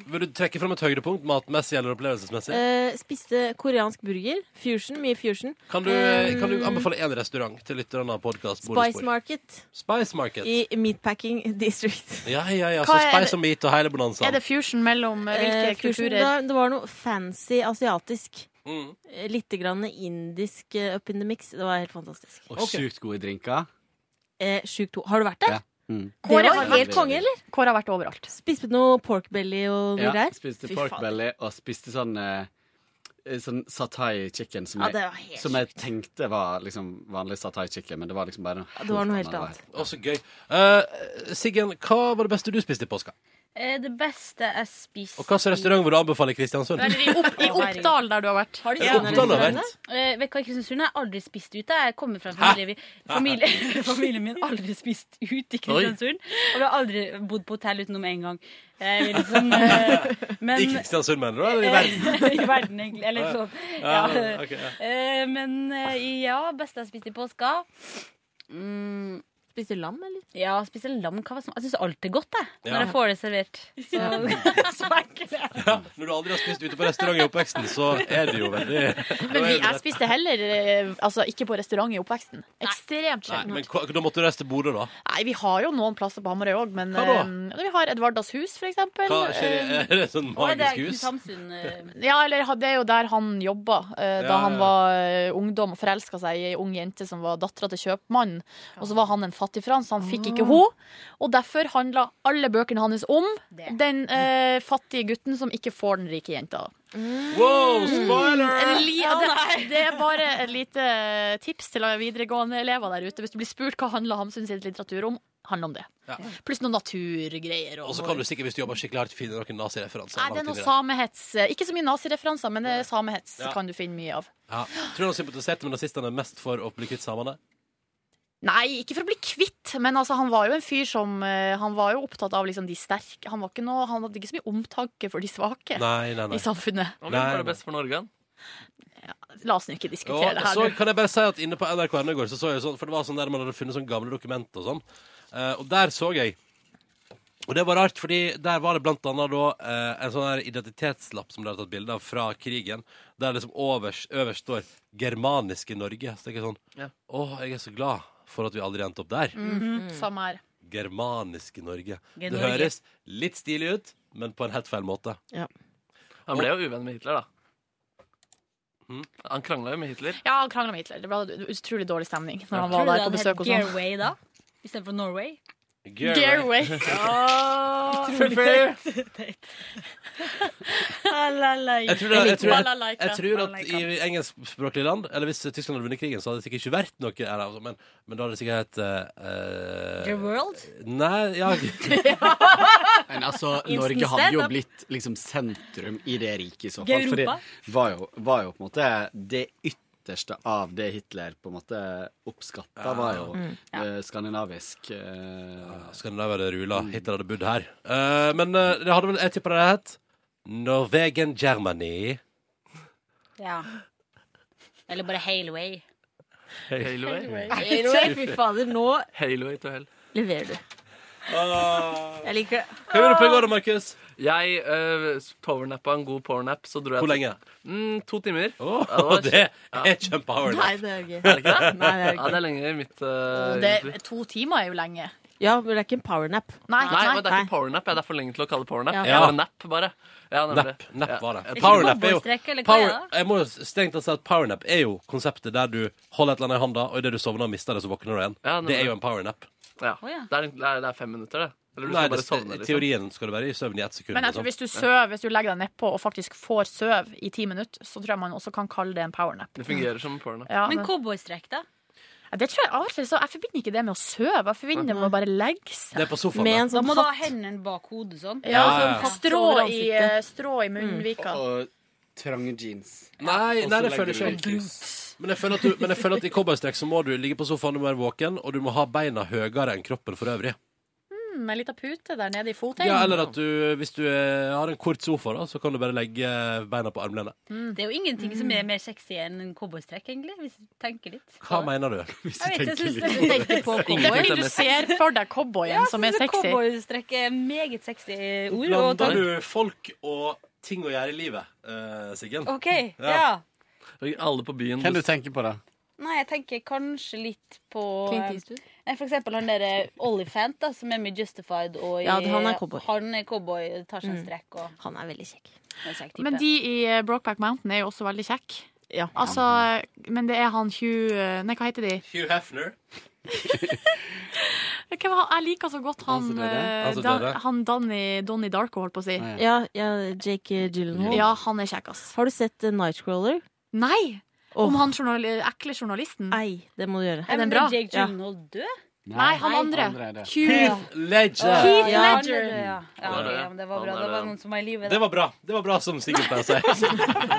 S2: Vil du trekke fram et høydepunkt matmessig eller opplevelsesmessig?
S9: Eh, spiste koreansk burger. Fusion. Mye fusion.
S2: Kan du,
S9: Eh,
S2: kan du anbefale én restaurant til lytterne av podkast?
S9: Spice Market
S2: Spice Market.
S9: i Meatpacking District.
S2: Ja, ja, ja. Så
S9: Hva er
S2: Spice
S9: det-
S2: og Meat og hele bonanzaen.
S3: Er det fusion mellom eh, hvilke
S9: Eh, fusion,
S3: kulturer?
S9: da- Det var noe fancy asiatisk.
S2: Mm.
S9: Eh, Litt grann indisk eh, up in the mix. Det var helt fantastisk.
S11: Og sjukt gode drinker.
S9: Eh, Sjukt to. Har du vært der?
S11: Ja. Mm.
S9: Det
S11: Kåre
S9: var
S11: har
S9: helt
S11: vært-
S9: konge, eller?
S3: Kåre har vært overalt.
S9: Spiste noe pork belly og noe
S11: Ja,
S9: greier.
S11: spiste
S9: Fy
S11: pork
S9: faen.
S11: belly og spiste sånn eh, Sånn satai chicken som,
S9: Ja,
S11: jeg-
S9: det var helt
S11: som jeg tenkte var liksom vanlig satai chicken, men det var liksom bare noe
S9: det var noe helt
S11: annet.
S2: Å, så gøy. Eh, Siggen, hva var det beste du spiste i påska?
S12: Eh, Det beste jeg spiste
S2: Og hvilken restaurant vil du anbefale i Kristiansund?
S12: Eller i, opp,
S3: I Oppdal, der du har vært.
S12: Har
S2: de Ja, sånne Oppdal har restauranter?
S12: Eh, vet du hva, i Kristiansund har jeg aldri spist ute. Jeg kommer fra en familie, vi- familie Familien min har aldri spist ute i Kristiansund. Og vi har aldri bodd på hotell utenom én gang. Eh, vi liksom, eh, men
S2: I Kristiansund, mener du? Eller i verden?
S12: I verden, egentlig. Eller sånn. Ja.
S2: Ja, ok, ja.
S12: Eh, Men eh, ja, beste jeg spiste i påska mm.
S9: Spiste lam, eller?
S12: Ja, spiste lam. Hva var det som- Jeg syns alt er godt, jeg.
S2: Ja.
S12: Når jeg får det servert. Så, smaker det.
S2: Ja, når du aldri har spist ute på restaurant i oppveksten, så er det jo veldig
S3: Men vi, jeg spiste heller eh, altså, ikke på restaurant i oppveksten. Ekstremt
S2: Nei,
S3: sjelden.
S2: men hva, da måtte du reise til Bodø, da.
S3: Nei, vi har jo noen plasser på Hamarøy òg, men
S2: Hva da?
S3: eh, vi har Edvardas hus, for eksempel.
S2: Hva skjer?
S3: Eh,
S2: Er det eh, sånn magisk hus?
S3: Ja, eller ha- det er jo der han jobba eh, da
S2: Ja,
S3: han
S2: ja.
S3: var eh, ungdom og forelska seg i ei ung jente som var dattera til kjøpmannen. Og så var han en fattig frans, han fikk
S2: Ah.
S3: ikke hun. Og derfor handla alle bøkene hans om den eh, fattige gutten som ikke får den rike jenta.
S2: Wow, spoiler!
S3: En li- det, det er bare et lite eh, tips til videregående elever der ute. Hvis du blir spurt hva handler Hamsun sin litteratur om, handler om det. Pluss noen naturgreier. sånn.
S2: Og så kan du sikkert, hvis du jobber skikkelig hardt, finne noen nazireferanser.
S3: Nei, det er
S2: langt
S3: noe
S2: inn i
S3: samehets. eh, Ikke så mye nazireferanser, men det er samehets
S2: Ja.
S3: kan du finne mye av.
S2: Ja. Tror du han sympatiserte med nazistene mest for å bli kvitt samene?
S3: Nei, ikke for å bli kvitt, men altså, han var jo en fyr som eh, Han var jo opptatt av liksom, de sterke. Han, var ikke noe, han hadde ikke så mye omtanke for de svake
S2: Nei, nei, nei.
S3: i samfunnet.
S4: Han var det best for Norge, han.
S3: La oss nå ikke diskutere
S2: Ja,
S3: det her.
S2: så
S3: nå.
S2: kan jeg bare si at inne på NRK.no i går, så så jeg sånn, for det var sånn der man hadde funnet sånn gamle dokumenter og sånn. Eh, og der så jeg Og det var rart, fordi der var det blant annet da eh, en sånn her identitetslapp som de hadde tatt bilde av fra krigen, der liksom øverst, øverst står 'Germaniske Norge'. Så tenker jeg sånn Å, jeg er så glad for at vi aldri endte opp der.
S4: Mm-hmm.
S3: Mhm, Samme her.
S2: Germaniske Norge.
S3: Ge-
S2: Det
S3: Norge.
S2: høres litt stilig ut, men på en helt feil måte.
S4: Han ble jo uvenn med Hitler, da. Hm? Han krangla jo med Hitler.
S3: Ja, han krangla med Hitler. Det ble utrolig dårlig stemning når
S4: Ja.
S3: han
S4: Tror
S3: var
S4: du
S3: der
S4: han
S3: på
S4: het
S3: besøk hos han.
S12: Gearway, da? Istedenfor Norway?
S3: Gearway.
S12: Utrolig teit. Teit. Balalaika.
S2: Jeg tror, det, jeg, tror, jeg,
S12: Balalaika.
S2: jeg tror at i engelskspråklige land Eller hvis Tyskland hadde vunnet krigen, så hadde det sikkert ikke vært noe her, altså, men, men da hadde det sikkert hett eh, eh,
S12: The world?
S2: Nei, ja
S11: Men altså,
S12: Instant
S11: Norge hadde jo
S12: stand-up.
S11: blitt liksom sentrum i det riket i så fall. For det
S12: Europa.
S11: var jo, var jo på en måte det ytterste av det Hitler på en måte oppskatta,
S2: Ja.
S11: var jo
S2: Mm.
S11: eh, skandinavisk. eh,
S2: Ah, Skandinavia hadde rula. Hitler hadde bodd her. Eh, men eh, det hadde vel jeg tipper det hadde hett Norwegian Germany.
S12: Ja. Eller bare Haleway.
S4: Haleway.
S9: Haleway, fy fader, nå
S4: Haleway to hell.
S9: leverer du. Jeg liker det.
S2: Hva gjorde du på i går da, Markus?
S4: Jeg uh, powernappa en god powernap. Så dro jeg
S2: Hvor
S4: til-
S2: lenge?
S4: Mm, to timer.
S2: og det er kjempepowernap.
S9: Nei, det er gøy.
S4: Er det ikke det?
S9: Nei, det er gøy.
S4: Ja, det er lenger i mitt eh,
S3: Og det,
S4: liv.
S3: to timer er jo lenge.
S9: Ja, men det er ikke en powernap.
S3: Nei,
S4: Nei, men det er ikke powernap. Jeg er for lenge til å kalle det powernap.
S9: Ja.
S4: Det var en nap, bare. Ja, nemlig.
S2: Napp, napp var
S4: Ja.
S2: det. Powernap er jo
S12: Cowboystrekk, eller hva
S2: power,
S12: er det
S2: Jeg må jo strengt tatt si at powernap er jo konseptet der du holder et eller annet i handa, og idet du sovner og mister det, så våkner du igjen.
S4: Ja, nemlig.
S2: det er jo en powernap.
S4: Ja. Det, er, det er- det er fem minutter, det. Eller du
S2: Nei,
S4: skal bare
S2: det,
S4: sovne.
S2: i
S4: Liksom.
S2: teorien skal du være i søvn i ett sekund. liksom.
S3: Men
S12: altså,
S3: jeg tror hvis du søv, hvis du legger deg nedpå og faktisk får søv i ti minutter, så tror jeg man også kan kalle det en powernap.
S4: Det fungerer som porno.
S3: Ja,
S12: Men cowboystrekk, da?
S3: Ja, Det tror jeg av og til så Jeg forbinder ikke det med å sove. Jeg forbinder det med å bare legge seg.
S2: Det er på sofaen,
S3: Med
S2: da.
S3: en
S12: Da
S3: sånn
S12: må du ha
S3: hatt.
S12: hendene bak hodet sånn.
S3: Ja,
S2: Ja, ja, ja.
S3: sånn strå i, eh, strå i
S11: Mm.
S3: munnvika.
S11: Og, og trange jeans.
S2: Nei,
S11: Og
S2: nei
S11: så
S2: det
S11: legger du
S2: føler jeg
S11: deg
S2: ikke. Men jeg føler at, du, men jeg føler at i cowboystrekk så må du ligge på sofaen, du må være våken, og du må ha beina høyere enn kroppen for øvrig.
S3: Mm, Ei lita pute der nede i foten.
S2: Ja, eller at du, hvis du eh, har en kort sofa, da, så kan du bare legge beina på armlenet.
S12: Det er jo ingenting som er mer sexy enn en cowboystrekk, egentlig. Hvis du tenker litt.
S2: Hva mener du?
S12: Jeg vet, jeg synes det- jeg tenker på
S2: Ingen
S3: Det er
S2: vet
S3: fordi du
S2: mest.
S3: ser for deg cowboyen
S12: Ja,
S3: som er
S12: jeg synes
S3: sexy.
S12: Cowboystrekk er meget sexy ord. og
S2: Blander
S12: tank-
S2: du folk og ting å gjøre i livet, eh, Siggen?
S12: OK, ja.
S4: Alle på byen
S11: Hvem du tenker på, da?
S12: Nei, jeg tenker kanskje litt på
S9: Clint
S12: eh,
S9: Eastwood?
S12: Nei, for eksempel han derre Olifant, da, som er med i Justified. Og i,
S9: Ja, han er cowboy.
S12: Han er cowboy, tar seg en
S9: Mm.
S12: strekk og
S9: Han er veldig kjekk.
S12: er en kjekk type.
S3: Men de i eh, Brokeback Mountain er jo også veldig kjekke. Altså, men det er han Hugh eh, Nei, hva heter de?
S2: Hugh Hefner.
S3: Hvem var han? Jeg liker så godt han
S9: Han som døde?
S3: eh,
S9: Han som
S3: Dan-
S9: døde?
S3: Han Danny, Donnie Darko, holdt på å si.
S9: Ja, ja Jake Gyllenhaal.
S3: Ja, han er kjekk, ass.
S9: Har du sett eh, Nightcrawler?
S3: Nei!
S9: Åh.
S3: Om han journali ekle journalisten?
S9: Nei, det må du gjøre.
S3: Er den
S12: Men
S3: bra?
S12: Jake
S3: Ja.
S12: Gyllenhaal død?
S3: Nei, han
S12: Nei.
S3: andre.
S12: Andre er det.
S3: Hugh
S2: Heath Ledger.
S3: Heath
S12: Ja, han er
S3: Ledger.
S12: død, ja. Ja,
S2: Han er død.
S12: ja, men det var
S2: Han
S12: bra.
S2: er
S12: Det var
S2: død.
S12: noen som var i live.
S2: Det var bra, Det var bra som Siggen pleier å si.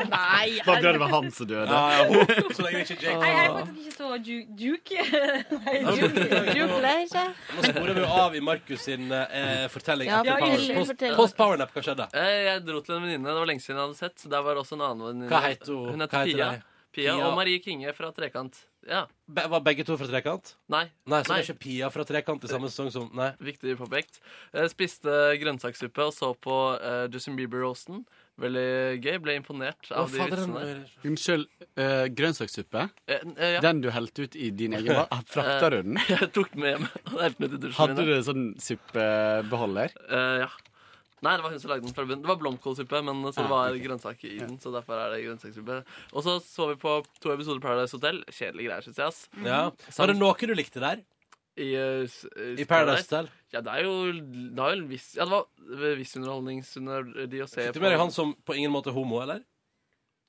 S12: Nei,
S11: Hva bra det var han som døde.
S2: Ja, ja, hun- så lenge ikke Jake
S12: Nei, jeg er faktisk ikke så ju- juke. Nei, juke.
S9: Juke Ledger.
S2: Nå sporer vi jo av i Markus sin eh, fortelling.
S9: Ja,
S2: etter
S9: fortell,
S2: power- post,
S9: fortell.
S2: post powernap, hva
S4: Jeg,
S2: skjedde?
S4: Eh, jeg dro til en venninne, det var lenge siden jeg hadde sett. Så der var også en annen venninne.
S2: Hva het hun?
S4: Hun
S2: Hva
S4: heter
S2: heter
S4: Pia.
S2: de?
S4: Pia.
S2: Pia.
S4: og Marie Kinge fra Trekant. Ja.
S2: Be var begge to fra Trekant?
S4: Nei.
S2: Nei, så
S4: Nei.
S2: det er ikke Pia fra Trekant i samme sesong som Nei.
S4: Viktig påpekt. Jeg spiste grønnsakssuppe og så på eh, Justin Bieber-roasten. Veldig gøy. Ble imponert av
S11: Å,
S4: de
S11: fader,
S4: vitsene.
S11: den- Unnskyld, eh, grønnsakssuppe?
S4: Eh, n- eh, ja.
S11: Den du helte ut i din egen bar? Frakta du den?
S4: Jeg tok den med meg. og helte den ut i dusjen
S11: Hadde
S4: min.
S11: du sånn suppebeholder?
S4: Eh, ja. Nei, det var hun som lagde den fra bunnen. Det var blomkålsuppe, men så
S11: Ah,
S4: det var
S11: ok.
S4: grønnsaker i den. Så derfor er det grønnsakssuppe. Og så så vi på to episoder Paradise Hotel. Kjedelige greier, syns jeg. ass.
S2: Mhm. Ja.
S12: Mhm.
S2: Var det noe du likte der?
S4: I, eh, s-
S2: I Paradise Hotel?
S4: Ja, det er jo Det, er jo en viss, ja, det var viss underholdningsunder de å se
S2: Fikk du med deg han som på ingen måte er homo, eller?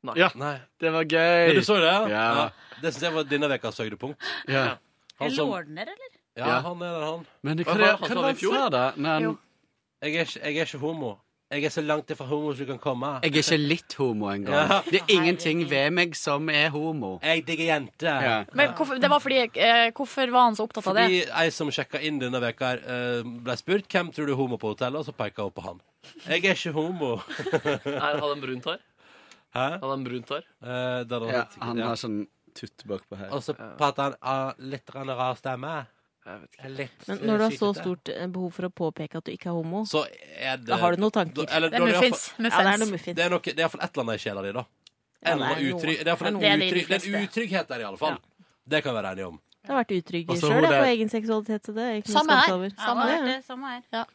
S4: Ah, Nei.
S11: Ja,
S2: Nei.
S11: det var gøy.
S2: Ja, du så det? Ja.
S11: Ja.
S2: Det syns jeg var denne ukas høydepunkt.
S11: Ja.
S2: Han som,
S12: Lordner, eller?
S2: ja,
S11: Ja.
S2: han er der, han.
S11: Men det-
S2: Hva
S11: hva er
S2: var det han
S11: det
S2: sa
S11: han
S2: i fjor?
S11: sa, da? Nei, han-
S2: Jo. Jeg er, ikke, jeg er ikke homo. Jeg er så langt ifra homo som du kan komme.
S11: Jeg er ikke litt homo
S2: Ja.
S11: engang. Det er ingenting ved meg som er homo.
S2: Jeg digger jenter.
S11: Ja.
S3: Men hvorfor, det var fordi eh, Hvorfor var han så opptatt av det?
S2: Fordi ei som sjekka inn denne veka her, eh, ble spurt hvem tror du er homo på hotellet, og så peka hun på han. Jeg er ikke homo.
S4: Nei, hadde han brunt hår?
S2: Hæ?
S4: Hadde han brunt hår?
S2: Eh, det hadde han
S11: Ja,
S2: helt sikkert,
S11: han
S2: ja.
S11: har sånn tutt bakpå her.
S2: Og så prater han ah, litt grann rar stemme.
S4: Jeg vet
S2: ikke. Litt,
S9: Men når du har så
S2: sytete.
S9: stort eh, behov for å påpeke at du ikke er homo,
S2: så er det,
S9: da har du noen tanker.
S2: Da- eller da er iallfall-
S9: Ja, det er noe muffins.
S2: Det er, noe, det er iallfall et eller annet i sjela di, da.
S9: Ja,
S2: En
S9: det er
S2: eller annen
S9: noe.
S2: utry- det er iallfall en
S9: Det er det i de
S2: utry- det er en
S9: fleste.
S2: utrygghet der, i alle fall. Det kan vi være enige om.
S9: Jeg har vært utrygg
S11: Altså, hun
S9: sjøl
S11: der-
S9: på egen seksualitet. Så det er ikke noe
S3: Samme
S9: å
S3: her.
S9: skamme over.
S3: Samme
S9: Ja,
S3: her.
S9: ja.
S12: Det er samme her.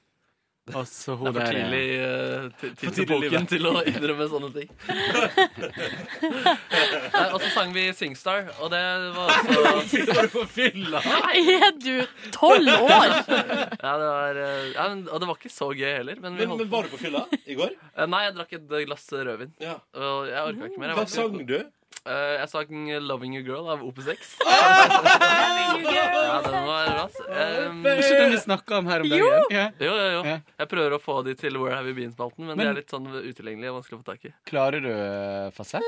S11: Og så
S4: Det
S11: hun
S4: altså, er for
S11: der ja.
S4: tidlig eh, til, til,
S11: tidlig i
S4: epoken
S11: livet.
S4: til å innrømme sånne ting. Nei, og så sang vi Singstar, og det var også
S2: Var du på fylla?
S3: Er du tolv år?
S4: Ja, det var, eh, ja, men, og det var ikke så gøy heller. Men, vi
S2: Men,
S4: holdt
S2: men var du på fylla i går?
S4: Eh, Nei, jeg drakk et glass rødvin.
S2: Ja.
S4: Og jeg orka ikke mer. jeg
S2: Hva
S4: var-
S2: sang du?
S4: Eh, jeg sang 'Loving You Girl' av Opus X.
S2: Girl.
S4: ja, den var rass. Um,
S11: Er ikke den vi snakka om her om dagen? Ja.
S4: Jo, jo, jo. Jeg prøver å få de til Where Have You Been-spalten, men, de
S11: Men-
S4: er litt sånn utilgjengelige og vanskelig å få tak i.
S11: Klarer du eh, fasett?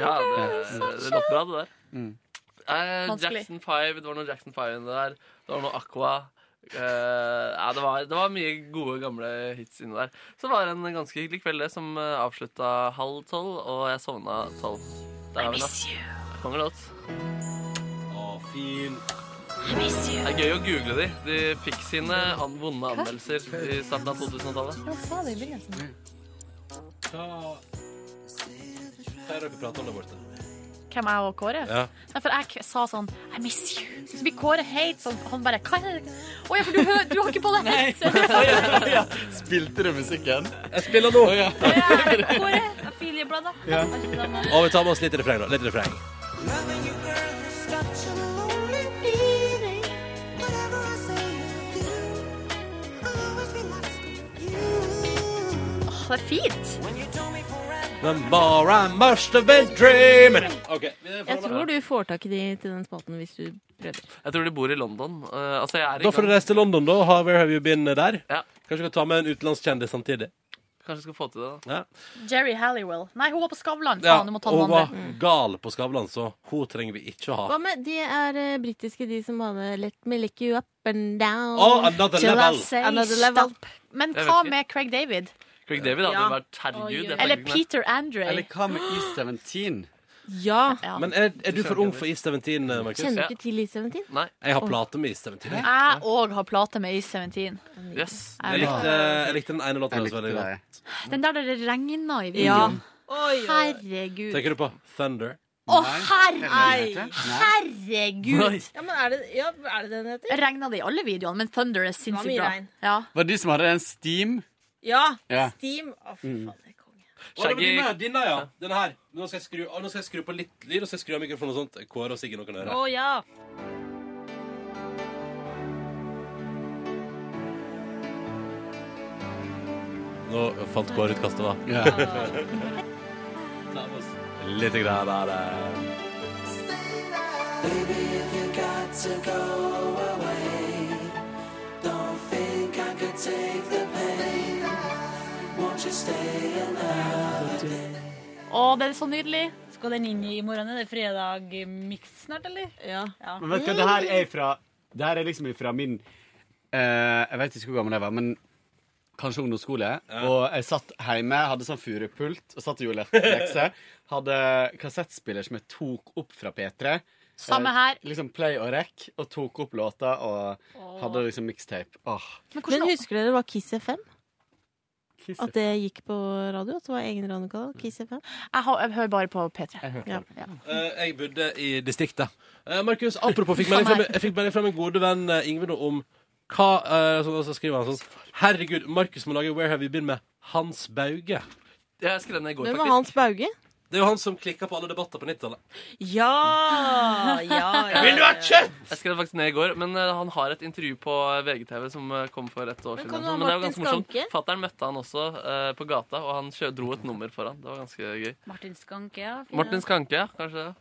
S4: Ja, det, det låter bra, det der.
S11: Mm.
S4: Eh,
S3: Vanskelig.
S4: Jackson 5, det var noe Jackson 5 inni der. Det var noe Aqua. Eh, ja, det, var, det var mye gode, gamle hits inni der. Så det var en ganske hyggelig kveld det, som eh, avslutta halv tolv, og jeg sovna tolv. Der har vi
S2: miss
S4: det. Kongelåt.
S2: Å, fin.
S4: Det er gøy å google de. De fikk sine an vonde anmeldelser i starten av 2000-tallet.
S3: Hva sa det i begynnelsen?
S2: Hva Hva er det dere prater om der borte?
S3: Hvem er og Kåre?
S2: Ja.
S3: Nei, for jeg k- sa sånn I miss you. Så blir Kåre heit sånn. Han bare Hva er det? Å ja, for du, hø- du har ikke på deg headset.
S11: Spilte du musikken?
S2: Jeg spiller nå.
S12: Affiliate-bladet.
S11: Ja.
S2: Og vi tar med oss litt refreng, da. Litt refreng.
S3: Åh, det er fint.
S2: The more I must have been dreaming ok. Vi får
S9: Jeg
S2: holde-
S9: tror du får tak i de til den spalten hvis du prøver.
S4: Jeg tror de bor i London. Eh, altså, jeg er i
S2: Da får du
S4: gang.
S2: reise til London, da. og Ha Where Have You Been eh, der.
S4: Ja.
S2: Kanskje du kan ta med en utenlandskjendis samtidig.
S4: Kanskje jeg skal få til det,
S2: da.
S3: Jerry Halliwell. Nei, hun var på Skavlan.
S2: Ja,
S3: Faen, du må ta
S2: og
S3: den
S2: hun var
S3: andre. Mm.
S2: gal på Skavlan, så hun trenger vi ikke å
S9: Hva
S2: ha.
S9: med De er eh, britiske, de som har med Let me lick you up and down.
S2: Oh, another
S9: till I
S2: level.
S9: say
S3: Another
S9: stop.
S3: Men
S11: Jeg
S3: hva
S11: vet ikke.
S3: med Craig David?
S4: Craig David hadde
S3: Ja.
S4: vært herregud. jeg
S3: Eller
S4: tenker meg.
S3: Peter Andre.
S11: Eller hva med E E17?
S9: Ja.
S2: Men er, er du for ung for E17, Markus?
S9: Kjenner du ikke til E17?
S4: Nei.
S2: Jeg har plate med E17. jeg.
S3: Jeg òg har plate med E17.
S2: Jeg likte, jeg likte den ene låten hennes veldig godt.
S3: Den der der det regna i
S2: Ja.
S3: videoen. Herregud.
S2: Tenker du på Thunder?
S3: Å,
S2: Nei.
S3: herre,
S2: Nei.
S3: herregud!
S9: Ja, men er det, ja, er det den heter?
S3: Regna det i alle videoene, men Thunder er sinnssykt
S9: mye
S3: bra.
S9: regn.
S3: Ja.
S11: Var det du som hadde den steam?
S9: Ja.
S11: Ja.
S9: Steam. Å, fy
S11: Mm.
S2: Å, det var
S4: Shaggy-
S2: denne, denne, ja. Denne her. Nå skal jeg skru, å, nå skal jeg skru på litt lyd, og så skal jeg skru av mikrofonen og sånt. Kåre og Sigge nå kan høre.
S9: Å, ja.
S2: Nå fant Kåre ut hva det var.
S11: Ja.
S2: Litt grann av det.
S3: Å, det er så nydelig.
S12: Skal den inn i morgen? Er det fredag-miks snart, eller?
S9: Ja.
S11: Men vet du hva, det her er fra Det her er liksom fra min eh, Jeg vet ikke hvor gammel jeg var, men kanskje ungdomsskole. Og jeg satt hjemme, hadde sånn furupult og satt og gjorde le- lekser. Hadde kassettspiller som jeg tok opp fra P3.
S3: Samme
S11: Eh,
S3: her.
S11: Liksom play og rekk, og tok opp låter og hadde liksom mixtape. Åh.
S9: Men, husker dere hva Kiss FM? At det gikk på radio? At det var egen radiokanal? Kiss FM?
S3: Jeg, har, jeg hører bare på P3.
S9: Ja.
S2: Eh, jeg bodde i distriktet. Eh, Markus, apropos, fikk melding fra, min- jeg fikk melding fra min gode venn eh, Yngve nå om hva eh, så, så skriver han sånn Herregud, Markus må lage Where Have You Been med Hans Bauge.
S4: Jeg skrev den ned i går,
S9: Hvem
S4: faktisk.
S9: var Hans Bauge?
S2: Det er jo han som klikka på alle debatter på 90-tallet.
S9: Ah, Ja!
S2: Vil du ha kjøtt?!
S4: Jeg skrev det faktisk ned i går, men eh, han har et intervju på VGTV som eh, kom for et år
S9: Men
S4: siden.
S9: kom
S4: eller
S9: det
S4: noe sånt, Men det var
S9: Martin
S4: ganske morsomt.
S9: Skanke?
S4: Fatteren møtte han også eh, på gata, og han kjø dro et nummer for han. Det var ganske gøy.
S12: Martin Skanke, ja.
S4: Martin Skanke, ja, kanskje det.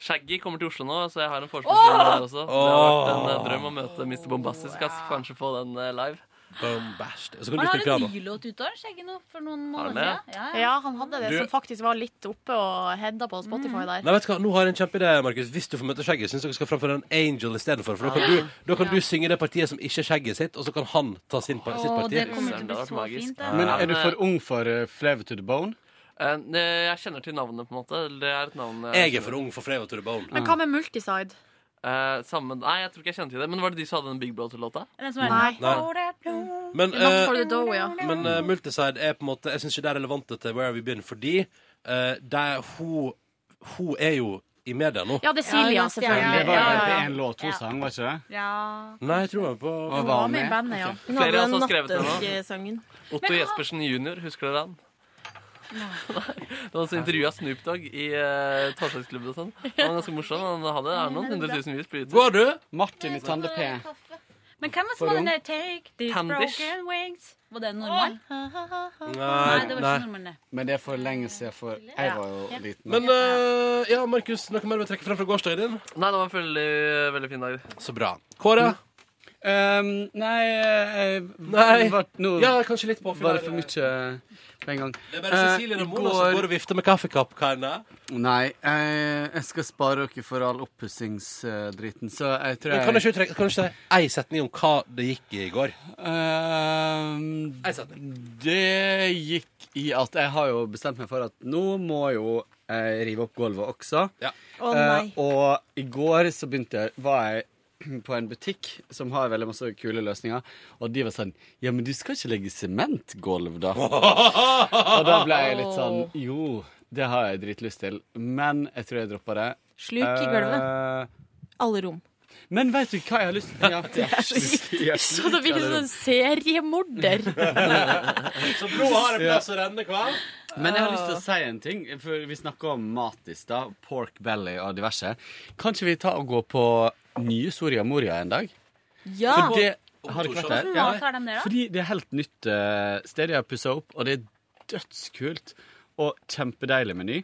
S4: Shaggy kommer til Oslo nå, så jeg har en forespørsel
S12: Åh!
S4: der også. Det har vært en eh, drøm å møte Mr. Bombastisk. Jeg skal kanskje få den eh, live.
S2: Bombastisk.
S12: Han hadde en ny låt ute av skjegget nå for noen
S4: Har han
S12: måneder
S4: det?
S12: siden. Ja, ja.
S3: Ja, han hadde det,
S2: Du-
S3: som faktisk var litt oppe og heada på
S9: Mm.
S3: Spotify der.
S2: Nei, vet du hva, Nå har jeg en kjempeidé, Markus. Hvis du får møte Shaggy, syns dere skal framføre en Angel istedenfor. For da kan, du, da kan du synge det partiet som ikke er Shaggy sitt, og så kan han ta sin, par- sitt parti.
S11: Men er du for ung for eh, Flavor to the Bone?
S4: Eh, ne, Jeg kjenner til navnet, på en måte. Det er et navn
S2: Jeg er for ung for Flavor to the Bone.
S3: Men hva med Multiside?
S4: Eh, samme, nei, jeg tror ikke jeg kjenner til det. Men var det de som hadde den Big Brother-låta?
S12: Den som
S3: Nei.
S2: Men,
S3: Not
S2: eh,
S3: for the dough, ja.
S2: men eh, Multiside er på en måte Jeg syns ikke det er relevant til Where Have You Been, fordi eh, der, hun, hun er jo i media nå.
S3: Ja, det er Silja, Ja,
S11: Det var
S3: selvfølgelig.
S11: jo bare
S3: Ja, ja.
S11: én låt hun sang, var ikke det?
S2: Nei, jeg tror hun var på altså.
S11: Hun var med i bandet,
S9: ja.
S2: Ok.
S9: Hun hadde
S4: Flere har
S9: den
S4: også skrevet den nå.
S9: nattesangen.
S4: Otto Jespersen jr., husker dere han? Det var intervjua Snoop Dogg i uh, Torsdagsklubben og sånn. Han var ganske morsom. Han hadde er noen hundretusenvis på YouTube.
S2: Går du?
S11: Martin i Tande P.
S12: Men hvem var det som
S4: For
S12: hadde
S4: ung.
S12: den der Take these
S11: Tandish.
S12: broken wings? Var det en nordmann?
S11: Nei,
S12: det
S11: nei.
S12: var ikke nordmann, det.
S11: Men det er for lenge siden, for jeg var jo liten.
S2: Men eh, ja, Markus, noe mer du vil trekke fram fra gårsdagen din?
S4: Nei, det var en veldig, veldig fin dag.
S2: Så bra. Kåre?
S11: Um, Mm. nei eh,
S2: Nei.
S11: Var, nå,
S2: Ja, kanskje litt påfyll
S11: Var
S2: her,
S11: det for mye eh, på en gang? Eh,
S2: Det er bare Cecilie og Mona som går og vifter med kaffekoppkarene.
S11: Nei, eh, jeg skal spare dere for all oppussingsdriten, så jeg tror
S2: Men
S11: jeg
S2: Kan du ikke trekke- kan du ikke si ei setning om hva det gikk i i går?
S11: Ehm, det gikk i at jeg har jo bestemt meg for at nå må jo jeg rive opp gulvet også.
S9: Å, nei.
S11: Eh, og i går så begynte jeg var jeg på en butikk som har veldig masse kule løsninger, og de var sånn Ja, men du skal ikke legge sementgulv, da? og da ble jeg litt sånn Jo, det har jeg dritlyst til, men jeg tror jeg dropper det. Eh,
S9: Sluk i gulvet. Alle rom.
S11: Men veit du hva jeg har lyst til? Ja, det er så
S3: Så det blir sånn seriemorder.
S2: Så nå har det plass å renne, hva?
S11: Men jeg har lyst til å si en ting. For vi snakka om mat i stad. Pork belly og diverse. Kan ikke vi ta og gå på nye Soria Moria en dag?
S9: Ja.
S11: For det har ikke vært der.
S12: Hvordan mat har de der, da?
S11: Fordi det er helt nytt eh, sted jeg har pussa opp, og det er dødskult. Og kjempedeilig meny.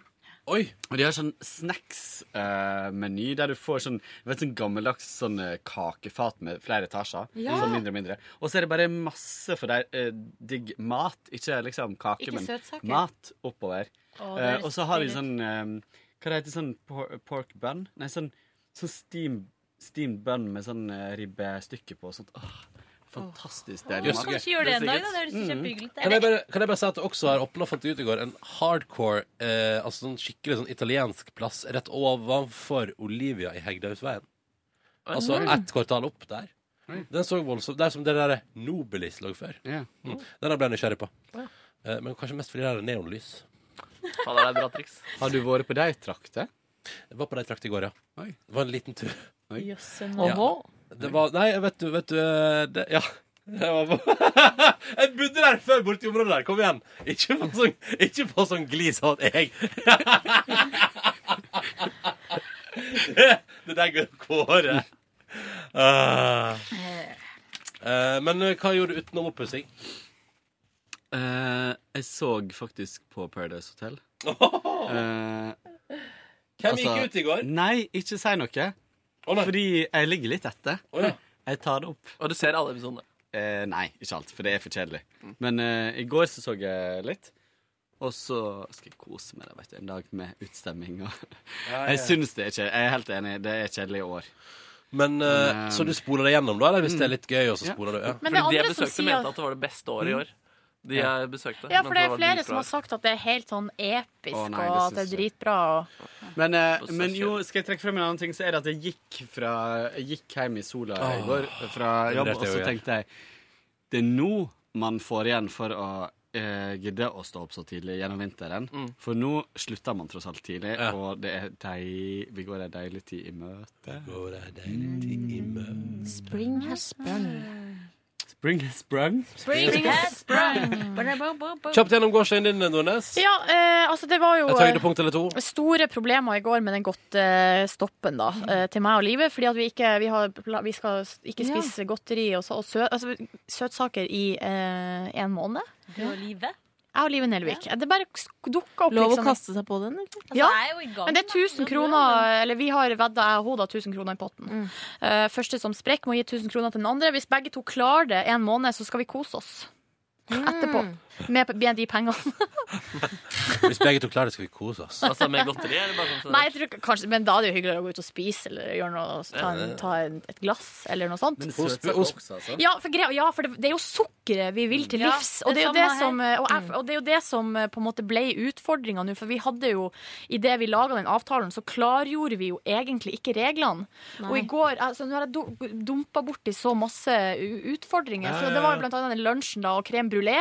S11: Og de har sånn snacks-meny der du får sånn, du vet, sånn gammeldags sånn eh, kakefat med flere etasjer.
S13: Ja.
S11: Sånn mindre og mindre. Og så er det bare masse for deg eh, digg mat. Ikke liksom kake,
S13: Ikke
S11: men
S13: søtsaker.
S11: mat oppover.
S13: Å, det
S11: Eh,
S13: høres
S11: og så har de
S13: digg ut.
S11: sånn eh, Hva det heter sånn por pork bun? Nei, sånn, sånn steam, steamed bun med sånn eh, ribbestykke på og sånt. Åh, fantastisk deilig
S2: Jøss,
S11: mat.
S2: gøy. Kan jeg,
S11: Mm.
S2: bare, kan jeg bare si at det også har åpna, fant jeg ut i går, en hardcore, eh, altså sånn skikkelig sånn italiensk plass rett ovenfor Olivia i Hegdehaugsveien. Altså
S13: Mm.
S2: ett kvartal opp der. Den så voldsomt Der som det der Nobelis lå før.
S11: Ja.
S2: Mm. Den der ble jeg nysgjerrig på.
S13: Ja.
S2: Eh, men kanskje mest fordi det er neonlys.
S4: Fader, det er et bra triks.
S11: Har du vært på de trakter?
S2: Jeg var på de trakter i går, ja. Det var en liten tur.
S13: Jøsse
S2: Ja.
S13: navn.
S2: Det var Nei, vet du, vet du eh, det, Ja. Jeg, var på. jeg bodde der før, borti området der. Kom igjen. Ikke få sånn, ikke få sånn glis av at jeg det, det der går kåre. Ah. Eh, men eh, hva gjorde du utenom oppussing?
S11: Eh, jeg så faktisk på Paradise Hotel. Eh,
S2: Hvem gikk ut i går?
S11: Nei, ikke si noe. Fordi jeg ligger litt etter. Jeg tar det opp.
S4: Og du ser alle episodene?
S11: Eh, nei, ikke alt, for det er for kjedelig. Men eh, i går så så jeg litt. Og så skal jeg kose meg da, vet du, en dag med utstemming. Og
S2: Ja, ja.
S11: Jeg syns det er kjedelig. Jeg er helt enig, det er kjedelig i år.
S2: Men, eh, så du spoler det gjennom, da? Eller hvis det er litt gøy, og så spoler du? Ja.
S3: Men det er
S4: Fordi de jeg
S3: andre som
S4: besøkte,
S3: sier-
S4: mente at det var det beste året i
S11: Mm.
S4: år. De
S2: Ja.
S4: jeg besøkte.
S3: Ja, for
S4: mente
S3: det er
S4: var
S3: flere
S4: dritbra
S3: som har
S4: år.
S3: sagt at det er helt sånn episk,
S11: Å, nei, det
S3: og at det er
S11: synes
S3: dritbra. Og...
S11: Men, eh, men jo, skal jeg trekke frem en annen ting, så er det at jeg gikk, fra, jeg gikk hjem i sola i
S2: Åh,
S11: går fra
S2: det
S11: jobb,
S2: vurderte
S11: og
S2: jeg
S11: så
S2: å gjøre.
S11: tenkte jeg det er nå man får igjen for å eh, gidde å stå opp så tidlig gjennom vinteren.
S13: Mm.
S11: For nå slutter man tross alt tidlig, og det er deil, vi går ei deilig tid i møte. Mm.
S3: Spring has sprung.
S11: Spring has sprung.
S3: Spring has sprung.
S2: Kjapt gjennom gårsdagen din, Nordnes.
S3: Ja, eh, altså det var jo
S2: Et høydepunkt eller to?
S3: Store problemer i går med den godtestoppen da,
S9: Mm.
S3: eh, til meg og livet. Fordi at vi, ikke, vi, har, pla- vi skal s- ikke
S9: Ja.
S3: spise godteri og, så- og sø, altså, søtsaker i eh, en måned.
S9: Du og livet.
S3: Jeg og Live Nelvik. Det bare dukka opp.
S9: Lov å
S3: liksom.
S9: kaste seg på den, eller?
S3: Ja, men det Altså, er 1000 kroner Eller vi har vedda jeg og hun da 1000 kroner i potten. Eh, første som sprekker, må gi 1000 kroner til den andre. Hvis begge to klarer det en måned, så skal vi kose oss etterpå med, med de pengene.
S2: Hvis begge to klarer det, skal vi kose oss.
S4: Altså med godteri, eller bare sånn?
S3: Nei, jeg tror ikke- kanskje, men da er det jo hyggeligere å gå ut og spise eller gjøre noe, ta, en, ta en, et glass eller noe sånt.
S11: Men søtsaker også, altså?
S3: Ja, for, greia, ja, for det, det er jo sukkeret vi vil til
S9: Ja,
S3: livs. Og det,
S9: det
S3: er jo det
S9: samme her.
S3: som, og, jeg, og det er jo det som eh, på en måte ble utfordringa nå. For vi hadde jo, idet vi laga den avtalen, så klargjorde vi jo egentlig ikke reglene.
S9: Nei.
S3: Og i går altså, Nå har jeg dumpa borti så masse u- utfordringer.
S9: Ja,
S3: Så
S9: ja,
S3: det var
S9: ja.
S3: jo blant annet den lunsjen da, og crème brulé.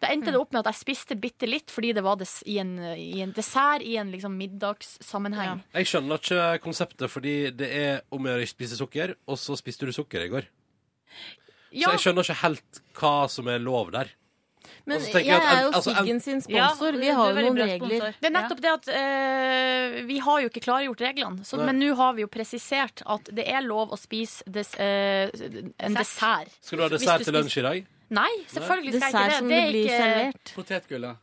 S3: Da endte det opp med at jeg spiste bitte litt fordi det var des, i, en, i en dessert i en liksom middagssammenheng.
S2: Jeg skjønner ikke konseptet, fordi det er om å gjøre å ikke spise sukker, og så spiste du sukker i går.
S9: Ja.
S2: Så jeg skjønner ikke helt hva som er lov der.
S9: Men
S2: Og så
S9: jeg,
S2: tenker jeg at en-
S9: er jo
S2: altså, en-
S9: Siggen sin sponsor. vi har jo noen regler.
S3: Det er nettopp det at eh, vi har jo ikke klargjort reglene. Så,
S2: Nei.
S3: men nå har vi jo presisert at det er lov å spise des, eh, en dessert.
S2: Skal du ha
S3: Hvis
S2: dessert til
S3: spiser-
S2: lunsj i dag?
S3: Nei, selvfølgelig skal
S9: Dessert
S3: jeg
S9: som
S3: ikke det. Det
S9: det
S3: er,
S9: blir
S3: ikke,
S9: servert.
S11: Potetgull, da.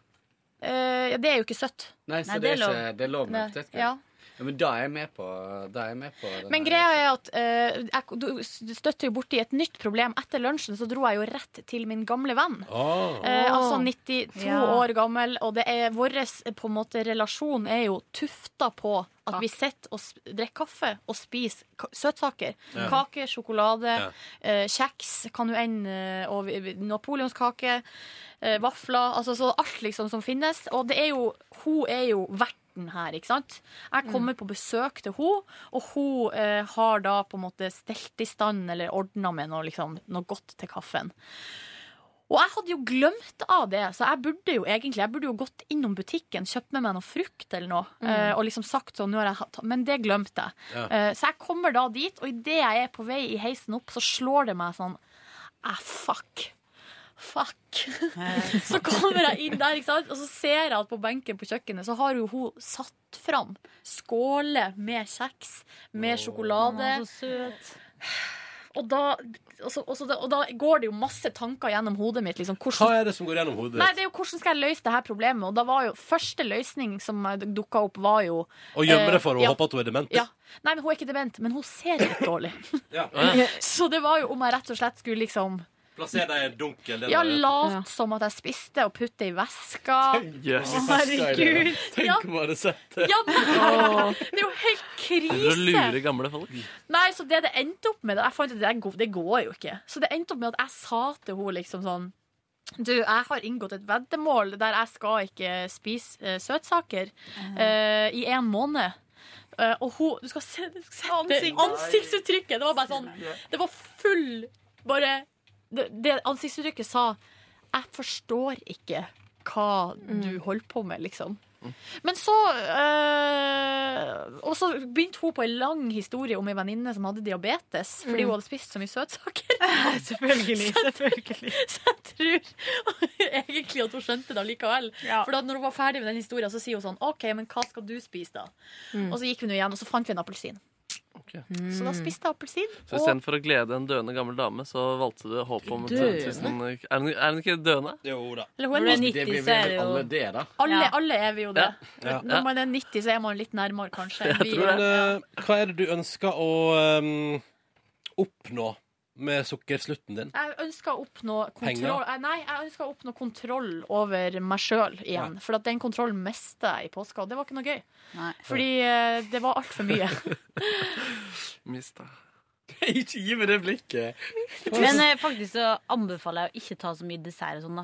S3: eh, ja, det er jo ikke søtt.
S11: Nei, så det, er ikke, det er lov med
S3: Nei,
S11: potetgull.
S3: Ja.
S11: Ja, men da er jeg med på, da er jeg med på den her.
S3: Men greia er at eh, jeg du støtter jo borti et nytt problem. Etter lunsjen så dro jeg jo rett til min gamle venn.
S2: Åh.
S3: Eh, altså 92
S9: Ja.
S3: år gammel, og det er vår eh, på en måte, relasjon er jo tufta på at vi sitter og s- drikker kaffe og spiser ka søtsaker.
S9: Ja.
S3: Kake, sjokolade,
S9: Ja.
S3: eh, kjeks, kan jo ende eh, og vi- vi- napoleonskake, eh, vafler Altså så alt liksom som finnes. Og det er jo Hun er jo verten her, ikke sant? Jeg kommer på besøk til hun, og hun eh, har da på en måte stelt i stand eller ordna med noe, liksom, noe godt til kaffen. Og jeg hadde jo glemt av det, så jeg burde jo egentlig Jeg burde jo gått innom butikken, kjøpt med meg noe frukt eller noe,
S9: Mm.
S3: eh, og liksom sagt sånn nå har jeg hatt, Men det glemte jeg.
S9: Ja.
S3: Eh, Så jeg kommer da dit, og idet jeg er på vei i heisen opp, så slår det meg sånn Ah, fuck. Fuck. så kommer jeg inn der, ikke sant? og så ser jeg at på benken på kjøkkenet så har jo hun satt fram skåler med kjeks, med sjokolade.
S9: Å, så søt.
S3: Og da, og så- og så da, og da går det jo masse tanker gjennom hodet mitt. Liksom, hvordan,
S2: Hva er det som går gjennom hodet?
S3: Nei, det er jo hvordan skal jeg løse det her problemet? Og da var jo første løsning som dukka opp, var jo
S2: Å gjemme
S3: eh,
S2: det for å
S3: ja.
S2: håpe at hun er dement?
S3: Ja. Nei, men hun er ikke dement, men hun ser litt dårlig.
S2: Ja.
S3: Så det var jo om jeg rett og slett skulle liksom
S2: Plasser deg i en dunkel del
S3: ja,
S2: av leiligheten.
S3: late som at jeg spiste, og putte i veska.
S2: Yes.
S3: Å, Herregud. Ja,
S11: Tenk om jeg hadde sett det.
S3: ja, men- det er jo helt
S4: Du lurer
S3: krise.
S4: gamle folk.
S3: Nei, så det det endte opp med Jeg fant ut at det, går- det går jo ikke. Så det endte opp med at jeg sa til henne liksom sånn du, jeg har inngått et veddemål der jeg skal ikke spise eh, søtsaker eh, i en måned. Eh, og hun Du skal se, du skal se det,
S14: Ansikt.
S3: ansiktsuttrykket! Det var bare sånn Det var full Bare Det, det ansiktsuttrykket sa Jeg forstår ikke hva
S14: Mm.
S3: du holder på med, liksom. Men så øh, Og så begynte hun på en lang historie om ei venninne som hadde diabetes fordi
S14: Mm.
S3: hun hadde spist så mye søtsaker.
S14: Selvfølgelig. selvfølgelig.
S3: Egentlig at hun skjønte det likevel. For da når hun var ferdig med den historien, så sier hun sånn OK, men hva skal du spise, da?
S4: Mm.
S3: Og så gikk vi nå igjen, og så fant vi en appelsin.
S14: Mm.
S3: Så da spiste jeg appelsin.
S4: Så istedenfor å glede en døende gammel dame, så valgte du håpet om
S3: Døende?
S4: 1000 Er hun er hun ikke døende?
S2: Jo da.
S3: Eller hun er Når du er 90,
S11: Det blir
S3: så er
S11: vel
S3: det jo-
S11: alle det, da.
S3: Alle, alle er vi jo det.
S2: Ja. Ja.
S3: Når man er 90, så er man litt nærmere, kanskje. enn vi er.
S2: Men eh, hva er det du ønsker å ehm, oppnå med sukkerslutten din?
S3: Jeg ønsker å oppnå kontroll
S2: Penger?
S3: eh, Nei, jeg ønsker å oppnå kontroll over meg sjøl igjen. For at den kontrollen mista jeg i påska, og det var ikke noe gøy. Fordi eh, det var altfor mye.
S4: Mista.
S11: Ikke gi meg det blikket.
S12: Men eh, faktisk så anbefaler jeg å ikke ta så mye dessert og sånn, da.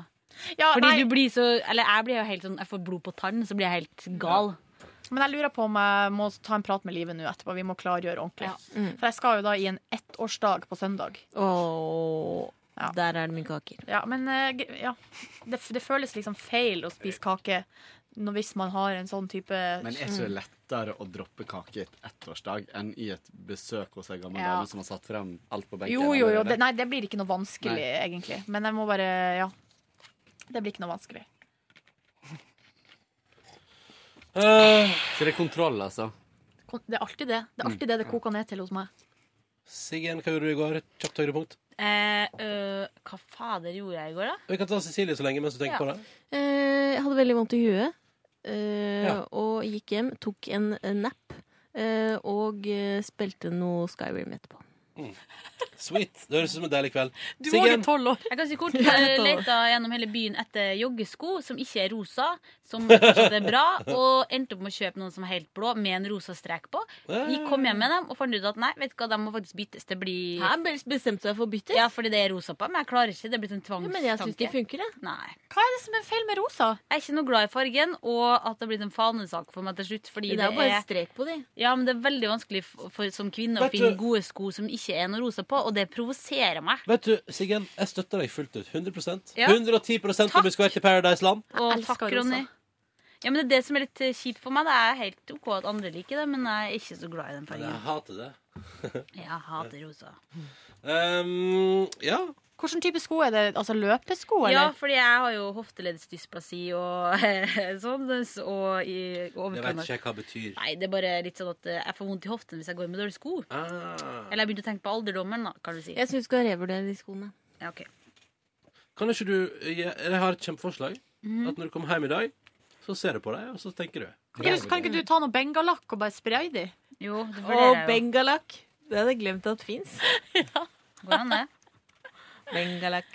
S3: Ja,
S12: Fordi
S3: nei.
S12: du blir så Eller jeg blir jo helt sånn Jeg får blod på tann, så blir jeg helt gal.
S3: Men jeg lurer på om jeg må ta en prat med livet nå etterpå. Vi må klargjøre ordentlig.
S11: Mm.
S3: For jeg skal jo da i en ettårsdag på søndag.
S12: Der er det mye kaker.
S3: Ja, men eh, gre- ja. Det, f- det føles liksom feil å spise kake når, hvis man har en sånn type
S11: Men er ikke det lettere å droppe kake i et ettårsdag enn i et besøk hos ei gammel
S3: Ja.
S11: dame som har satt frem alt på benken?
S3: Jo, jo, jo.
S11: allerede?
S3: Det, nei, det blir ikke noe vanskelig,
S11: Nei.
S3: egentlig. Men jeg må bare Ja. Det blir ikke noe vanskelig.
S2: Ah.
S11: Så det er kontroll, altså?
S3: Kon- Det er alltid det. Det er
S11: Mm.
S3: alltid det det koker ned til hos meg.
S2: Siggen, hva gjorde du i går? Kjapt høydepunkt.
S12: Eh, øh, hva fader gjorde jeg i går, da?
S2: Vi kan ta Cecilie så lenge mens du tenker
S12: Ja.
S2: på det.
S12: Eh,
S9: Jeg hadde veldig vondt i huet eh,
S2: Ja.
S9: og gikk hjem, tok en eh, nap eh, og eh, spilte noe Skyrim etterpå.
S2: Sweet. Det høres ut som en deilig kveld.
S3: tolv år.
S12: Jeg kan si kort.
S9: Jeg er
S12: eh,
S9: tolv år.
S12: Leta gjennom hele byen etter joggesko som ikke er rosa, som fortsatt er bra, og endte opp med å kjøpe noen som er helt blå, med en rosa strek på. Vi kom hjem med dem og fant ut at nei, vet du hva, de må faktisk byttes. Det blir
S9: Hæ? Bestemte du deg for å bytte?
S12: Ja, fordi det er rosa på dem. Jeg klarer ikke. Det er blitt en tvangstanke.
S9: men jeg synes det funker,
S12: det. Nei.
S3: Hva er det som er feil med rosa?
S12: Jeg er ikke noe glad i fargen, og at det er blitt en fanesak for meg til slutt. Fordi
S9: Det er jo bare strek på de.
S12: Ja, men det er veldig vanskelig for, for, som kvinne å
S2: Vet du-
S12: finne gode sko som ikke er noe rosa på, og det provoserer meg.
S2: Vet du, Siggen, jeg støtter deg fullt ut. 100
S12: Ja.
S2: 110 når vi skal til Paradise Land.
S12: Og
S3: elsker
S12: takk,
S3: rosa.
S12: Ronny. Ja, men Det er det som er litt eh, kjipt for meg. Det er helt OK at andre liker det, men jeg er ikke så glad i den
S2: Men jeg
S12: fargen.
S2: hater det.
S12: Jeg hater rosa.
S2: Um, ja.
S3: Hvilken type sko er det? Altså løpesko,
S12: Ja,
S3: eller?
S12: fordi jeg har jo hofteleddsdysplasi og sånn. Og i
S2: Det vet
S12: overkant.
S2: ikke jeg hva det betyr.
S12: Nei, det er bare litt sånn at eh, jeg får vondt i hoften hvis jeg går med dårlige sko.
S2: Ah.
S12: Eller jeg begynte å tenke på alderdommen, da, kan du si.
S9: Jeg syns du skal revurdere de skoene.
S12: Ja, ok.
S2: Kan ikke du Jeg, jeg har et kjempeforslag.
S3: Mhm.
S2: At når du kommer hjem i dag, så ser du på deg, og så tenker du.
S3: Ja, så kan ikke du ta noe bengalakk og bare spraye de?
S12: Jo, det
S9: Og bengalakk. Det hadde jeg glemt at fins.
S12: Hvordan det?
S9: Bengalakk.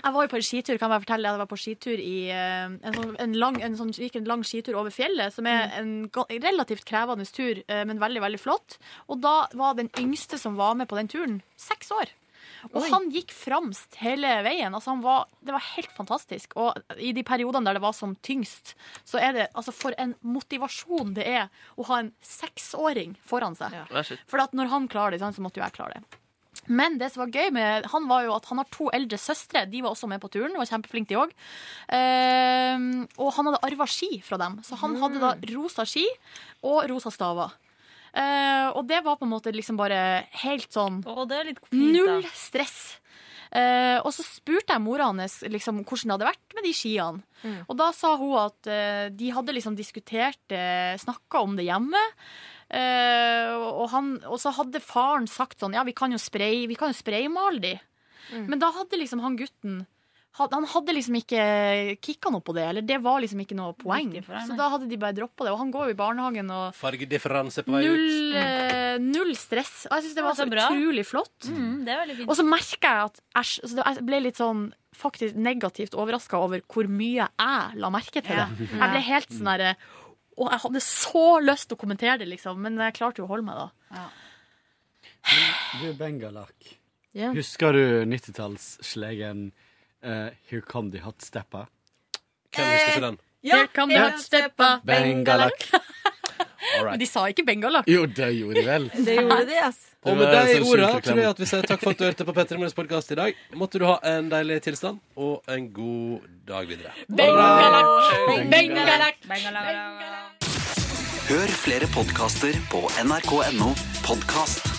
S3: Jeg var jo på en skitur, kan jeg bare fortelle deg. Jeg var på skitur i eh, en sånn, en lang, en sånn, gikk en lang skitur over fjellet, som er en ga- relativt krevende tur, eh, men veldig, veldig flott. Og da var den yngste som var med på den turen, seks år. Og han gikk framst hele veien. Altså han var, det var helt fantastisk. Og i de periodene der det var som tyngst, så er det altså for en motivasjon det er å ha en seksåring foran seg.
S4: Vær så snill.
S3: For at når han klarer det, sant, så måtte jo jeg klare det. Men det som var gøy med han, var jo at han har to eldre søstre. De var også med på turen. var kjempeflinke de også. Ehm, og han hadde arva ski fra dem. Så han hadde da rosa ski og rosa staver. Eh, og det var på en måte liksom bare helt sånn Null stress. Eh, og så spurte jeg mora hans liksom, hvordan det hadde vært med de skiene. eh, Og da sa hun at eh, de hadde liksom diskutert, uh, snakka om det hjemme. Eh, og, han, og så hadde faren sagt sånn Ja, vi kan jo spray, vi kan jo spraymale de.
S13: Mm.
S3: Men da hadde liksom han gutten had- han hadde liksom ikke kicka noe på det, eller det var liksom ikke noe poeng. Så da hadde de bare droppa det. Og han går jo i barnehagen og
S2: Fargedifferanse på vei ut.
S3: Null, eh, null stress. Og jeg syns det var
S13: Ja,
S3: så,
S13: så bra.
S3: utrolig flott.
S13: Mm, det er veldig fint.
S3: Og så merker jeg at æsj, så det- jeg ble litt sånn faktisk negativt overraska over hvor mye jeg la merke til det.
S13: Ja.
S3: Jeg ble helt sånn derre Og jeg hadde så lyst til å kommentere det, liksom, men jeg klarte jo å holde meg da.
S11: Du, Bengalak.
S3: Ja.
S11: Husker du 90-tallsslegen eh, 'Here come the hot stepper'?
S2: Hvem husker ikke den?
S3: Ja, Here come the
S11: ja.
S3: hot stepper,
S11: Bengalak. All
S3: Men
S11: right.
S3: de sa ikke bengalakk.
S11: Jo, det gjorde de vel.
S3: Det gjorde de, ass.
S2: Og med de
S11: Det var sånn
S2: orda
S11: sannsynlig
S2: tror jeg at vi sier takk for at du hørte på Petter Morgens podkast i dag. Måtte du ha en deilig tilstand, og en god dag videre.
S15: Hør flere podkaster på nrk.no podkast.